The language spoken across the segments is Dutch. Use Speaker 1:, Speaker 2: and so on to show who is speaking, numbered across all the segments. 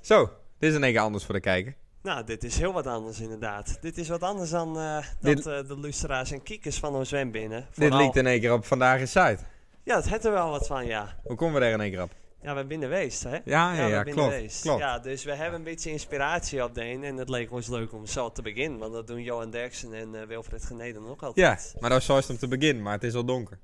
Speaker 1: Zo, dit is in één keer anders voor de kijker.
Speaker 2: Nou, dit is heel wat anders inderdaad. Dit is wat anders dan eh,
Speaker 1: Dit-
Speaker 2: dat eh, de luisteraars en kiekers van ons zwembinnen.
Speaker 1: Dit
Speaker 2: Vooral-
Speaker 1: liet in één keer op Vandaag is Zuid.
Speaker 2: Ja, het had er wel wat van, ja.
Speaker 1: Hoe komen we daar in één keer op?
Speaker 2: Ja, we binnen weest, hè?
Speaker 1: Ja, ja,
Speaker 2: we
Speaker 1: ja,
Speaker 2: binnen
Speaker 1: klopt,
Speaker 2: weest.
Speaker 1: klopt.
Speaker 2: Ja, dus we hebben een beetje inspiratie op de een. En het leek ons leuk om zo te beginnen. Want dat doen Johan Derksen en eh, Wilfred Geneden ook
Speaker 1: Ja,
Speaker 2: altijd.
Speaker 1: maar dat is zoals om te beginnen, maar het is al donker.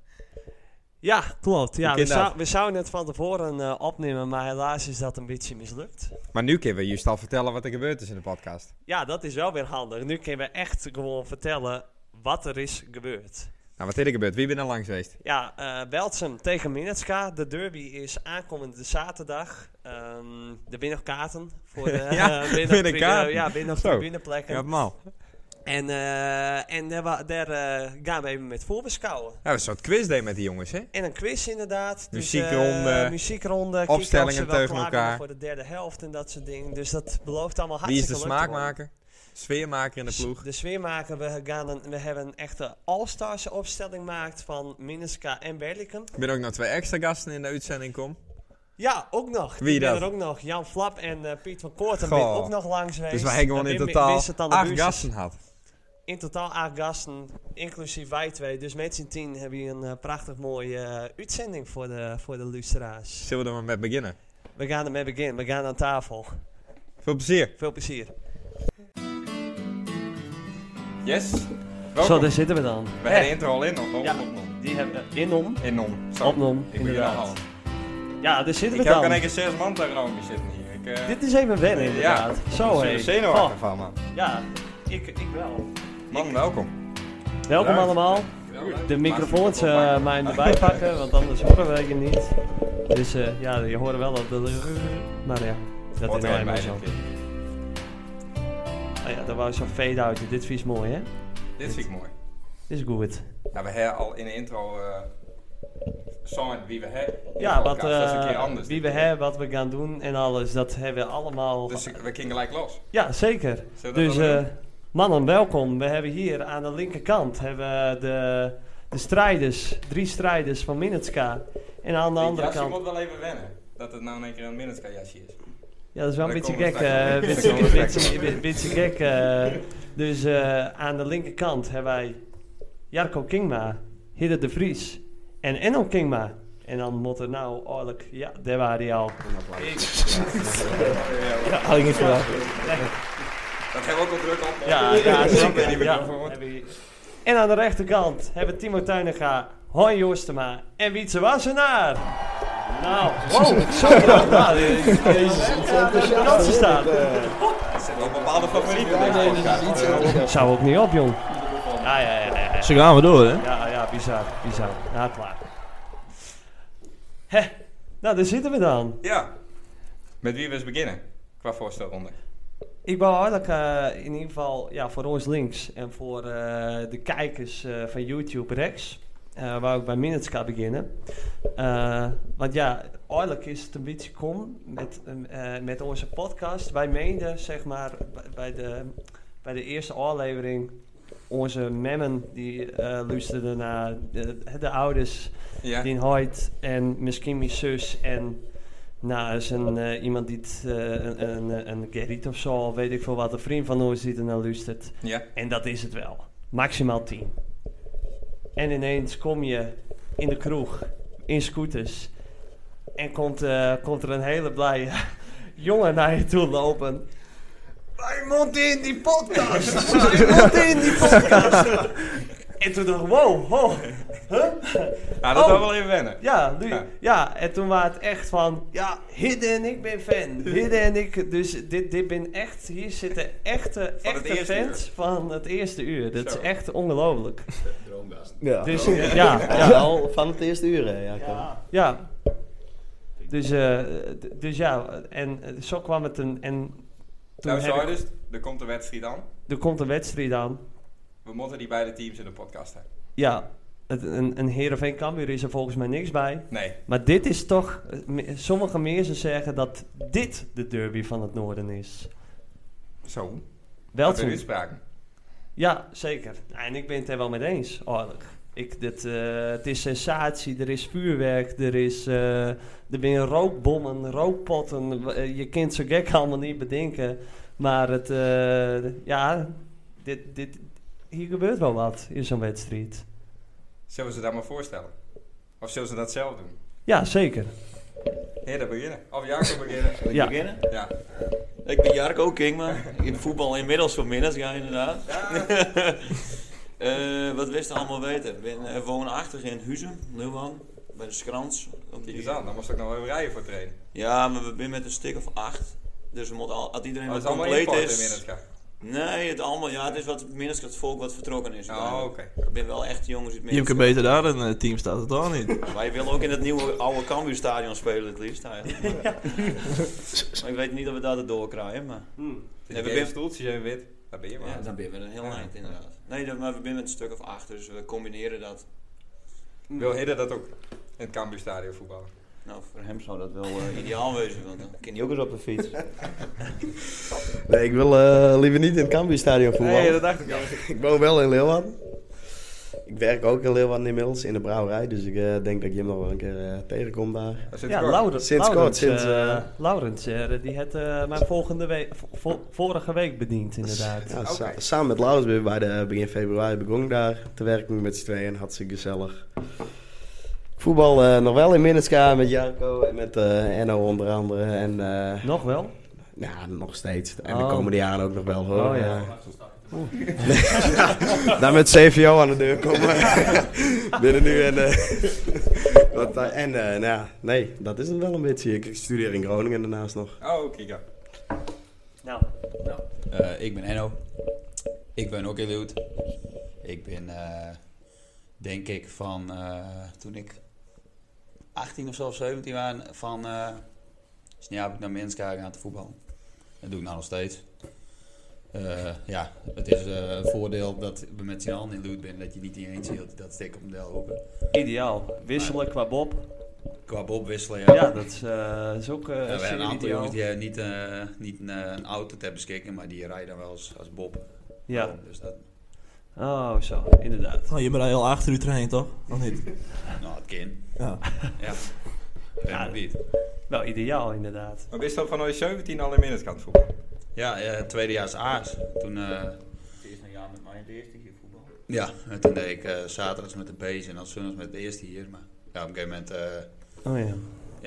Speaker 2: Ja, klopt. Ja, we,
Speaker 1: Bekend
Speaker 2: zou-
Speaker 1: dat.
Speaker 2: we zouden het van tevoren eh, opnemen, maar helaas is dat een beetje mislukt.
Speaker 1: Maar nu kunnen we juist al vertellen wat er gebeurd is in de podcast.
Speaker 2: Ja, dat is wel weer handig. Nu kunnen we echt gewoon vertellen wat er is gebeurd.
Speaker 1: Nou, wat is er gebeurd? Wie ben er langs geweest?
Speaker 2: Ja, eh Belsum tegen Minetska. De derby is aankomende zaterdag. Ehm de binnenkaarten voor de
Speaker 1: Ja,
Speaker 2: eh, binnen-
Speaker 1: binnenkaarten.
Speaker 2: ja, binnen
Speaker 1: Zo.
Speaker 2: tribuneplekken.
Speaker 1: Ja, man.
Speaker 2: En, eh, en daar, wa- daar eh, gaan we even met voorbeschouwen.
Speaker 1: Ja, Nou, een soort quizday met die jongens, hè?
Speaker 2: En een quiz inderdaad.
Speaker 1: Muziekronde,
Speaker 2: eh, muziekronde. Kijken of
Speaker 1: opstellingen
Speaker 2: ze wel
Speaker 1: tegen
Speaker 2: klaar
Speaker 1: elkaar.
Speaker 2: zijn Voor de derde helft en dat soort dingen. Dus dat belooft allemaal
Speaker 1: Wie is
Speaker 2: hartstikke
Speaker 1: de
Speaker 2: leuk te worden.
Speaker 1: smaakmaker? Sfeermaker in de ploeg?
Speaker 2: De sfeermaker, we, gaan een, we hebben een echte all-stars opstelling gemaakt van Minneska en Berlikum.
Speaker 1: Ik ben ook nog twee extra gasten in de uitzending kom.
Speaker 2: Ja, ook nog.
Speaker 1: Wie
Speaker 2: dan?
Speaker 1: dat?
Speaker 2: er ook nog. Jan Flap en eh, Piet van Koorten
Speaker 1: Goh.
Speaker 2: ben ook nog langs geweest.
Speaker 1: Dus wij hebben gewoon
Speaker 2: Dan
Speaker 1: in
Speaker 2: ben-
Speaker 1: totaal
Speaker 2: wist het aan de
Speaker 1: acht
Speaker 2: buurtjes.
Speaker 1: gasten had.
Speaker 2: In totaal acht gasten, inclusief wij twee. Dus met z'n tien hebben je een eh, prachtig mooie eh, uitzending voor de, voor de luisteraars.
Speaker 1: Zullen we er maar met beginnen?
Speaker 2: We gaan ermee beginnen. We gaan aan tafel.
Speaker 1: Veel plezier.
Speaker 2: Veel plezier.
Speaker 1: Yes.
Speaker 2: Zo, daar zitten we dan.
Speaker 1: We hebben de intro al in, of
Speaker 2: Ja. Die hebben we inom.
Speaker 1: In om.
Speaker 2: Opnom,
Speaker 1: Ik ben
Speaker 2: inderdaad. Ja, daar zitten
Speaker 1: Ik
Speaker 2: we
Speaker 1: heb ook in
Speaker 2: dan.
Speaker 1: één keer zes man tegenover me zitten hier. Ik, eh,
Speaker 2: Dit is even wennen,
Speaker 1: ja,
Speaker 2: inderdaad.
Speaker 1: ik
Speaker 2: Zo,
Speaker 1: ben
Speaker 2: hé.
Speaker 1: zenuwachtig van, man.
Speaker 2: Oh, Ja, ik, ik wel.
Speaker 1: Man, welkom.
Speaker 2: Welkom
Speaker 1: Leuk.
Speaker 2: allemaal. De microfoons eh maar in erbij pakken, want anders horen wij je niet. Dus eh, ja, je hoort wel dat de... Maar ja, dat is nou eenmaal zo. Oh ja, dat was zo'n fade-out. Dit is mooi, hè?
Speaker 1: Dit vind ik mooi.
Speaker 2: Dit is goed.
Speaker 1: Nou, we hebben al in de intro eh zongen wie we hebben. in de
Speaker 2: Ja, wat,
Speaker 1: podcast. dat is een keer
Speaker 2: eh,
Speaker 1: anders.
Speaker 2: wie we hebben, wat we gaan doen en alles, dat hebben we allemaal...
Speaker 1: Dus ik- we gingen gelijk los.
Speaker 2: Ja, zeker.
Speaker 1: Zullen we dat
Speaker 2: Dus
Speaker 1: wel
Speaker 2: eh, mannen, welkom. We hebben hier aan de linkerkant hebben we de, de strijders, drie strijders van Minutska. En aan de
Speaker 1: Die
Speaker 2: andere
Speaker 1: jasje
Speaker 2: kant...
Speaker 1: moet wel even wennen. Dat het nou in één keer een Minutska jasje is.
Speaker 2: Ja, dat is wel een
Speaker 1: Daar
Speaker 2: beetje
Speaker 1: komen
Speaker 2: gek.
Speaker 1: we
Speaker 2: eh,
Speaker 1: straks op.
Speaker 2: Beetje
Speaker 1: Daar komen we
Speaker 2: beetje-
Speaker 1: straks
Speaker 2: beetje- beetje gek. eh. Dus eh, aan de linkerkant hebben wij Jarko Kingma, Hidde de Vries en Enno Kingma. En dan moet er nou oorlijk... Ja, daar waren die al.
Speaker 1: Ja,
Speaker 3: Had ik niet verwacht.
Speaker 1: Dat hebben we ook al druk op.
Speaker 2: Ja, ja,
Speaker 1: Ik weet niet
Speaker 2: zeker.
Speaker 1: meer
Speaker 2: Ja,
Speaker 1: waarvoor.
Speaker 2: hebben we hier. En aan de rechterkant hebben we Timo Tuinega, Hoi Joostema en Wietse Wassenaar. Nou, wow, zo knap. Nou, Jezus, dat ze staan.
Speaker 1: Er zitten wel bepaalde favorieten in
Speaker 3: nee,
Speaker 1: deze
Speaker 3: dit is
Speaker 1: podcast.
Speaker 3: iets
Speaker 1: Ja,
Speaker 2: Zou ook niet op, jong. Ja, ja, ja, ja. ja.
Speaker 3: Ze gaan we door, hè?
Speaker 2: Ja, ja, bizar, bizar. Nou, klaar. Hè, nou, daar zitten we dan.
Speaker 1: Ja. Met wie we eens beginnen? Qua voorstelronde.
Speaker 2: Ik wou eigenlijk eh, in ieder geval ja, voor ons links en voor eh, de kijkers eh, van YouTube rechts, eh waar ik bij Minutes ga beginnen. Eh, want ja, eigenlijk is het een beetje kom met, eh, eh, met onze podcast. Wij meenden, zeg maar, bij- bij de, bij de eerste aflevering, onze memmen die eh luisterden naar de, de ouders
Speaker 1: Ja.
Speaker 2: die Hoyt en misschien mijn zus en nou, is een, eh, iemand die het, eh, een, een, een Gerrit of zo, weet ik veel wat, een vriend van ons die er naar luistert.
Speaker 1: Ja.
Speaker 2: En dat is het wel. Maximaal 10. En ineens kom je in de kroeg, in scooters. En komt, eh, komt er een hele blije jongen naar je toe lopen. Wij moeten in die podcast! Wij moeten in die podcast! en toen dacht ik, wow, ho, huh?
Speaker 1: Ah, dat
Speaker 2: Oh.
Speaker 1: zou wel even wennen.
Speaker 2: Ja, nu,
Speaker 1: Ja.
Speaker 2: ja. en toen was het echt van, ja, Hidde en ik ben fan. Hidde en ik, dus dit, dit ben echt, hier zitten echte,
Speaker 1: Van het
Speaker 2: echte
Speaker 1: eerste
Speaker 2: fans van het eerste uur. Dat
Speaker 1: Zo.
Speaker 2: is echt ongelooflijk.
Speaker 3: Ja.
Speaker 2: Dus ja, ja, ja.
Speaker 3: Wel van het eerste uur, hè? Ja, klopt.
Speaker 2: Dus, eh, d- dus ja, en eh, zo kwam het een, en toen
Speaker 1: Nou,
Speaker 2: heb
Speaker 1: zo
Speaker 2: ik,
Speaker 1: dus. Er komt een wedstrijd aan.
Speaker 2: er komt een wedstrijd aan.
Speaker 1: We moeten die beide teams in de podcast hebben.
Speaker 2: Ja, het, een, een Heerenveen Cambuur is er volgens mij niks bij.
Speaker 1: Nee.
Speaker 2: Maar dit is toch, eh, me- sommige mensen zeggen dat dit de derby van het noorden is.
Speaker 1: Zo.
Speaker 2: Wel
Speaker 1: Dat zijn
Speaker 2: toen.
Speaker 1: uitspraken.
Speaker 2: Nou, Ja, zeker. En ik ben het er wel mee eens, oorlijk. Ik, dit, eh, het is sensatie, er is vuurwerk, er, is, eh, er zijn rookbommen, rookpotten. w- eh, Je kunt zo gek allemaal niet bedenken. Maar het, eh, ja, dit, dit, hier gebeurt wel wat in zo'n wedstrijd.
Speaker 1: Zullen ze dat maar voorstellen? Of zullen ze dat zelf doen?
Speaker 2: Ja, zeker.
Speaker 1: Heren beginnen. Of Jacob beginnen.
Speaker 3: Wil ik
Speaker 2: Ja.
Speaker 3: beginnen?
Speaker 1: Ja.
Speaker 4: Ik ben Jarko Kingma. In voetbal inmiddels veel minder, ja, inderdaad. Eh, wat wist je allemaal weten? Ik ben eh, woonachtig in Huzum, Nieuwan, bij de Skrans. Op
Speaker 1: Kijk eens aan, dan moest ik nog wel even rijden voor trainen.
Speaker 4: Ja, maar we zijn met een stuk of acht. Dus we moeten al, als iedereen
Speaker 1: Maar Oh, het
Speaker 4: wat
Speaker 1: is allemaal
Speaker 4: compleet
Speaker 1: import
Speaker 4: is.
Speaker 1: in het gaat.
Speaker 4: Nee, het allemaal, ja, het is wat minstens het volk wat vertrokken is.
Speaker 1: Oh, oké.
Speaker 4: Ik ben wel echt jongens in het
Speaker 5: Je kunt
Speaker 4: Minsk.
Speaker 5: beter daar een eh, team staat het dan niet.
Speaker 4: Wij willen ook in het nieuwe oude Cambuur stadion spelen het liefst eigenlijk. maar ik weet niet of we dat erdoor krijgen, maar...
Speaker 1: Die
Speaker 4: Nee, we
Speaker 1: gele
Speaker 4: ben-
Speaker 1: stoeltjes en wit. Daar ben je maar.
Speaker 4: Ja, dan ben je wel een heel
Speaker 1: Ja.
Speaker 4: eind inderdaad. Nee, dat- maar we zijn met een stuk of acht, dus we combineren dat.
Speaker 1: Wil Hidde dat ook in het Cambuurstadion voetballen?
Speaker 4: Nou, voor hem zou dat wel eh, ideaal wezen, want dan kan hij ook eens op de fiets.
Speaker 3: Nee, ik wil eh, liever niet in het Cambuurstadion voetballen.
Speaker 1: dacht ik al.
Speaker 3: Ik woon wel in Leeuwarden. Ik werk ook in Leeuwarden inmiddels, in de brouwerij. Dus ik eh, denk dat ik hem nog wel een keer eh, tegenkom daar.
Speaker 2: ja, Laurens.
Speaker 3: Sinds kort,
Speaker 2: Laurens,
Speaker 3: sinds,
Speaker 2: eh,
Speaker 3: eh,
Speaker 2: Laurens, eh, die had eh, mij volgende week, vo- vo- vorige week bediend, inderdaad.
Speaker 3: Ja,
Speaker 1: Oké.
Speaker 3: sa- samen met Laurens ben ik bij de eh, begin februari begon ik daar te werken met z'n tweeën. Hartstikke gezellig. Ik voetbal eh, nog wel in Minneska met Jarko en met eh Enno onder andere. En eh,
Speaker 2: Nog wel?
Speaker 3: ja, nog steeds. En
Speaker 2: Oh.
Speaker 3: de komende jaren ook nog wel hoor.
Speaker 2: Oh, ja.
Speaker 3: Eh, daar met CVO aan de deur komen. Binnen nu en... eh, wat daar- en eh, nou ja, nee, dat is het wel een beetje. Ik studeer in Groningen daarnaast nog.
Speaker 1: Oh, kijk aan.
Speaker 2: Nou,
Speaker 6: Eh, ik ben Enno. Ik ben ook heel oud. Ik ben, eh, denk ik, van eh, toen ik 18 of zo, of 17 was, van eh Snijp ik naar Minsk gegaan te voetballen. Dat doe ik nou nog steeds. Eh, ja, het is eh, een voordeel dat we met z'n allen in Loot zijn, dat je niet in je eentje hield. Dat steek op model open.
Speaker 2: ideaal. Wisselen qua Bob.
Speaker 6: Qua Bob wisselen, ja.
Speaker 2: Ja, dat is, eh, is ook eh,
Speaker 6: we hebben
Speaker 2: zeer
Speaker 6: een aantal
Speaker 2: ideaal.
Speaker 6: jongens die hebben niet, eh, niet een, eh, een auto ter beschikking, maar die rijden dan wel als, als Bob.
Speaker 2: Ja,
Speaker 6: Dus dat,
Speaker 2: oh zo, inderdaad.
Speaker 5: Oh, je bent al heel achter u trainen toch? Of niet?
Speaker 6: nou, het kind.
Speaker 5: Ja.
Speaker 6: Ja.
Speaker 2: Ja,
Speaker 6: Ja, niet.
Speaker 2: Wel ideaal, inderdaad.
Speaker 1: Maar wist je al van ooit 17 al in Minnes kan voetballen?
Speaker 6: Ja, eh, tweedejaars A's. Toen, eh,
Speaker 4: Het is een jaar met mij de eerste keer voetbal.
Speaker 6: ja, en toen deed ik eh, zaterdags met de B's en dan zondags met de eerste hier. Maar ja, op een gegeven moment, eh,
Speaker 2: Oh ja.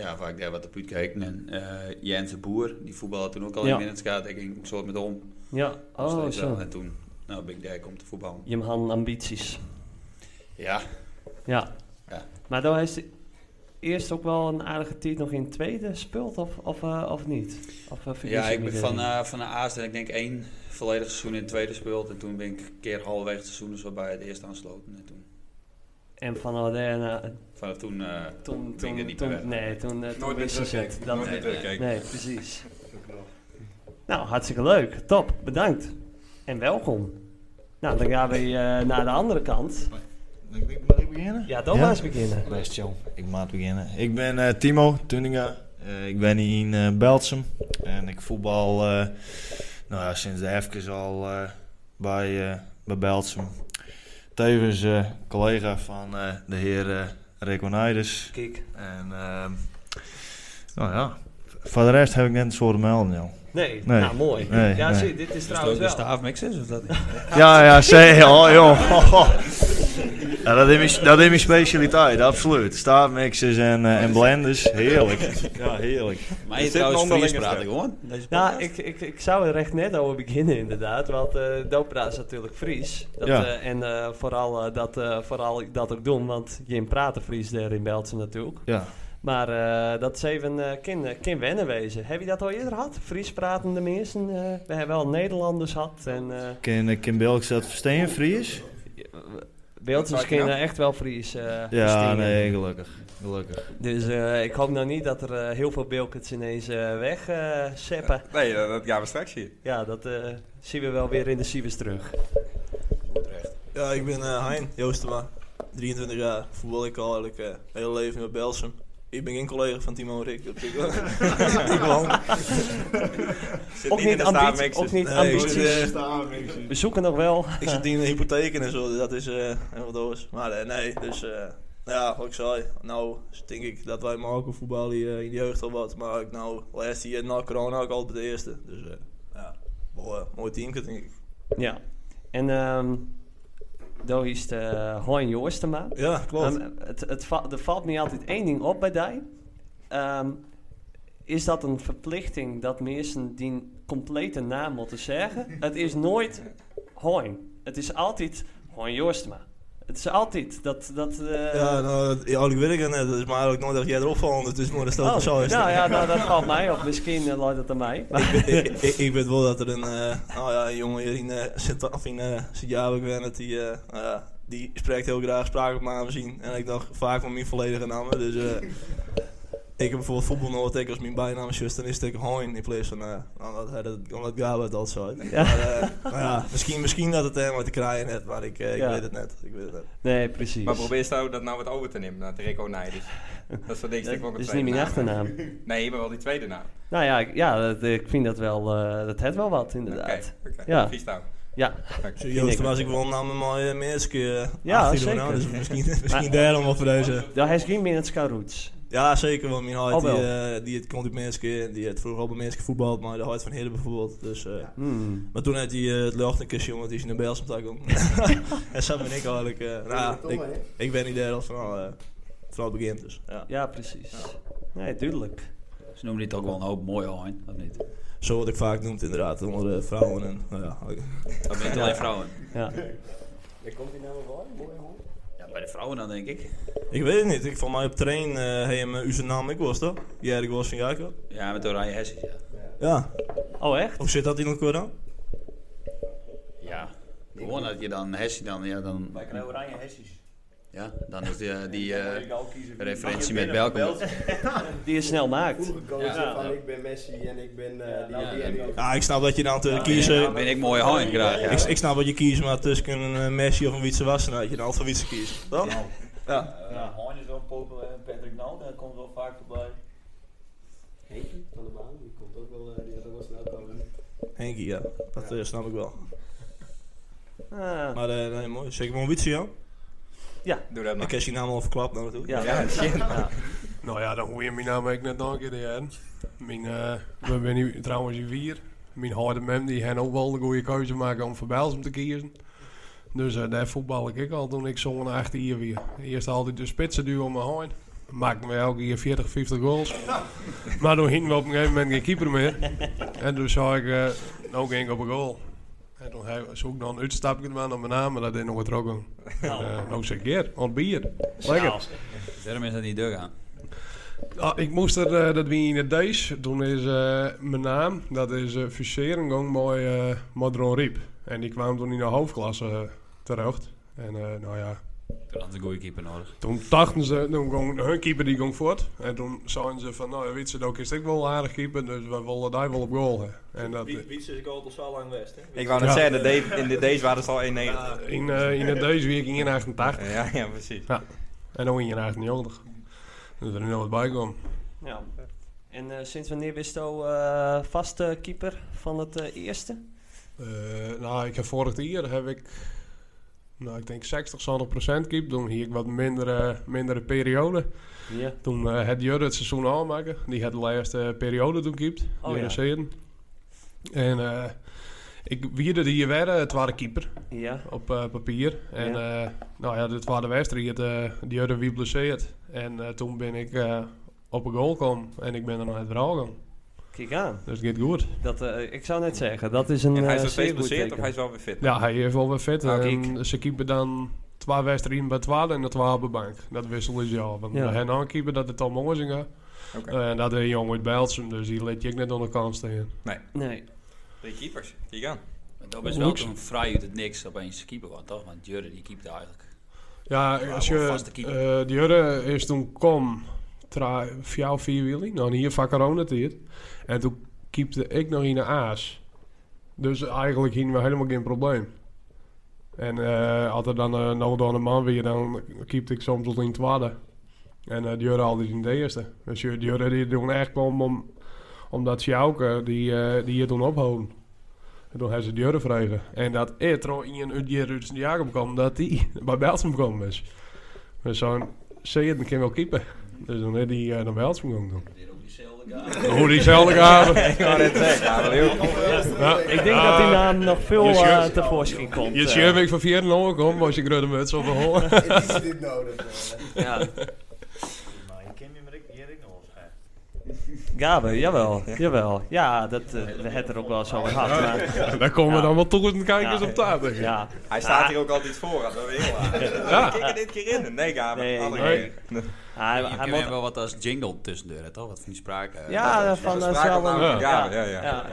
Speaker 6: ja, vaak daar wat de puut keken. En eh Jens de Boer, die voetbalde toen ook al
Speaker 2: Ja.
Speaker 6: in Minneskaat. Ik ging een soort met om.
Speaker 2: Ja,
Speaker 6: Nog
Speaker 2: oh
Speaker 6: steeds wel.
Speaker 2: zo.
Speaker 6: En toen nou, ben ik daar om te voetballen.
Speaker 2: Je had ambities.
Speaker 6: Ja,
Speaker 2: Ja.
Speaker 6: Ja.
Speaker 2: Maar dan heeft hij eerst ook wel een aardige tijd nog in het tweede speelt, of, of, eh, of niet? Of, eh, vergis
Speaker 6: ja ik
Speaker 2: me
Speaker 6: ben van,
Speaker 2: daarin?
Speaker 6: eh, van de A's en ik denk één volledig seizoen in het tweede speeld. En toen ben ik een keer halverwege het seizoen dus wel bij het eerste aansloten. En toen,
Speaker 2: En van Alderna, eh,
Speaker 6: vanaf toen... eh,
Speaker 2: toen...
Speaker 6: Ben ik er
Speaker 2: toen,
Speaker 6: niet
Speaker 2: toen-
Speaker 6: meer weg.
Speaker 2: nee, toen, eh, toen
Speaker 1: Nooit meer
Speaker 2: wist je het.
Speaker 1: terugkijken.
Speaker 2: Dat-
Speaker 1: Nooit meer
Speaker 6: Nee, nee.
Speaker 1: terugkijken.
Speaker 2: Nee, precies. Nou, hartstikke leuk. Top, bedankt. En welkom. Nou, dan gaan we eh, naar de andere kant.
Speaker 7: Mag ik beginnen?
Speaker 2: Ja, dan
Speaker 7: Ja?
Speaker 2: maar eens beginnen.
Speaker 7: Best joh, ik maat beginnen. Ik ben eh, Timo Tuninga. Eh, ik ben hier in eh, Beltsum. En ik voetbal eh, nou, ja, sinds de even al eh, bij, eh, bij Beltsum. Tevens eh, collega van eh, de heer eh Reconaides.
Speaker 2: Kijk.
Speaker 7: En ehm, nou ja, voor de rest heb ik net een soort melding joh.
Speaker 2: Nee,
Speaker 7: Nee.
Speaker 2: nou mooi.
Speaker 7: Nee,
Speaker 2: ja,
Speaker 7: nee.
Speaker 2: zie, dit is
Speaker 6: Is het ook
Speaker 2: trouwens
Speaker 6: de
Speaker 2: wel.
Speaker 6: staafmixers of dat?
Speaker 7: Ja, ja, zeker. Oh, joh. Ja, dat, is mijn, dat is mijn specialiteit, absoluut. Staafmixers en, eh, en blenders, heerlijk. Ja, heerlijk.
Speaker 6: Maar
Speaker 1: Er
Speaker 6: je
Speaker 1: zit een
Speaker 6: trouwens
Speaker 1: onderlinge
Speaker 6: Fries praat ik
Speaker 1: strijd.
Speaker 6: hoor. Deze
Speaker 2: Nou,
Speaker 6: podcast.
Speaker 2: ik, ik, ik zou er recht net over beginnen inderdaad, want eh Dopra is natuurlijk Fries. Dat,
Speaker 7: Ja.
Speaker 2: eh, en eh, vooral, eh, dat, eh, vooral ik dat ook doen, want je praten Fries daar in Beltsen natuurlijk.
Speaker 7: Ja.
Speaker 2: Maar eh, dat is even eh kin, eh, kin wennen wezen. Heb je dat al eerder gehad? Fries pratende mensen? eh, we hebben wel Nederlanders gehad en eh
Speaker 7: Ken, ken Belks dat verstaan, Fries?
Speaker 1: Wat
Speaker 2: Beltjes
Speaker 1: zou je
Speaker 2: kennen
Speaker 1: nou?
Speaker 2: echt wel Fries. eh,
Speaker 7: Ja,
Speaker 2: stingen.
Speaker 7: nee, gelukkig. Gelukkig.
Speaker 2: Dus eh, ik hoop nou niet dat er eh, heel veel Belkens ineens eh weg eh, seppen.
Speaker 1: Nee, dat, dat gaan we straks zien.
Speaker 2: Ja, dat eh, zien we wel weer in de Siebes terug.
Speaker 8: Ja, ik ben eh Hein Joostema, 23 jaar. Voetbal ik al eigenlijk eh, mijn hele leven met Belsum. Ik ben geen collega van Timo en Rick. Dat ik wel.
Speaker 2: Ik woon.
Speaker 8: Zit
Speaker 2: Ook niet,
Speaker 8: in de
Speaker 2: ambitie,
Speaker 8: staarmixen.
Speaker 2: ook niet
Speaker 8: Nee, ik
Speaker 2: ambities.
Speaker 8: zit, eh,
Speaker 2: We zoeken nog wel.
Speaker 8: Ik zit in de hypotheken en zo, dus dat is eh heel wat anders. Maar eh, nee, dus eh, ja, wat ik zei. Nou, denk ik dat wij maken voetbal hier eh, in de jeugd al wat. Maar ik nou, laatst hier na corona ook altijd de eerste. Dus eh, ja, mooi, eh, mooi teamke denk ik.
Speaker 2: Ja. En ehm daar is de Hoorn Joostema.
Speaker 8: Ja, klopt.
Speaker 2: Ehm, het, het va- er valt me altijd één ding op bij die. Ehm, is dat een verplichting dat mensen die een complete naam moeten zeggen? het is nooit Hoorn. Het is altijd Hoorn Joostema. Het is altijd dat... dat eh,
Speaker 8: ja, nou, dat- ja, ik weet het net. Dus, maar ook nooit dat jij erop valt. Dus het is maar dat is
Speaker 2: oh,
Speaker 8: dat zo is.
Speaker 2: nou ja, nou, dat valt mij op. Misschien eh, lijkt het aan mij. Maar-
Speaker 8: ik, ik, ik- ik weet wel dat er een, eh, nou ja, een jongen hier in eh, sint of in eh, Sint-Jabek werkt, die, eh, nou ja, die spreekt heel graag spraak op mijn aanzien. En ik dacht vaak van mijn volledige naam. Dus eh, ik heb bijvoorbeeld voetbal nooit ik als mijn bijnaam is, dan is het ook Hoin in plaats van, eh, omdat, hij dat- omdat Gabo het altijd zo heeft.
Speaker 2: Ja.
Speaker 8: Maar, eh, nou ja, misschien, misschien dat het hem wat te krijgen net, maar ik, eh, ik
Speaker 2: Ja.
Speaker 8: weet het net. Ik weet het net.
Speaker 2: Nee, precies.
Speaker 1: Maar probeer nou dat nou wat over te nemen, dat Rico Nijders. Dat is wat ik
Speaker 2: dat
Speaker 1: stuk ook een
Speaker 2: is niet
Speaker 1: tweede
Speaker 2: mijn
Speaker 1: naam.
Speaker 2: achternaam.
Speaker 1: Nee, maar wel die tweede naam.
Speaker 2: Nou ja, ik, ja dat, ik vind dat wel, eh, dat het wel wat inderdaad.
Speaker 1: Oké, oké.
Speaker 2: Ja.
Speaker 1: Vies nou.
Speaker 2: Ja,
Speaker 1: Dank.
Speaker 8: Serieus, toen was ik wel namen maar uh, keer
Speaker 2: Ja,
Speaker 8: ja, zeker.
Speaker 2: zeker.
Speaker 8: dus misschien,
Speaker 2: Maar-
Speaker 8: misschien daarom wel voor deze.
Speaker 2: daar is geen minutes roots.
Speaker 8: Ja, zeker. Want mijn hart
Speaker 2: Oh, wel.
Speaker 8: die, eh, die het komt uit Minsk en die het vroeger al bij Minsk voetbald, maar de hart van Heerde bijvoorbeeld. Dus, eh,
Speaker 2: Hmm.
Speaker 8: Maar toen had hij eh, het lucht een kusje jongen, die is in de Bels op en zo ben ik eigenlijk, eh, nou, ik, ik ben niet daar al van, eh van het begin. Dus, ja.
Speaker 2: Ja, precies. Nee, tuurlijk.
Speaker 6: Ze noemen dit ook wel een hoop mooi hoorn, of niet?
Speaker 8: Zo word ik vaak noemd inderdaad, onder eh, vrouwen en nou ja, oké.
Speaker 6: Dat ben niet alleen vrouwen.
Speaker 2: Ja.
Speaker 3: komt hij nou wel, mooi hoor.
Speaker 6: Ja, bij de vrouwen dan denk ik.
Speaker 8: Ik weet het niet, ik van mij op train eh hey, hem eh, uw naam ik was toch? Ja, ik was van Jacob.
Speaker 6: Ja, met oranje hersens, ja.
Speaker 8: Ja.
Speaker 2: Oh, echt?
Speaker 8: Hoe zit dat in elkaar dan?
Speaker 6: Ja. Gewoon dat je dan hersen dan, ja dan...
Speaker 4: Wij krijgen oranje hessies.
Speaker 6: Ja, dan is die, die eh,
Speaker 4: al kiezen wie-
Speaker 6: referentie
Speaker 4: wie je
Speaker 6: met
Speaker 4: binnen-
Speaker 6: welkom.
Speaker 4: belt.
Speaker 2: Die je snel maakt.
Speaker 3: Vroeger kozen
Speaker 6: Ja.
Speaker 3: van ik ben Messi en ik ben eh, die
Speaker 6: ja,
Speaker 3: en die
Speaker 6: ja.
Speaker 3: en die.
Speaker 8: Ja, Ah, ik snap dat je dan te kiezen...
Speaker 6: Ben ik- ben ik mooi hoorn graag, ja.
Speaker 8: Ik, ik snap wat je kiest, maar tussen een eh, Messi of een Wietse Wassenaar, dat je dan altijd Wietse kiest. Toch? Ja.
Speaker 4: Eh, Hoorn is wel populair. Patrick Nald, dat komt wel vaak voorbij.
Speaker 3: Henkie van de Maan, die komt ook wel, eh, die had ook wel snel komen.
Speaker 8: Henkie, ja. Dat eh, snap ik wel.
Speaker 2: Ah,
Speaker 1: nou?
Speaker 8: Maar eh, nee, mooi. Zeker wel een Wietse, Jan.
Speaker 1: Doe dat maar.
Speaker 8: Ik heb je naam al verklapt, nou natuurlijk.
Speaker 2: ja,
Speaker 1: Ja, shit.
Speaker 2: Ja.
Speaker 9: Nou ja, dan hoor je mijn naam eigenlijk net nog een keer heren. Mijn, eh we zijn nu trouwens in vier. Mijn harde mem die hen ook wel een goede keuze maken om voor Bijlsum te kiezen. Dus eh, daar voetbal ik al toen ik zo'n achter hier weer. Eerst altijd de spitsen duw om me heen. Maakten we elke keer 40, 50 goals. maar toen hingen we op een gegeven moment geen keeper meer. En toen zag ik, eh nou ging ik op een goal. En toen hij- zoek ik dan een uitstapje maar naar mijn naam, maar dat deed nog wat roken. En eh, nou zeg ik, hier, ontbier. Lekker.
Speaker 6: Daarom is dat niet deur gaan.
Speaker 9: Ah, ik moest er, eh, dat wie in het Dees, toen is eh, mijn naam, dat is eh fuseren gang bij eh Madron Riep. En die kwam toen in de hoofdklasse eh, terecht. En eh, nou ja,
Speaker 6: Toen hadden ze een goede keeper nodig.
Speaker 9: toen dachten ze, toen ging hun keeper die ging voort. En toen zeiden ze van, nou weet ze, dat is ik wel een aardig keeper, dus we willen daar wel op goal. hè. En dat, eh,
Speaker 8: Wietse is al zo lang west, hè?
Speaker 4: Ik wou net
Speaker 9: Ja.
Speaker 4: zeggen, dat deed- in de days waren ze al 1,90.
Speaker 9: in, eh, in het Dees weer ging in 88
Speaker 1: Ja, ja, precies.
Speaker 9: en dan in 98. Dus er is nog wat bij kwam.
Speaker 2: Ja. En eh, sinds wanneer wist je eh vaste keeper van het eh, eerste?
Speaker 9: Eh, nou, ik heb vorig jaar heb ik, nou, ik denk 60, 70 procent keep. Toen hier ik wat mindere, mindere periode.
Speaker 2: Ja.
Speaker 9: Toen eh had Jurre het seizoen aanmaken. Die had de laatste periode toen keept.
Speaker 2: Oh,
Speaker 9: Jurre
Speaker 2: ja.
Speaker 9: Seeren. En eh, ik wierde die hier werden, het waren keeper
Speaker 2: Ja.
Speaker 9: op eh, papier. En eh, nou ja, dit waren de wedstrijd. eh die Jurre wie blesseerd. En eh, toen ben ik eh, op een goal gekomen. En ik ben er nog het verhaal gegaan.
Speaker 2: Kijk aan.
Speaker 9: Dus het gaat goed.
Speaker 2: Dat, eh, ik zou net zeggen, dat is een
Speaker 1: En hij
Speaker 2: eh,
Speaker 1: is nog steeds
Speaker 2: zeer goed
Speaker 1: geblesseerd of
Speaker 2: teken.
Speaker 1: hij is wel weer fit?
Speaker 9: Ja, hij is wel weer fit.
Speaker 1: Ah,
Speaker 9: en ze keepen dan twee wedstrijden bij 12 en de 12 bij bank. Dat wisselen ze al. Want
Speaker 2: Ja.
Speaker 9: ja. hij nou keeper dat het al Mozinga.
Speaker 1: Oké.
Speaker 9: Eh, En dat is een jongen uit Beltsum, dus die liet je ook net onder kant staan.
Speaker 2: Nee.
Speaker 1: Drie keepers, die gaan.
Speaker 6: Maar dat is wel toen vrij uit het niks opeens keeper was, toch? Want Jurre die keepte eigenlijk.
Speaker 9: Ja,
Speaker 6: Ja,
Speaker 9: als
Speaker 6: wel
Speaker 9: je,
Speaker 6: vaste keeper.
Speaker 9: eh, die Jurre is toen kom, tra- vier of vier wieling, nou hier van coronatijd. En toen keepte ik nog in de aas. Dus eigenlijk hingen we helemaal geen probleem. En eh, als er dan eh, nog dan een man weer, dan keepte ik soms tot in het tweede. En eh die hadden altijd in de eerste. Dus die die hadden die toen echt kwam om, omdat Sjouke die, eh, die hier toen ophouden. En toen hebben ze die hadden vregen. En dat er trouwens in een jaar uit Jacob kwam, dat die bij Belsum gekomen is. Dus zo'n zeer, dan kan wel keeper. Dus dan heeft die eh naar Belsum gekomen. toen. Hoe diezelfde gaven.
Speaker 1: Ik wou net zeggen, Karel, joh.
Speaker 9: Ja.
Speaker 2: Ik denk dat die naam nog veel
Speaker 9: je
Speaker 2: eh,
Speaker 9: shirt-
Speaker 2: tevoorschijn komt.
Speaker 9: Je
Speaker 2: eh.
Speaker 9: shirt ik van 4 kom, als je grote muts op hoor.
Speaker 10: Het is dit nodig. eh.
Speaker 2: Ja.
Speaker 7: Maar ik ken Nou, je maar ik hier ik nog wel schrijven.
Speaker 2: Gabe, jawel, jawel. Ja, dat, eh, we hebben er ook wel zo over gehad. maar-
Speaker 9: Daar komen
Speaker 2: Oh, Ja.
Speaker 9: dan wel toekomstige kijkers
Speaker 2: Ja.
Speaker 9: op tafel.
Speaker 2: Ja, Ah.
Speaker 1: Hij staat hier ook altijd voor, als we weer heel
Speaker 9: Ja.
Speaker 1: ja. Kijk er dit keer in. Nee, Gabe,
Speaker 2: Nee,
Speaker 1: alle
Speaker 9: nee.
Speaker 1: keer.
Speaker 2: hij,
Speaker 6: Je
Speaker 2: hij
Speaker 6: kunt
Speaker 2: moet-
Speaker 6: wel wat als jingle tussendoor, hè, toch? Wat van die spraak. eh,
Speaker 2: ja,
Speaker 6: dat is-
Speaker 2: van
Speaker 1: dat
Speaker 2: eh,
Speaker 1: is sprake
Speaker 2: zelden-
Speaker 1: van
Speaker 2: ja,
Speaker 1: Gabe, ja, ja.
Speaker 2: ja.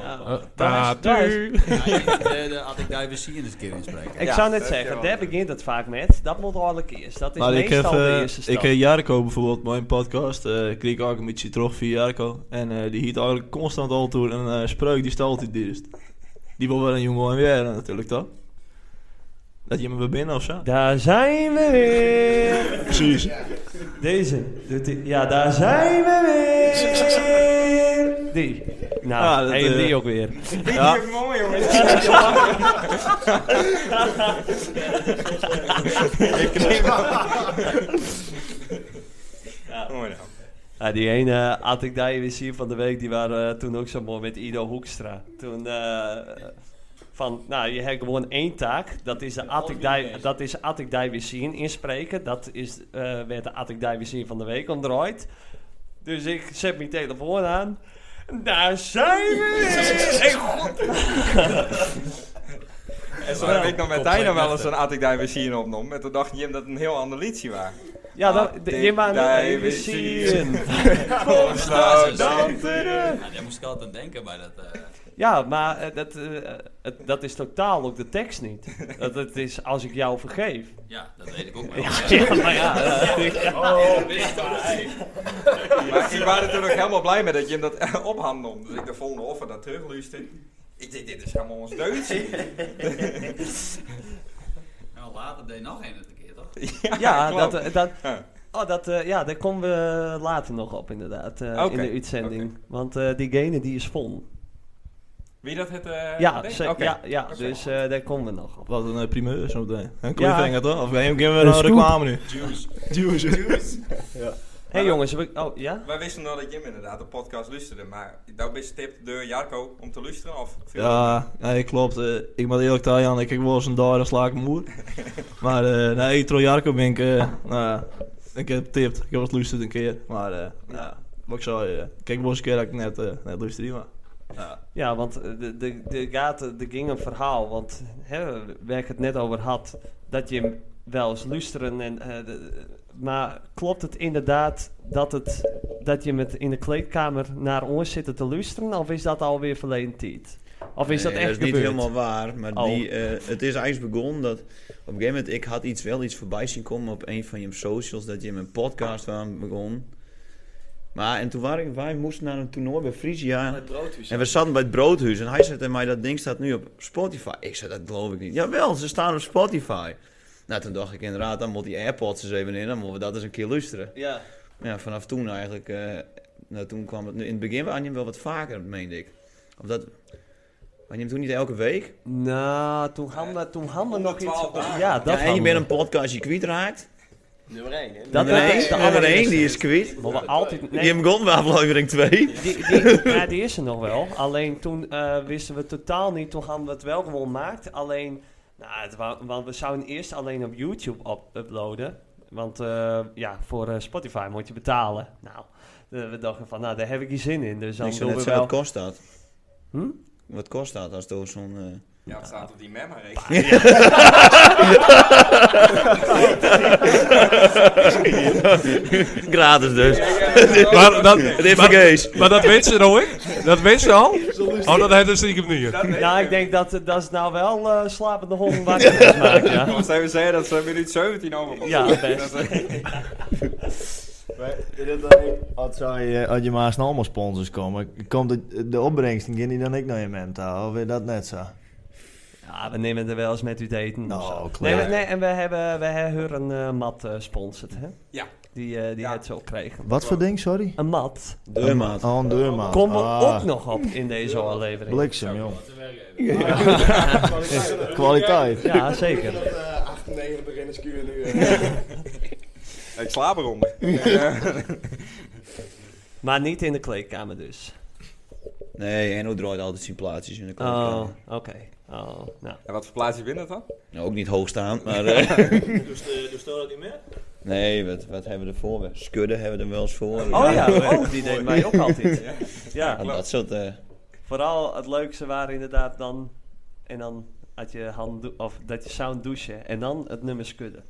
Speaker 9: Ah,
Speaker 2: Daar is-
Speaker 9: tuur.
Speaker 6: Ja, je- de- de- Eh, Had ik daar weer zien eens een keer inspreken.
Speaker 2: Ik
Speaker 1: Ja,
Speaker 2: zou net
Speaker 1: dat heb je
Speaker 2: zeggen,
Speaker 1: wel.
Speaker 2: daar begint het vaak met. Dat moet eigenlijk eerst. Dat is
Speaker 5: Maar ik heb,
Speaker 2: meestal de
Speaker 5: eh,
Speaker 2: eerste stap.
Speaker 5: ik heb Jarko bijvoorbeeld, mijn podcast, eh kreeg ik ook een beetje terug via Jarko. En eh, die hield eigenlijk constant al toe een eh, spreuk die stelt die eerst. Die wil wel een jongen en weer eh, natuurlijk toch? Dat je me weer binnen of zo?
Speaker 2: Daar zijn we weer.
Speaker 7: Precies.
Speaker 2: Deze. doet die- Ja, daar zijn we weer. Die. Nou,
Speaker 5: Ja, dat,
Speaker 2: hey, en
Speaker 5: eh,
Speaker 2: die ook weer.
Speaker 5: Ja.
Speaker 1: mooi, jongens. nou.
Speaker 2: Ja, die ene eh, had ik daar weer zien van de week, die waren eh, toen ook zo mooi met Ido Hoekstra. Toen eh, van, nou, je hebt gewoon één taak. Dat is de Attic Dai- dat is Attic Dai weer zien inspreken. Dat is, eh, werd de Attic Dai weer zien van de week omdraaid. Dus ik zet mijn telefoon aan. Daar zijn we! weer! Hey, god.
Speaker 1: En zo heb ik nog met Dino wel eens een Attic Dive Machine opnomen. En toen dacht Jim dat het een heel ander liedje was.
Speaker 2: Ja, Ah, dat,
Speaker 1: Attic
Speaker 2: de, je maakt
Speaker 1: Dai
Speaker 2: even
Speaker 1: weer
Speaker 2: zien.
Speaker 1: Kom nou dan
Speaker 6: Ja, daar moest ik altijd aan denken bij dat. eh,
Speaker 2: Ja, maar eh, dat, eh, het- dat is totaal ook de tekst niet. Dat, het is als ik jou vergeef.
Speaker 6: ja, dat weet ik ook wel.
Speaker 2: Ja, maar ja.
Speaker 1: Maar ik was er toen ook helemaal blij mee dat Jim dat op hand nam. Dus ik de volgende offer dat terugluisterde. Ik dacht, dit is helemaal ons deutje.
Speaker 6: Nou, later deed nog één het een keer, toch?
Speaker 2: Ja,
Speaker 1: klopt.
Speaker 2: dat, eh, dat,
Speaker 1: Ja.
Speaker 2: oh, dat, eh, ja, daar komen we later nog op inderdaad, eh, in
Speaker 1: Oké,
Speaker 2: de uitzending. Want eh, diegene die is vol.
Speaker 1: Wie dat het... eh,
Speaker 2: ja,
Speaker 1: denkt?
Speaker 2: ze-
Speaker 1: Oké.
Speaker 2: ja, ja
Speaker 1: Oké.
Speaker 2: dus eh, daar komen we nog op.
Speaker 5: Wat een eh, primeur zo meteen. Een
Speaker 2: Ja.
Speaker 5: cliffhanger toch? Of gaan we weer een
Speaker 7: scoop.
Speaker 5: reclame nu?
Speaker 2: Hé hey, jongens, we, oh ja?
Speaker 1: Wij wisten nog dat Jim inderdaad de podcast luisterde, maar dat is tip door Jarko om te luisteren of viel
Speaker 5: Ja, nee, klopt. Eh, ik moet eerlijk zeggen, Jan, ik heb wel eens een daar, dan sla ik mijn moer. maar eh, nee, ik trof Jarko ben ik, eh, nou ja, ik heb tipt. Ik heb het luisterd een keer. Maar eh, nou, ja, wat ik zei, eh, kijk wel eens een keer dat ik net, eh net luisterde, maar...
Speaker 2: Ja, want eh, de, de, de gaten, er ging een verhaal, want hè, waar ik het net over had, dat je hem wel eens luisteren en... eh, de- maar klopt het inderdaad dat, het, dat je met in de kleedkamer naar ons zit te luisteren? Of is dat alweer verleden tijd? Of is dat
Speaker 4: Nee,
Speaker 2: echt
Speaker 4: is niet
Speaker 2: gebeurd?
Speaker 4: helemaal waar, maar
Speaker 2: Oh.
Speaker 4: die, eh, het is eigenlijk begonnen dat op een gegeven moment ik had iets, wel iets voorbij zien komen op een van je socials dat je mijn podcast aan begon. Maar en toen waren wij moesten naar een toernooi bij Frisia en, en we zaten bij het broodhuis en hij zei tegen mij dat ding staat nu op Spotify. Ik zei dat geloof ik niet. Jawel, ze staan op Spotify. Nou, toen dacht ik inderdaad, dan moet die AirPods eens even in, dan moeten we dat eens een keer luisteren.
Speaker 2: Ja.
Speaker 4: Ja, vanaf toen eigenlijk. eh, nou, toen kwam het. In het begin aan je hem wel wat vaker, meende ik. Of dat. Maar je hem toen niet elke week.
Speaker 2: Nou, toen hadden we, toen hadden we nog iets...
Speaker 1: 112 dagen.
Speaker 2: Ja, dat
Speaker 4: ja, en je
Speaker 2: hadden
Speaker 4: bent
Speaker 2: we.
Speaker 4: een podcast je kwijt raakt.
Speaker 10: Nummer 1, hè?
Speaker 2: Dat
Speaker 4: Nummer
Speaker 2: is
Speaker 4: één,
Speaker 2: de
Speaker 4: nummer één,
Speaker 2: allereerste.
Speaker 4: die is kwijt.
Speaker 2: Maar we altijd...
Speaker 4: Die
Speaker 2: Nee,
Speaker 4: hebben begonnen bij aflevering 2.
Speaker 2: die, die, ja, die is er nog wel. Alleen toen eh, wisten we totaal niet. Toen hadden we het wel gewoon gemaakt. Alleen, nou, het wou- want we zouden eerst alleen op YouTube op- uploaden. Want eh, ja, voor eh, Spotify moet je betalen. Nou, eh, we dachten van, nou, daar heb ik hier zin in. Dus dan
Speaker 4: Ik zou
Speaker 2: doen
Speaker 4: net
Speaker 2: we
Speaker 4: zeggen,
Speaker 2: wel...
Speaker 4: wat kost dat?
Speaker 2: Hm?
Speaker 4: Wat kost dat als door zo'n. eh,
Speaker 1: Ja, het staat op die memma-rekening.
Speaker 4: Gratis dus.
Speaker 9: Maar dat,
Speaker 4: Het is vergees.
Speaker 9: maar dat weet ze nou, ik? Dat weet ze al? Oh, dat heeft ze niet nu.
Speaker 2: Nou, ik denk dat, eh, dat is nou wel eh, slapende honden wakker is maken. Ja,
Speaker 1: Als zij zeggen dat ze minuut 17 over
Speaker 2: ja best.
Speaker 7: Als je, als je maar snel allemaal sponsors komen, komt de, de opbrengst en die dan ik naar je menta. Of is dat net zo?
Speaker 2: Ja, we nemen er wel eens met u te eten. of
Speaker 7: Nou,
Speaker 2: zo.
Speaker 7: klaar.
Speaker 2: Nee, nee, en we hebben, we hebben hun een eh, mat eh, sponsored, hè?
Speaker 1: Ja,
Speaker 2: die, eh, die het zo kregen.
Speaker 7: Wat voor ding, sorry?
Speaker 2: Een mat.
Speaker 4: Deurmaat.
Speaker 7: Oh, een deurmaat.
Speaker 2: Komen we
Speaker 7: Ah,
Speaker 2: ook nog op in deze aflevering.
Speaker 7: Bliksem, joh.
Speaker 2: Ja.
Speaker 7: Kwaliteit.
Speaker 2: Ja, zeker.
Speaker 10: eh, 98 beginners kunnen nu. eh.
Speaker 1: Ik slaap eronder.
Speaker 2: Maar niet in de kleedkamer dus.
Speaker 4: Nee, Enno draait altijd zijn plaatjes in de
Speaker 2: Oh,
Speaker 4: kleedkamer.
Speaker 2: oké. Oh, nou.
Speaker 1: En wat voor plaats je binnen dan?
Speaker 4: Nou, ook niet hoogstaand, maar... eh,
Speaker 8: Dus, eh, dus stel dat niet meer?
Speaker 4: nee, wat, wat hebben we ervoor? Skudden hebben we er wel eens voor.
Speaker 2: Oh ja, oh, die deed mij ook altijd.
Speaker 1: Ja.
Speaker 4: Ja,
Speaker 2: Ja,
Speaker 4: dat soort... eh,
Speaker 2: vooral het leukste waren inderdaad dan... En dan had je hand of dat je sound douchen en dan het nummer skudden.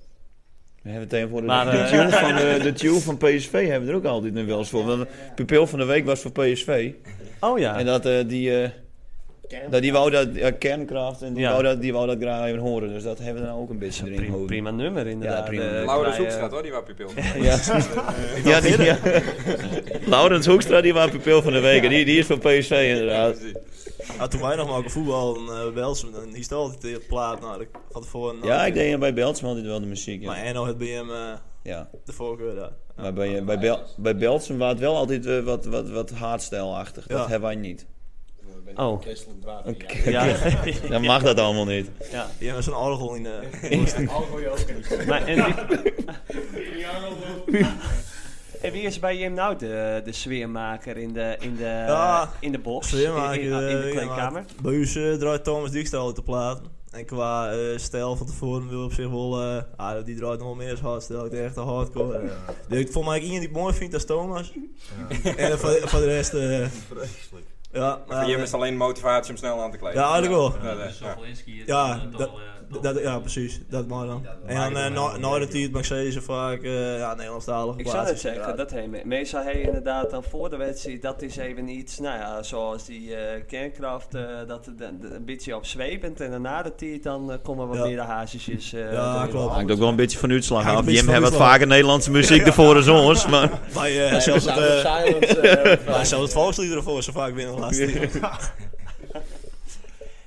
Speaker 4: we hebben tegenwoordig
Speaker 2: Maar,
Speaker 4: de,
Speaker 2: eh,
Speaker 4: tune van, eh, de tune van PSV hebben we er ook altijd nog wel eens voor. Want Pupil van de Week was voor PSV.
Speaker 2: Oh ja.
Speaker 4: En dat eh, die... eh, dat die wou dat, ja, kernkracht, en die,
Speaker 2: Ja.
Speaker 4: wou dat, die wou dat graag even horen. Dus dat hebben we dan ook een beetje erin
Speaker 2: prima,
Speaker 4: gehouden.
Speaker 2: prima nummer inderdaad.
Speaker 4: prima.
Speaker 2: Eh,
Speaker 1: Laura
Speaker 2: wij, eh,
Speaker 1: Zoekstraat hoor, die waar pupil.
Speaker 4: Ja, ja, die, ja. Laurens Hoekstra, die was pupil van de week. En die, die is van PSV inderdaad.
Speaker 8: Ja, toen wij nog maar voetballen, eh Welsum, dan is het altijd
Speaker 5: eh,
Speaker 8: de plaat. Nou, dat had voor een,
Speaker 4: Ja, ik denk bij Beltsma altijd wel de muziek.
Speaker 8: Maar
Speaker 4: Ja.
Speaker 8: Enno had bij hem eh,
Speaker 4: ja.
Speaker 8: de voorkeur daar.
Speaker 4: Maar bij, eh, bij, Bel, bij Beltsma was het wel altijd eh, wat, wat, wat hardstijlachtig. Dat
Speaker 8: Ja.
Speaker 4: hebben wij niet.
Speaker 2: Oh,
Speaker 4: Oké.
Speaker 2: ja.
Speaker 4: Dan mag dat allemaal niet.
Speaker 2: ja.
Speaker 8: Die hebben zo'n orgel in de...
Speaker 2: Maar en wie... En wie is bij Jim nou de, de sfeermaker in de, in de,
Speaker 8: Ja,
Speaker 2: in de box?
Speaker 8: Sfeermaker,
Speaker 2: in, in, in de
Speaker 8: eh,
Speaker 2: kleedkamer?
Speaker 8: Bij ons eh, draait Thomas Dijkstra altijd de plaat. En qua eh, stijl van tevoren wil op zich wel... eh, ah, die draait nog wel meer als hardstijl. Ik denk echt een hardcore. Eh, die ik Volgens mij één die ik mooi vind, dat is Thomas. En van voor, voor de rest... eh ja, maar,
Speaker 1: Voor Jim
Speaker 8: eh,
Speaker 1: is alleen motivatie om snel aan te kleden.
Speaker 8: Ja, eigenlijk wel.
Speaker 1: Ja, dat is- ja.
Speaker 11: Sokolinski is
Speaker 8: Ja,
Speaker 11: dan, eh,
Speaker 8: dat-
Speaker 11: toch, eh, toch-
Speaker 8: dat, ja, precies. Dat maar dan. En dan eh, na- nadat hij het mag zeggen, ze vaak eh ja, Nederlandstalige
Speaker 2: Ik zou
Speaker 8: plaatjes
Speaker 2: het zeggen,
Speaker 8: inderdaad.
Speaker 2: dat hij me- meestal hij inderdaad dan voor de wedstrijd, dat is even iets, nou ja, zoals die eh, kernkracht, eh, dat het dan- een beetje op zwevend en daarna de tiert dan eh, komen wat
Speaker 8: Ja.
Speaker 2: meer de hazesjes. eh,
Speaker 8: Ja,
Speaker 2: door.
Speaker 8: klopt.
Speaker 4: Hangt ook wel een beetje van uitslag
Speaker 8: Hangt
Speaker 4: af.
Speaker 8: een beetje
Speaker 4: Jim
Speaker 8: van
Speaker 4: heeft wat
Speaker 8: uitslag af.
Speaker 4: vaker Nederlandse muziek ervoor als ons. Maar
Speaker 8: Bij, eh, zelfs het, eh, bij zelfs het volkslied ervoor zo vaak binnen laatst.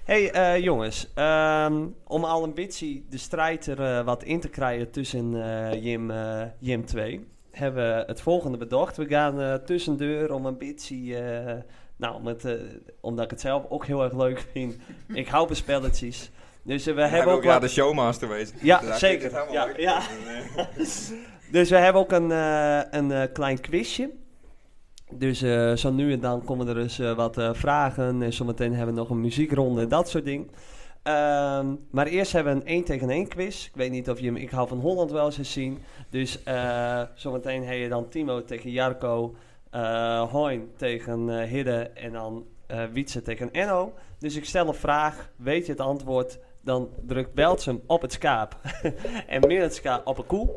Speaker 2: Hey eh, jongens, ehm, om al een beetje de strijd er eh, wat in te krijgen tussen eh, Jim, eh, Jim 2, hebben we het volgende bedacht. We gaan eh tussendoor om een beetje, eh, nou, om het, eh, omdat ik het zelf ook heel erg leuk vind. ik hou van spelletjes. Dus eh, we
Speaker 1: Hij wil
Speaker 2: hebben ook
Speaker 1: graag
Speaker 2: wat-
Speaker 1: de showmaster wezen.
Speaker 2: Ja,
Speaker 1: Dus hij
Speaker 2: zeker.
Speaker 1: vindt het
Speaker 2: Ja,
Speaker 1: helemaal
Speaker 2: ja.
Speaker 1: leuk.
Speaker 2: Dus we hebben ook een, eh, een eh, klein quizje. Dus eh, zo nu en dan komen er dus eh, wat eh, vragen. En zometeen hebben we nog een muziekronde en dat soort dingen. Ehm, maar eerst hebben we een 1 tegen 1 quiz. Ik weet niet of je hem Ik hou van Holland wel eens hebt zien. Dus eh, zometeen heb je dan Timo tegen Jarko. eh Hoin tegen eh Hidde. En dan eh Wietse tegen Enno. Dus ik stel een vraag. Weet je het antwoord? Dan drukt Beltsum op het skaap. en Mirenska op een koe.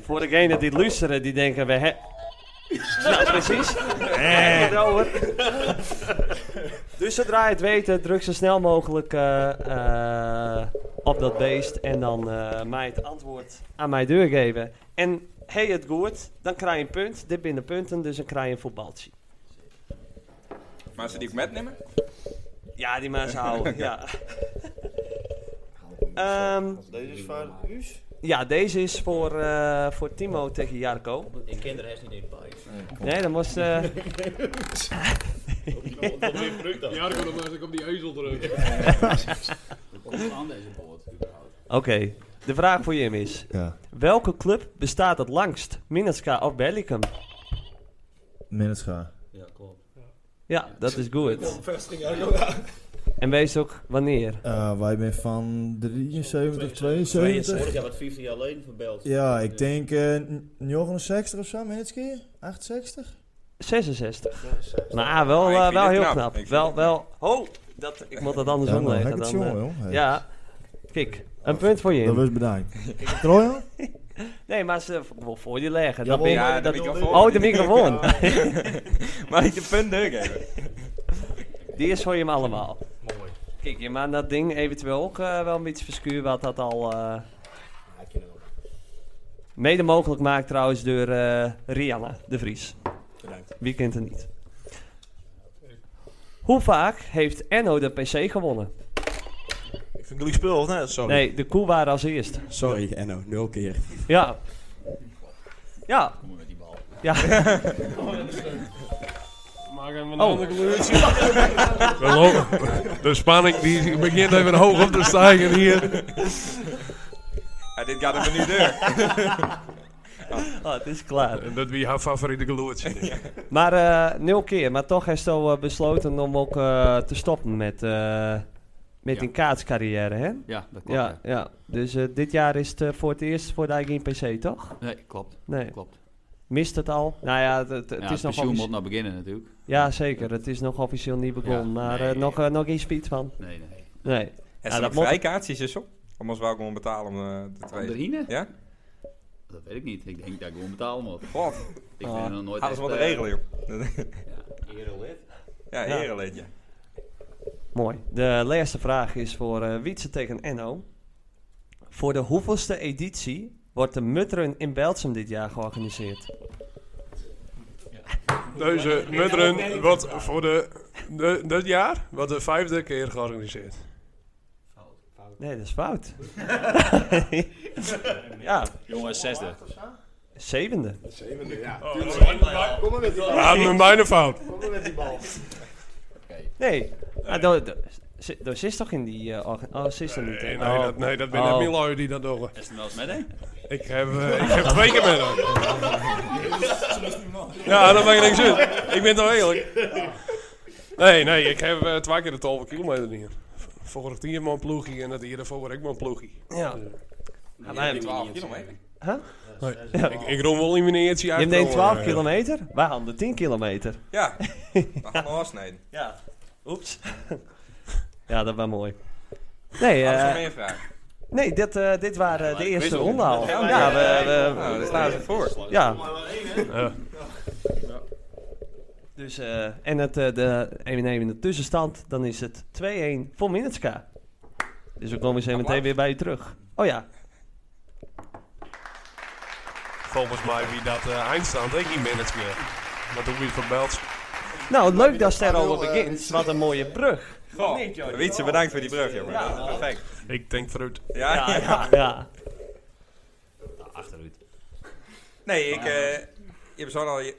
Speaker 2: Voor degenen die luisteren, die denken we... He nou, precies. Daar hebben we het over. dus zodra je het weet, druk zo snel mogelijk eh, eh, op dat beest. En dan eh, mij het antwoord aan mij doorgeven. En hey het goed, dan krijg je een punt. Dit binnen punten, dus dan krijg je een voetbaltje.
Speaker 1: Maar ze die ik metnemen?
Speaker 2: Ja, die mensen houden. ja. Ehm,
Speaker 7: Deze is voor Uus.
Speaker 2: ja, deze is voor, eh, voor Timo tegen Jarko.
Speaker 11: Ik ken de rest niet in Pijs.
Speaker 2: Oh. Nee, dan moest... eh,
Speaker 9: Ja, dan moet ik op die ezel drukken.
Speaker 11: Komt aan deze boord überhaupt?
Speaker 2: Oké, de vraag voor Jim is...
Speaker 7: Ja.
Speaker 2: Welke club bestaat het langst? Minneska of Bellicum?
Speaker 7: Minnesota.
Speaker 11: Ja, klopt.
Speaker 2: Ja, dat is goed. En wees ook wanneer.
Speaker 7: Eh, wij zijn van 73,
Speaker 11: Vorig
Speaker 7: 72.
Speaker 11: jaar wat 50 jaar geleden van België.
Speaker 7: Ja, ik denk eh, n- 69 of zo, Minnesota. 68?
Speaker 2: 66. Maar wel,
Speaker 1: Maar Ah, ik
Speaker 2: eh,
Speaker 1: vind
Speaker 2: wel
Speaker 1: het
Speaker 2: heel
Speaker 1: knap.
Speaker 2: knap.
Speaker 1: Ik vind
Speaker 2: Wel,
Speaker 1: het
Speaker 2: wel... Oh, dat, ik moet dat anders
Speaker 7: Ja, nou,
Speaker 2: omleggen.
Speaker 7: heb ik het
Speaker 2: dan, eh.
Speaker 7: jongen, joh. Hey.
Speaker 2: ja, kijk. Een punt voor
Speaker 7: Dat
Speaker 2: Jim.
Speaker 7: was bedankt. Trojan?
Speaker 2: Nee, maar ze wil voor je leggen. Dat
Speaker 7: Jawel,
Speaker 2: ben je-
Speaker 1: Ja, de
Speaker 2: dat-
Speaker 1: microfoon.
Speaker 2: Oh, de microfoon.
Speaker 1: Maar ik de punt doorgeven.
Speaker 2: Die is voor je hem allemaal. Mooi. Kijk, je maakt dat ding eventueel ook eh, wel een beetje verskuur wat dat al... eh, Mede mogelijk maakt trouwens door eh, Rihanna de Vries.
Speaker 10: Bedankt.
Speaker 2: Wie kent het niet? Hoe vaak heeft Enno de PC gewonnen?
Speaker 8: Ik vind het spul, of nee? Sorry.
Speaker 2: Nee, de koe waren als eerst.
Speaker 10: Sorry, Enno, nul keer.
Speaker 2: Ja. Ja.
Speaker 11: Kom maar met die bal.
Speaker 2: Ja.
Speaker 9: Maak hem
Speaker 2: een
Speaker 9: een
Speaker 2: Oh.
Speaker 9: ander
Speaker 2: ander kleurtje.
Speaker 9: kleurtje. de spanning die begint even hoog op te stijgen hier.
Speaker 1: Ja, dit gaat hem nu deur.
Speaker 2: Oh, het is klaar.
Speaker 9: En dat wie haar favoriete kleurtje is.
Speaker 2: Maar eh, nul keer. Maar toch heeft hij eh, besloten om ook eh, te stoppen met, eh, met
Speaker 6: Ja.
Speaker 2: een kaatscarrière, hè?
Speaker 6: Ja, dat klopt,
Speaker 2: Ja, ja. Dus eh, dit jaar is het eh, voor het eerst voor de eigen PC, toch?
Speaker 6: Nee, klopt.
Speaker 2: Nee.
Speaker 6: Klopt.
Speaker 2: Mist het al? Nou ja, het, het, het
Speaker 6: Ja,
Speaker 2: is
Speaker 6: het
Speaker 2: nog
Speaker 6: pensioen
Speaker 2: offici-
Speaker 6: moet nog beginnen natuurlijk.
Speaker 2: Ja, zeker. Het is nog officieel niet begonnen. maar eh,
Speaker 6: nee.
Speaker 2: nog, eh, nog geen speed van.
Speaker 6: Nee, nee.
Speaker 2: Nee.
Speaker 1: En ze
Speaker 2: Ja, dat
Speaker 1: dat
Speaker 2: moet-
Speaker 1: vrijkaartjes is op? Anders wou ik gewoon betalen om eh, de twee.
Speaker 6: Anderine?
Speaker 1: Ja?
Speaker 6: Dat weet ik niet. Ik denk dat ik gewoon betalen moet.
Speaker 1: God,
Speaker 6: Ik
Speaker 2: Ah.
Speaker 6: ben nog
Speaker 1: hadden
Speaker 6: nooit
Speaker 1: ze
Speaker 6: echt,
Speaker 1: wat
Speaker 6: eh,
Speaker 1: regelen, joh.
Speaker 6: Ja, erelid.
Speaker 1: ja,
Speaker 2: Ja.
Speaker 1: herenlid, ja.
Speaker 2: Mooi. De laatste vraag is voor eh Wietse tegen Enno. Voor de hoeveelste editie wordt de Mutterun in Beltsum dit jaar georganiseerd?
Speaker 9: Deze mudderen wordt voor de, de, dit jaar wordt de vijfde keer georganiseerd.
Speaker 2: Nee, dat is fout. ja,
Speaker 11: Jongens, zesde.
Speaker 2: zevende.
Speaker 10: De zevende, ja.
Speaker 9: Oh, Ja,
Speaker 10: Kom maar met die bal.
Speaker 9: mijn bijna fout.
Speaker 10: Kom maar met die bal.
Speaker 2: Nee, maar dat dat- ze- dat is toch in die... eh, orga- oh, ze is er niet. hè?
Speaker 9: Nee,
Speaker 2: Oh.
Speaker 9: nee, dat, nee, dat ben
Speaker 2: Oh.
Speaker 9: ik niet lui die dat doen.
Speaker 11: Is het wel eens met hè?
Speaker 9: Ik heb, eh, ik heb twee keer met hem. Ja, dat maakt niks uit. Ik ben toch eerlijk. Nee, nee, ik heb eh, twee keer de 12 kilometer hier. Vorig jaar mijn ploegie en dat hier daarvoor word ik mijn ploegie.
Speaker 2: Ja. Ja, maar-
Speaker 1: kilometer.
Speaker 9: Ik, ik roem wel in mijn eertje
Speaker 2: je
Speaker 9: uit.
Speaker 2: neemt 12 kilometer, wij handen 10 kilometer.
Speaker 1: Ja, we gaan we afsnijden.
Speaker 2: Ja, oeps. ja, dat was mooi. Nee,
Speaker 1: Hadden ze
Speaker 2: eh,
Speaker 1: nog meer vragen?
Speaker 2: nee dit, eh, dit waren de eerste ronde al.
Speaker 1: Ja,
Speaker 2: Ja, we,
Speaker 1: Nou,
Speaker 2: we,
Speaker 1: daar staan ze voor.
Speaker 2: ja. Dus, eh, en het, eh, de, even nemen de tussenstand, dan is het 2-1 voor Minetska. Dus we komen zo meteen weer bij u terug. Oh ja,
Speaker 9: Volgens mij wie dat eh eindstand, ik niet minutes meer. Maar toen wie het van Belts.
Speaker 2: nou leuk dat Ster al begint. Wat een mooie brug.
Speaker 1: Goh, Wietse, bedankt voor die brug, jongen.
Speaker 2: Ja.
Speaker 1: Dat is perfect.
Speaker 9: Ik denk vooruit.
Speaker 1: Ja,
Speaker 2: Ja,
Speaker 1: ja.
Speaker 2: ja, ja. Nou,
Speaker 6: Achteruit.
Speaker 1: Nee, ik... eh je hebt zo'n al... Je,